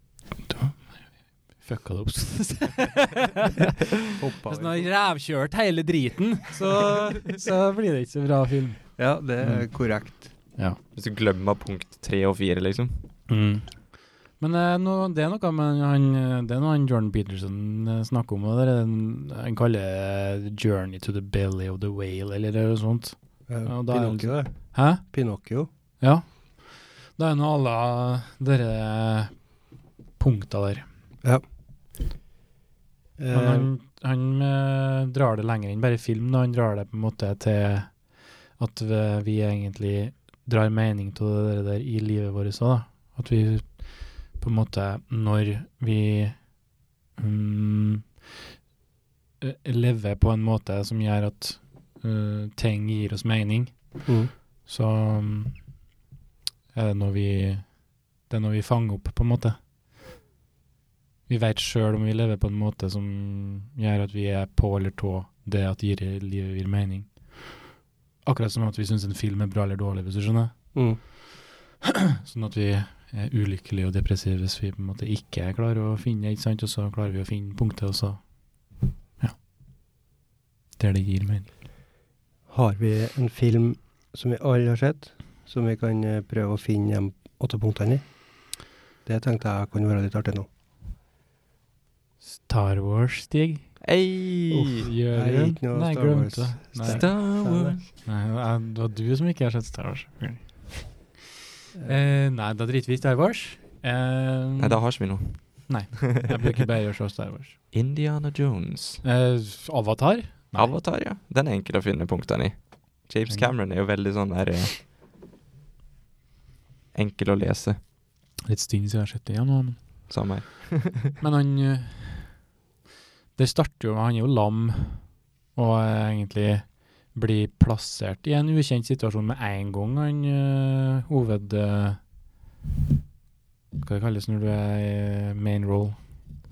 C: fucka det opp *laughs*
A: Hoppa
C: Hvis han har rævkjørt hele driten, så, så blir det ikke så bra film.
A: Ja, det er
C: Mm.
A: korrekt.
B: Hvis du glemmer punkt tre og fire, liksom.
C: Men eh, no, det er noe med han, eh, det er noe han Jordan Peterson eh, snakker om, og det er den han kaller eh, 'Journey to the belly of the whale', eller noe sånt.
A: Eh,
C: Ja, da er det liksom-
A: Pinocchio, det.
C: Hæ?
A: Pinocchio.
C: Ja. Det er noe à la dere punkta der. Men
A: Eh,
C: han, han eh, drar det lenger enn bare film, da. Han drar det på en måte til at vi- vi egentlig drar mening til det der- der i livet vårt òg, da. At vi på en måte, når vi mm, eh, leve på en måte som gjør at eh, ting gir oss mening.
A: Mm.
C: Så mm, er det noe vi Det er noe vi fanger opp, på en måte. Vi veit sjøl om vi lever på en måte som gjør at vi er på eller tå det at gir livet gir mening. Akkurat som at vi syns en film er bra eller dårlig, hvis du skjønner.
A: Mm.
C: Sånn at vi er ulykkelige og depressive hvis vi på en måte ikke klarer å finne det, ikke sant? og så klarer vi å finne punktet, og så Ja. Der det gir mening.
A: Har vi en film som vi alle har sett, som vi kan eh, prøve å finne de åtte punktene i? Det tenkte jeg kunne være litt artig nå.
C: Star Wars, Stig.
B: Ei!
C: Gjør
A: Jeg er
C: du?
A: ikke noe
C: Nei,
A: Star
C: glemte
A: Wars.
C: det. Nei.
B: Star Wars.
A: Wars.
C: Nei, jeg- det var du som ikke har sett Star Wars. Eh, nei, da driter vi i Star Wars. Eh,
B: Nei, da har ikke vi noe.
C: Jeg bruker bare å se Star Wars.
B: Indiana Jones.
C: Eh, Avatar? Nei.
B: Avatar, ja. Den er enkel å finne punktene i. James Cameron er jo veldig sånn der eh, Enkel å lese,
C: Litt stund siden jeg har sett det igjen. nå,
B: sa meg.
C: Men, men han eh, Det starter jo med Han er jo lam og eh, egentlig blir plassert i en ukjent situasjon med en gang han eh, hoved... eh, hva det kalles når du er i main role?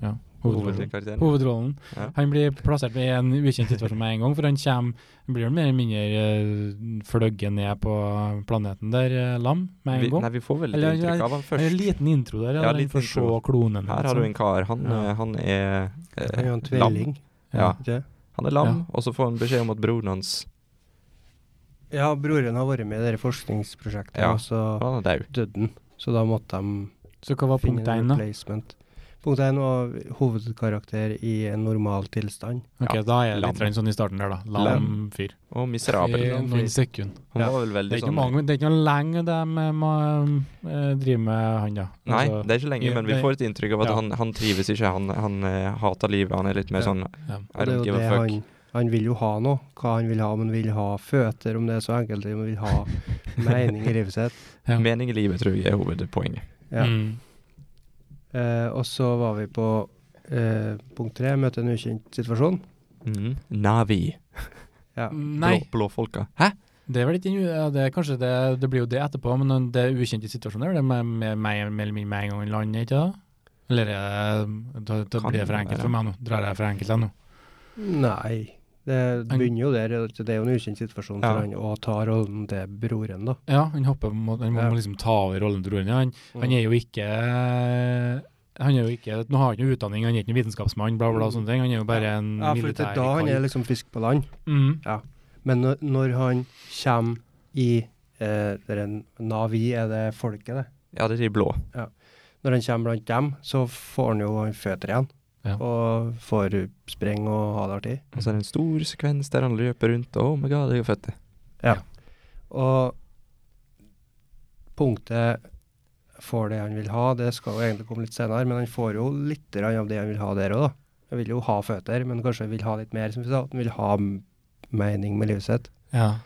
C: Ja, hovedrollen.
B: Hovedkarakteren.
C: Hovedrollen.
B: Ja.
C: Han blir plassert i en ukjent situasjon med en gang, for han kommer, han blir jo mer eller mindre eh, fløgget ned på planeten der, eh, lam, med
B: Vi,
C: en gang.
B: nei, vi får vel litt
C: Eller,
B: inntrykk av han
C: Det er En
B: først.
C: liten intro der,
B: Ja,
C: ja, den
B: liten
C: får se
B: intro.
C: klonen. liksom.
B: Her har du en kar. Han,
C: Ja.
B: eh, han
A: Han
B: er
A: er
B: eh,
A: jo en
B: lam.
A: tvilling.
B: Ja,
A: ikke det?
B: han er lam, og så får han beskjed om at broren hans
A: ja, broren har vært med i det forskningsprosjektet,
B: Ja.
A: og så
B: Han er daud.
A: døde han. Så da måtte de
C: Så hva var
A: finne
C: punkt
A: en
C: én, da?
A: replacement. Punkt én var hovedkarakter i en normal tilstand.
C: Ok,
B: Ja,
C: da er jeg
B: lam.
C: litt rann sånn i starten der, da. Lam,
B: Lam.
C: fyr.
B: Og miserabel.
C: I
A: lam fyr.
C: noen sekunder.
B: Han
A: Ja.
B: var vel
C: Det
B: veldig
C: er ikke
B: sånn
C: mange, det er ikke noe lenge de eh, må, eh, driver med han, da.
B: eh, Nei,
C: Altså,
B: det er ikke lenge,
C: i-
B: men vi
C: det-
B: får et inntrykk av at
C: Ja.
B: han, han trives ikke. Han, han eh, hater livet. Han er litt mer
A: Ja.
B: sånn
C: ja.
A: Og
B: I
A: det er jo
B: don't give
A: det
B: a fuck.
A: han, han vil jo ha noe. Hva han vil ha, om han vil ha føtter, om det er så enkelt, eller om han vil
B: *laughs*
A: ha mening i livet sitt.
C: Ja.
B: Mening i livet tror jeg er hovedpoenget.
A: Ja.
C: Mm.
A: Eh, og så var vi på eh, punkt tre, møte en ukjent situasjon.
B: Mhm. Navi.
A: Ja.
C: Nei.
B: Blå, blåfolka. Hæ?
C: Det er vel ikke en u- ja, det er kanskje det, det blir jo det etterpå, men det ukjente situasjonen er vel det med, med, med, med, med, med en gang i landet, ikke det? Eller er det- da, da
B: Kan
C: blir det for
B: være.
C: enkelt for meg nå? Drar jeg for enkelt ennå?
A: Nei, det begynner jo der. at Det er jo en ukjent situasjon
B: Ja.
A: for han å ta rollen til broren, da.
C: Ja, han hopper på en måte, han må
A: Ja. Mm.
C: liksom ta over rollen til broren. Ja, han, han er jo ikke eh, han er jo ikke, Nå har han ikke noe utdanning, han er ikke noen vitenskapsmann, bla, bla, og sånne ting. Han er jo bare en
A: Mm. Ja, for det
C: militær
A: er da han
C: kall.
A: er liksom fisk på land.
C: mm.
A: Men når, når han kommer i eh, det er en Navi, er det folket, det.
B: Ja, det er de blå.
A: Når han kommer blant dem, så får han jo han føtter igjen.
C: Ja.
A: Og får springe og ha det artig.
B: Og så er det en stor sekvens der han løper rundt. og Oh my god, jeg er født.
A: Og punktet får det han vil ha, det skal jo egentlig komme litt senere, men han får jo litt grann av det han vil ha der òg, da. Han vil jo ha føtter, men kanskje han vil ha litt mer, som vi sa. at Han vil ha m- mening med livet sitt.
C: Ja.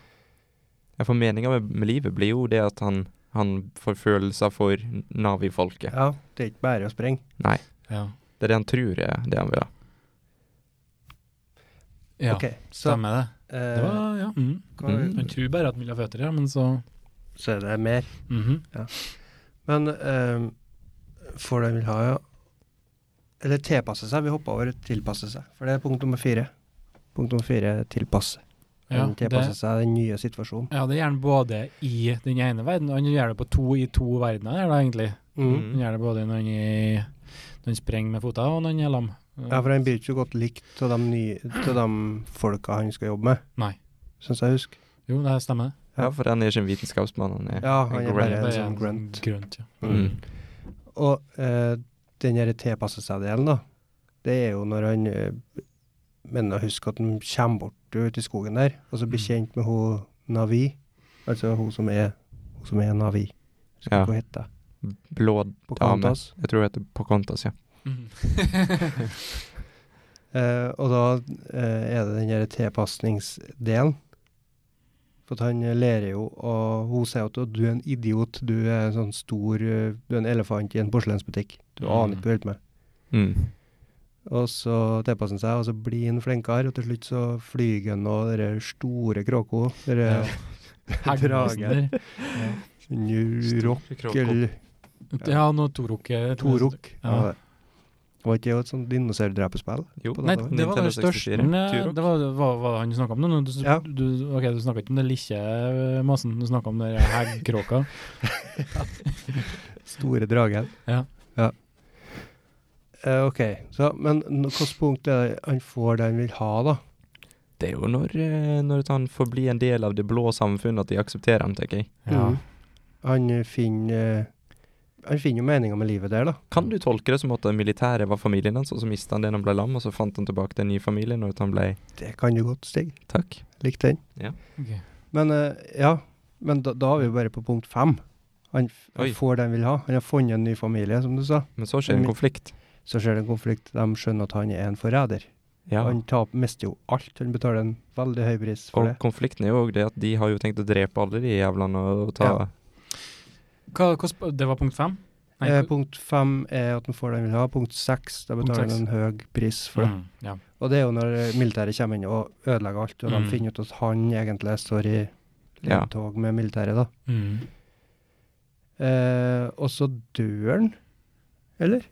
B: Ja, for meninga med, med livet blir jo det at han, han får følelser for Navi-folket.
A: Ja, det er ikke bare å springe.
B: Nei.
C: Ja.
B: Det er det han tror er det han vil ha.
C: ja.
A: OK, så
C: Stemmer det.
A: eh,
C: det var, ja. Mm.
A: hva-
B: Mm.
C: Han tror bare at han vil ha føtter, ja, men så
A: så er det mer.
C: Mhm.
A: Men eh, får det han vil ha, ja. Eller tilpasse seg. Vi hopper over tilpasse seg, for det er punkt nummer fire. Punkt nummer fire er tilpasse.
C: ja,
A: Han
C: det,
A: tilpasser seg den nye situasjonen.
C: Ja, det gjør han både i den ene verdenen, og han gjør det på to i to verdener, gjør det egentlig.
A: Mm.
B: Mm.
C: Han gjør det både når han, er- når han sprenger med føttene, og når han er lam.
A: Ja, for han blir ikke så godt likt av de, nye, til de folka han skal jobbe med,
C: Nei.
A: syns jeg husker.
C: Jo, det stemmer.
A: Ja.
B: Ja, for han er ikke en vitenskapsmann. Han er
A: Ja, han
B: en
A: er
B: grunt.
A: bare en
C: Bare
A: sånn
C: en
A: grunt.
C: Grunt, ja.
B: Mm.
A: Og eh, den derre tilpasse seg-delen, da, det er jo når han eh, mener å huske at han kommer bort ute i skogen der, og så blir
C: Mm.
A: kjent med hun Navi, altså hun som er, hun som er Navi. Husker
B: Ja.
A: ikke hva hun heter.
B: Blå
A: På
B: dame.
A: Kantas.
B: Jeg tror hun heter Pocahontas, ja.
A: Mm.
C: *laughs*
A: Eh, og da eh, er det den der tilpasningsdelen. For at han eh, lærer jo Og hun sier at du er en idiot, du er en sånn stor eh, Du er en elefant i en porselensbutikk. Du aner ikke hva du holder på med.
B: Mm.
A: Og så tilpasser han seg, og så blir han flinkere, og til slutt så flyger han og dere store kråka. Dere
C: Ja. Helvesen der.
A: Njurok
B: Kråkene.
A: eller
C: Ja, nå Torok er-
A: Torok. Ja.
C: Ja.
A: Var ikke det et sånt dinosaurdrepespill?
B: Jo,
A: på
C: Nei,
A: dataen?
C: det var
B: Nintendo
C: det største Mm,
B: 64. Turok.
C: Det var det var- var det han snakka om nå. nå. Du,
A: Ja.
C: du, ok, du snakka ikke om den lille masen, du snakka om den der heggkråka.
A: Store dragen.
C: Ja.
A: Ja. Eh, OK, så, men n- hvilket punkt er det han får det han vil ha, da?
B: Det er jo når, eh, når han får bli en del av det blå samfunnet, at de aksepterer han, tenker jeg.
C: Ja.
A: *laughs* Mm. Han eh, finner eh, Han finner jo meninga med livet der, da.
B: Kan du tolke det som at det militære var familien hans, og så mista han det når han ble lam, og så fant han tilbake til en ny familie når han ble
A: Det kan du godt, Stig.
B: Takk.
A: Likte den.
C: Ok.
A: Men eh, ja, men da, da er vi jo bare på punkt fem. Han, f- han
B: Oi.
A: får det han vil ha. Han har funnet en ny familie, som du sa.
B: Men så skjer en konflikt.
A: Så skjer det en konflikt. De skjønner at han er en forræder.
B: Ja.
A: Han tap, mister jo alt. Han betaler en veldig høy pris for
B: Og konflikten er jo òg det at de har jo tenkt å drepe alle de jævlene og ta
A: Ja.
C: Hva, hva, sp- det var punkt fem?
A: det. Eh, punkt fem er at han får det han vil ha. Punkt seks, da
C: Punkt
A: betaler
C: seks.
A: han en høy pris for det.
C: Mm, ja.
A: Og det er jo når eh, militæret kommer inn og ødelegger alt, og
C: Mm.
A: de finner ut at han egentlig står i
B: Ja.
A: ledtog med militæret, da.
C: Mm.
A: Eh, og så dør han, eller?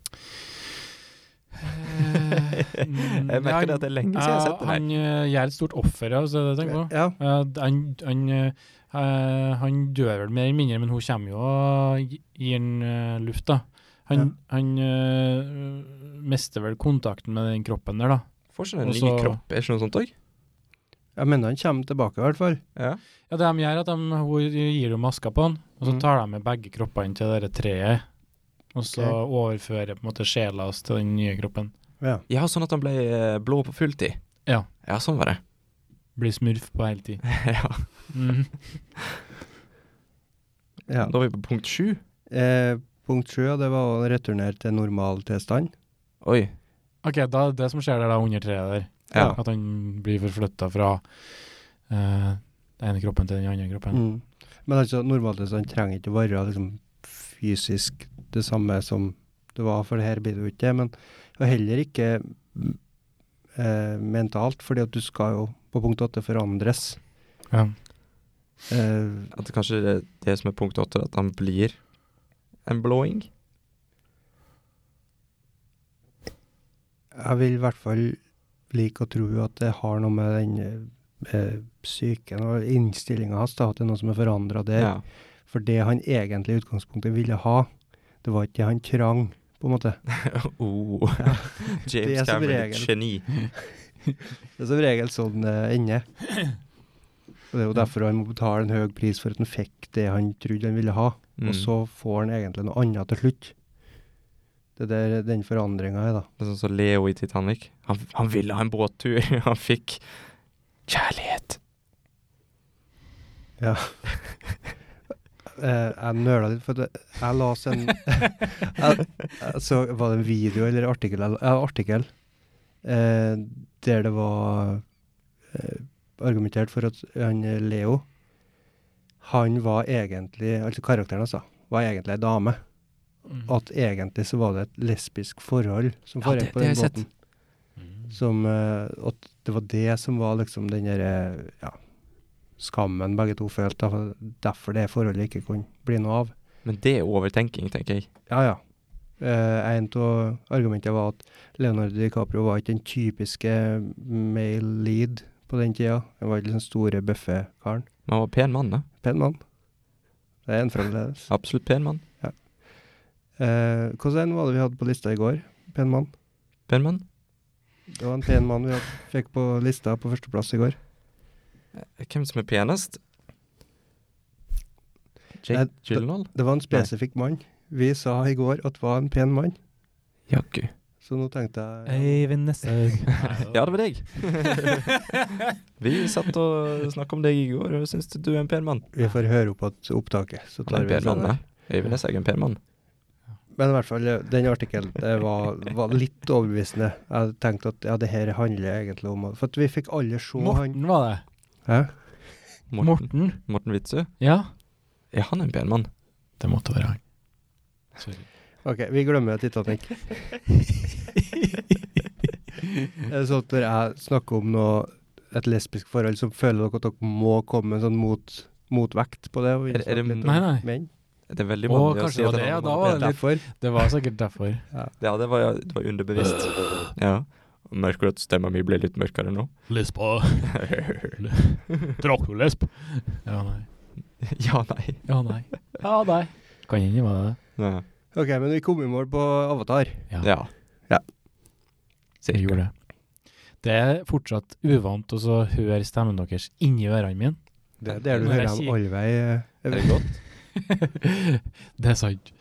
B: *laughs* Jeg merker det at det er lenge siden jeg har sett det der.
C: Eh, mm, Han eh, gjør et stort offer, ja, så det tenker jeg på.
A: Ja.
C: Eh, d- han, han, eh, eh, han dør vel mer eller mindre, men hun kommer jo og gi- gir han eh, luft, da. Han, han eh, mister vel kontakten med den kroppen der, da.
B: Får ikke den
C: Og
B: ny
C: så-
B: kropp? Er ikke noe sånt òg?
A: Jeg mener han kommer tilbake, i hvert fall.
B: Ja.
C: Ja, det de gjør, er at de, hun gir jo maska på han, og så
A: Mm.
C: tar de med begge kroppene til det der treet. Og så
A: Ok.
C: overfører på en måte sjela hans til den nye kroppen.
A: Ja.
B: ja, sånn at han ble eh, blå på fulltid.
C: Ja.
B: Ja, sånn var det.
C: Blir smurf på hele tiden.
B: *laughs* ja.
C: Mm.
A: ja.
B: Da er vi på punkt sju.
A: Eh, punkt sju, ja, det var å returnere til normal tilstand.
B: Oi.
C: Ok, da er det som skjer der da under treet der.
B: Ja.
C: At han blir forflytta fra eh, den ene kroppen til den andre kroppen.
A: Mm. Men altså, normal tilstand trenger ikke å være liksom, fysisk det samme som det var, for det her blir det jo ikke det. Men og heller ikke mm, eh, mentalt, fordi at du skal jo på punkt åtte forandres.
C: Ja.
A: Eh,
B: At det kanskje det, det som er punkt åtte, at han blir en blåing?
A: jeg vil i hvert fall like å tro at det har noe med den eh, eh, psyken og innstillinga hans, da, at det er noe som er forandra der.
B: Ja. *laughs*
A: For det han egentlig i utgangspunktet ville ha, det var ikke det han trang, på en måte.
B: oh.
A: Det
B: *laughs* James
A: er som
B: Cameron,
A: regel.
B: et geni.
A: Det er som regel sånn det ender. Og det er jo derfor han må betale en høy pris for at han fikk det han trodde han ville ha,
B: Mm.
A: og så får han egentlig noe annet til slutt. Det er den forandringa er, da.
B: Det er sånn som Leo i Titanic. Han, han ville ha en båttur. *laughs* Han fikk kjærlighet.
A: Eh, jeg nøla litt, for det, jeg leste
B: *laughs*
A: en jeg, jeg så, Var det en video eller artikkel? eller- Ja, artikkel eh, der det var eh, argumentert for at han eh, Leo Han var egentlig Altså karakteren, altså. Var egentlig ei dame. At egentlig så var det et lesbisk forhold som
B: Ja, det-
A: foregikk på
B: det
A: den
B: har jeg sett.
A: båten.
C: Mm.
A: Som, eh, at det var det som var liksom den der eh, ja, skammen begge to følte. da, Derfor det forholdet ikke kunne bli noe av.
B: Men det er overtenking, tenker jeg.
A: Ja, ja. Eh, en av argumentene var at Leonardo DiCaprio var ikke den typiske male lead på den tida. Han var ikke den store, bøffe karen.
B: Men han var pen mann, da.
A: Pen mann. Det er en fremdeles.
B: Absolutt pen mann.
A: Eh, hvordan var det vi hadde på lista i går? Pen mann.
B: Pen mann.
A: Det var en pen mann vi hadde, fikk på lista på førsteplass i går.
B: Hvem som er penest? Jake
A: Nei,
B: Nei, Gyllenhaal?
A: Det var en spesifikk mann. Vi sa i går at var en pen mann,
B: Jaggu.
A: så nå tenkte jeg
C: Eivind Nesshaug.
B: Ja, det var deg. *laughs* Vi satt og snakka om deg i går, og syns du er en pen mann.
A: Vi får høre opp at opptaket. Så
B: Han
A: tar
B: er en
A: vi det
B: pen mann,
A: senere.
B: da. Øyvind Nesshaug er en pen mann.
A: Men i hvert fall, eh, den artikkelen det var, var litt overbevisende. Jeg tenkte at ja, det her handler egentlig om For at vi fikk alle se han
C: Morten var det.
A: Hæ?
B: Morten,
C: Morten.
B: Morten Witzøe.
C: Ja.
B: Er han en pen mann?
C: Det måtte være han. Sorry. *laughs*
A: OK, vi glemmer Titanic. Er det sånn at når jeg snakker om noe, et lesbisk forhold, så føler dere at dere må komme med en sånn mot, motvekt på det? Og
B: Er- er det-
A: snakke litt om
C: Nei, nei.
A: Menn?
B: Det er veldig
C: Å,
B: vanlig
C: kanskje det var det, ja, da
A: Det
C: var
A: er
C: det litt
A: derfor.
C: Det var sikkert derfor.
B: Ja, det var, det var underbevisst. Ja. Merker du at stemma mi ble litt mørkere
C: *laughs*
B: nå?
C: Lesba. Draculesp. Ja, nei.
B: *laughs* ja, nei.
C: Ja, nei. Ja, nei. Kan hende var det det.
B: Ja.
A: Ok, men vi kom i mål på Avatar.
C: Ja.
B: ja.
A: Ja.
C: Jeg
B: Cirka.
C: gjorde det. Det er fortsatt uvant å så høre stemmen deres inni ørene mine.
A: Det er der du
C: Når jeg
A: hører dem
C: sier-
A: alle vei. eh,
B: Er det godt?
C: det er sant.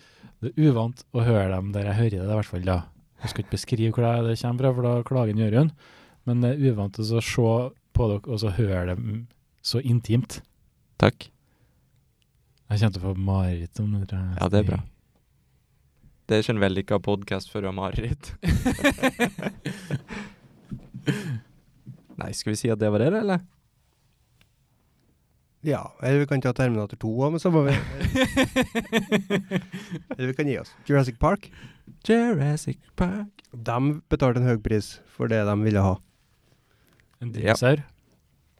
C: Det er uvant å høre dem der jeg hører det, i hvert fall da. Jeg skal ikke beskrive hvor det det kommer fra, for da klager en Jørund. Men det er uvant å så se på dere og så høre dem så intimt.
B: Takk.
C: Jeg kommer til å få mareritt om det. tror jeg.
B: Ja, det er bra. Det er ikke en vellykka podkast før du har
C: *laughs*
B: mareritt. Nei, skal vi si at det var det, eller?
A: Ja, eller vi kan ta Terminator 2 òg med samme vei. Eller vi kan gi oss. Jurassic Park.
B: Jurassic Park.
A: De betalte en høy pris for det de ville ha.
C: En dinosaur.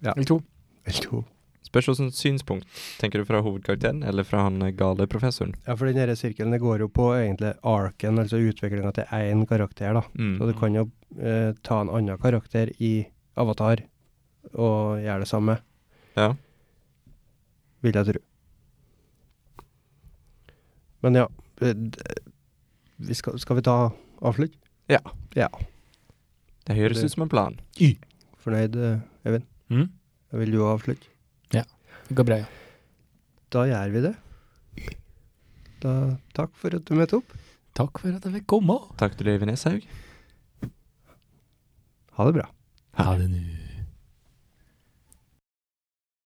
A: Ja.
C: Eller to.
A: Eller to.
B: Spørs hvilket synspunkt. Tenker du fra hovedkarakteren eller fra han eh, gale professoren?
A: Ja, for den her sirkelen det går jo på egentlig arken, altså utviklinga til én karakter, da. Så
B: Mm.
A: du kan jo eh, ta en annen karakter i Avatar og gjøre det samme,
B: Ja.
A: vil jeg tro. Men ja eh, d- vi skal, skal vi ta avslutt?
B: Det høres
A: Det-
B: ut som en plan.
A: Fornøyd, eh, Even?
C: Mm.
A: Jeg vil jo avslutte.
C: Det går bra, ja.
A: Da gjør vi det. Da, takk for at du møtte opp.
C: Takk for at jeg fikk komme.
B: Takk til Øyvind Eshaug.
A: Ha det bra.
C: Ha det nå.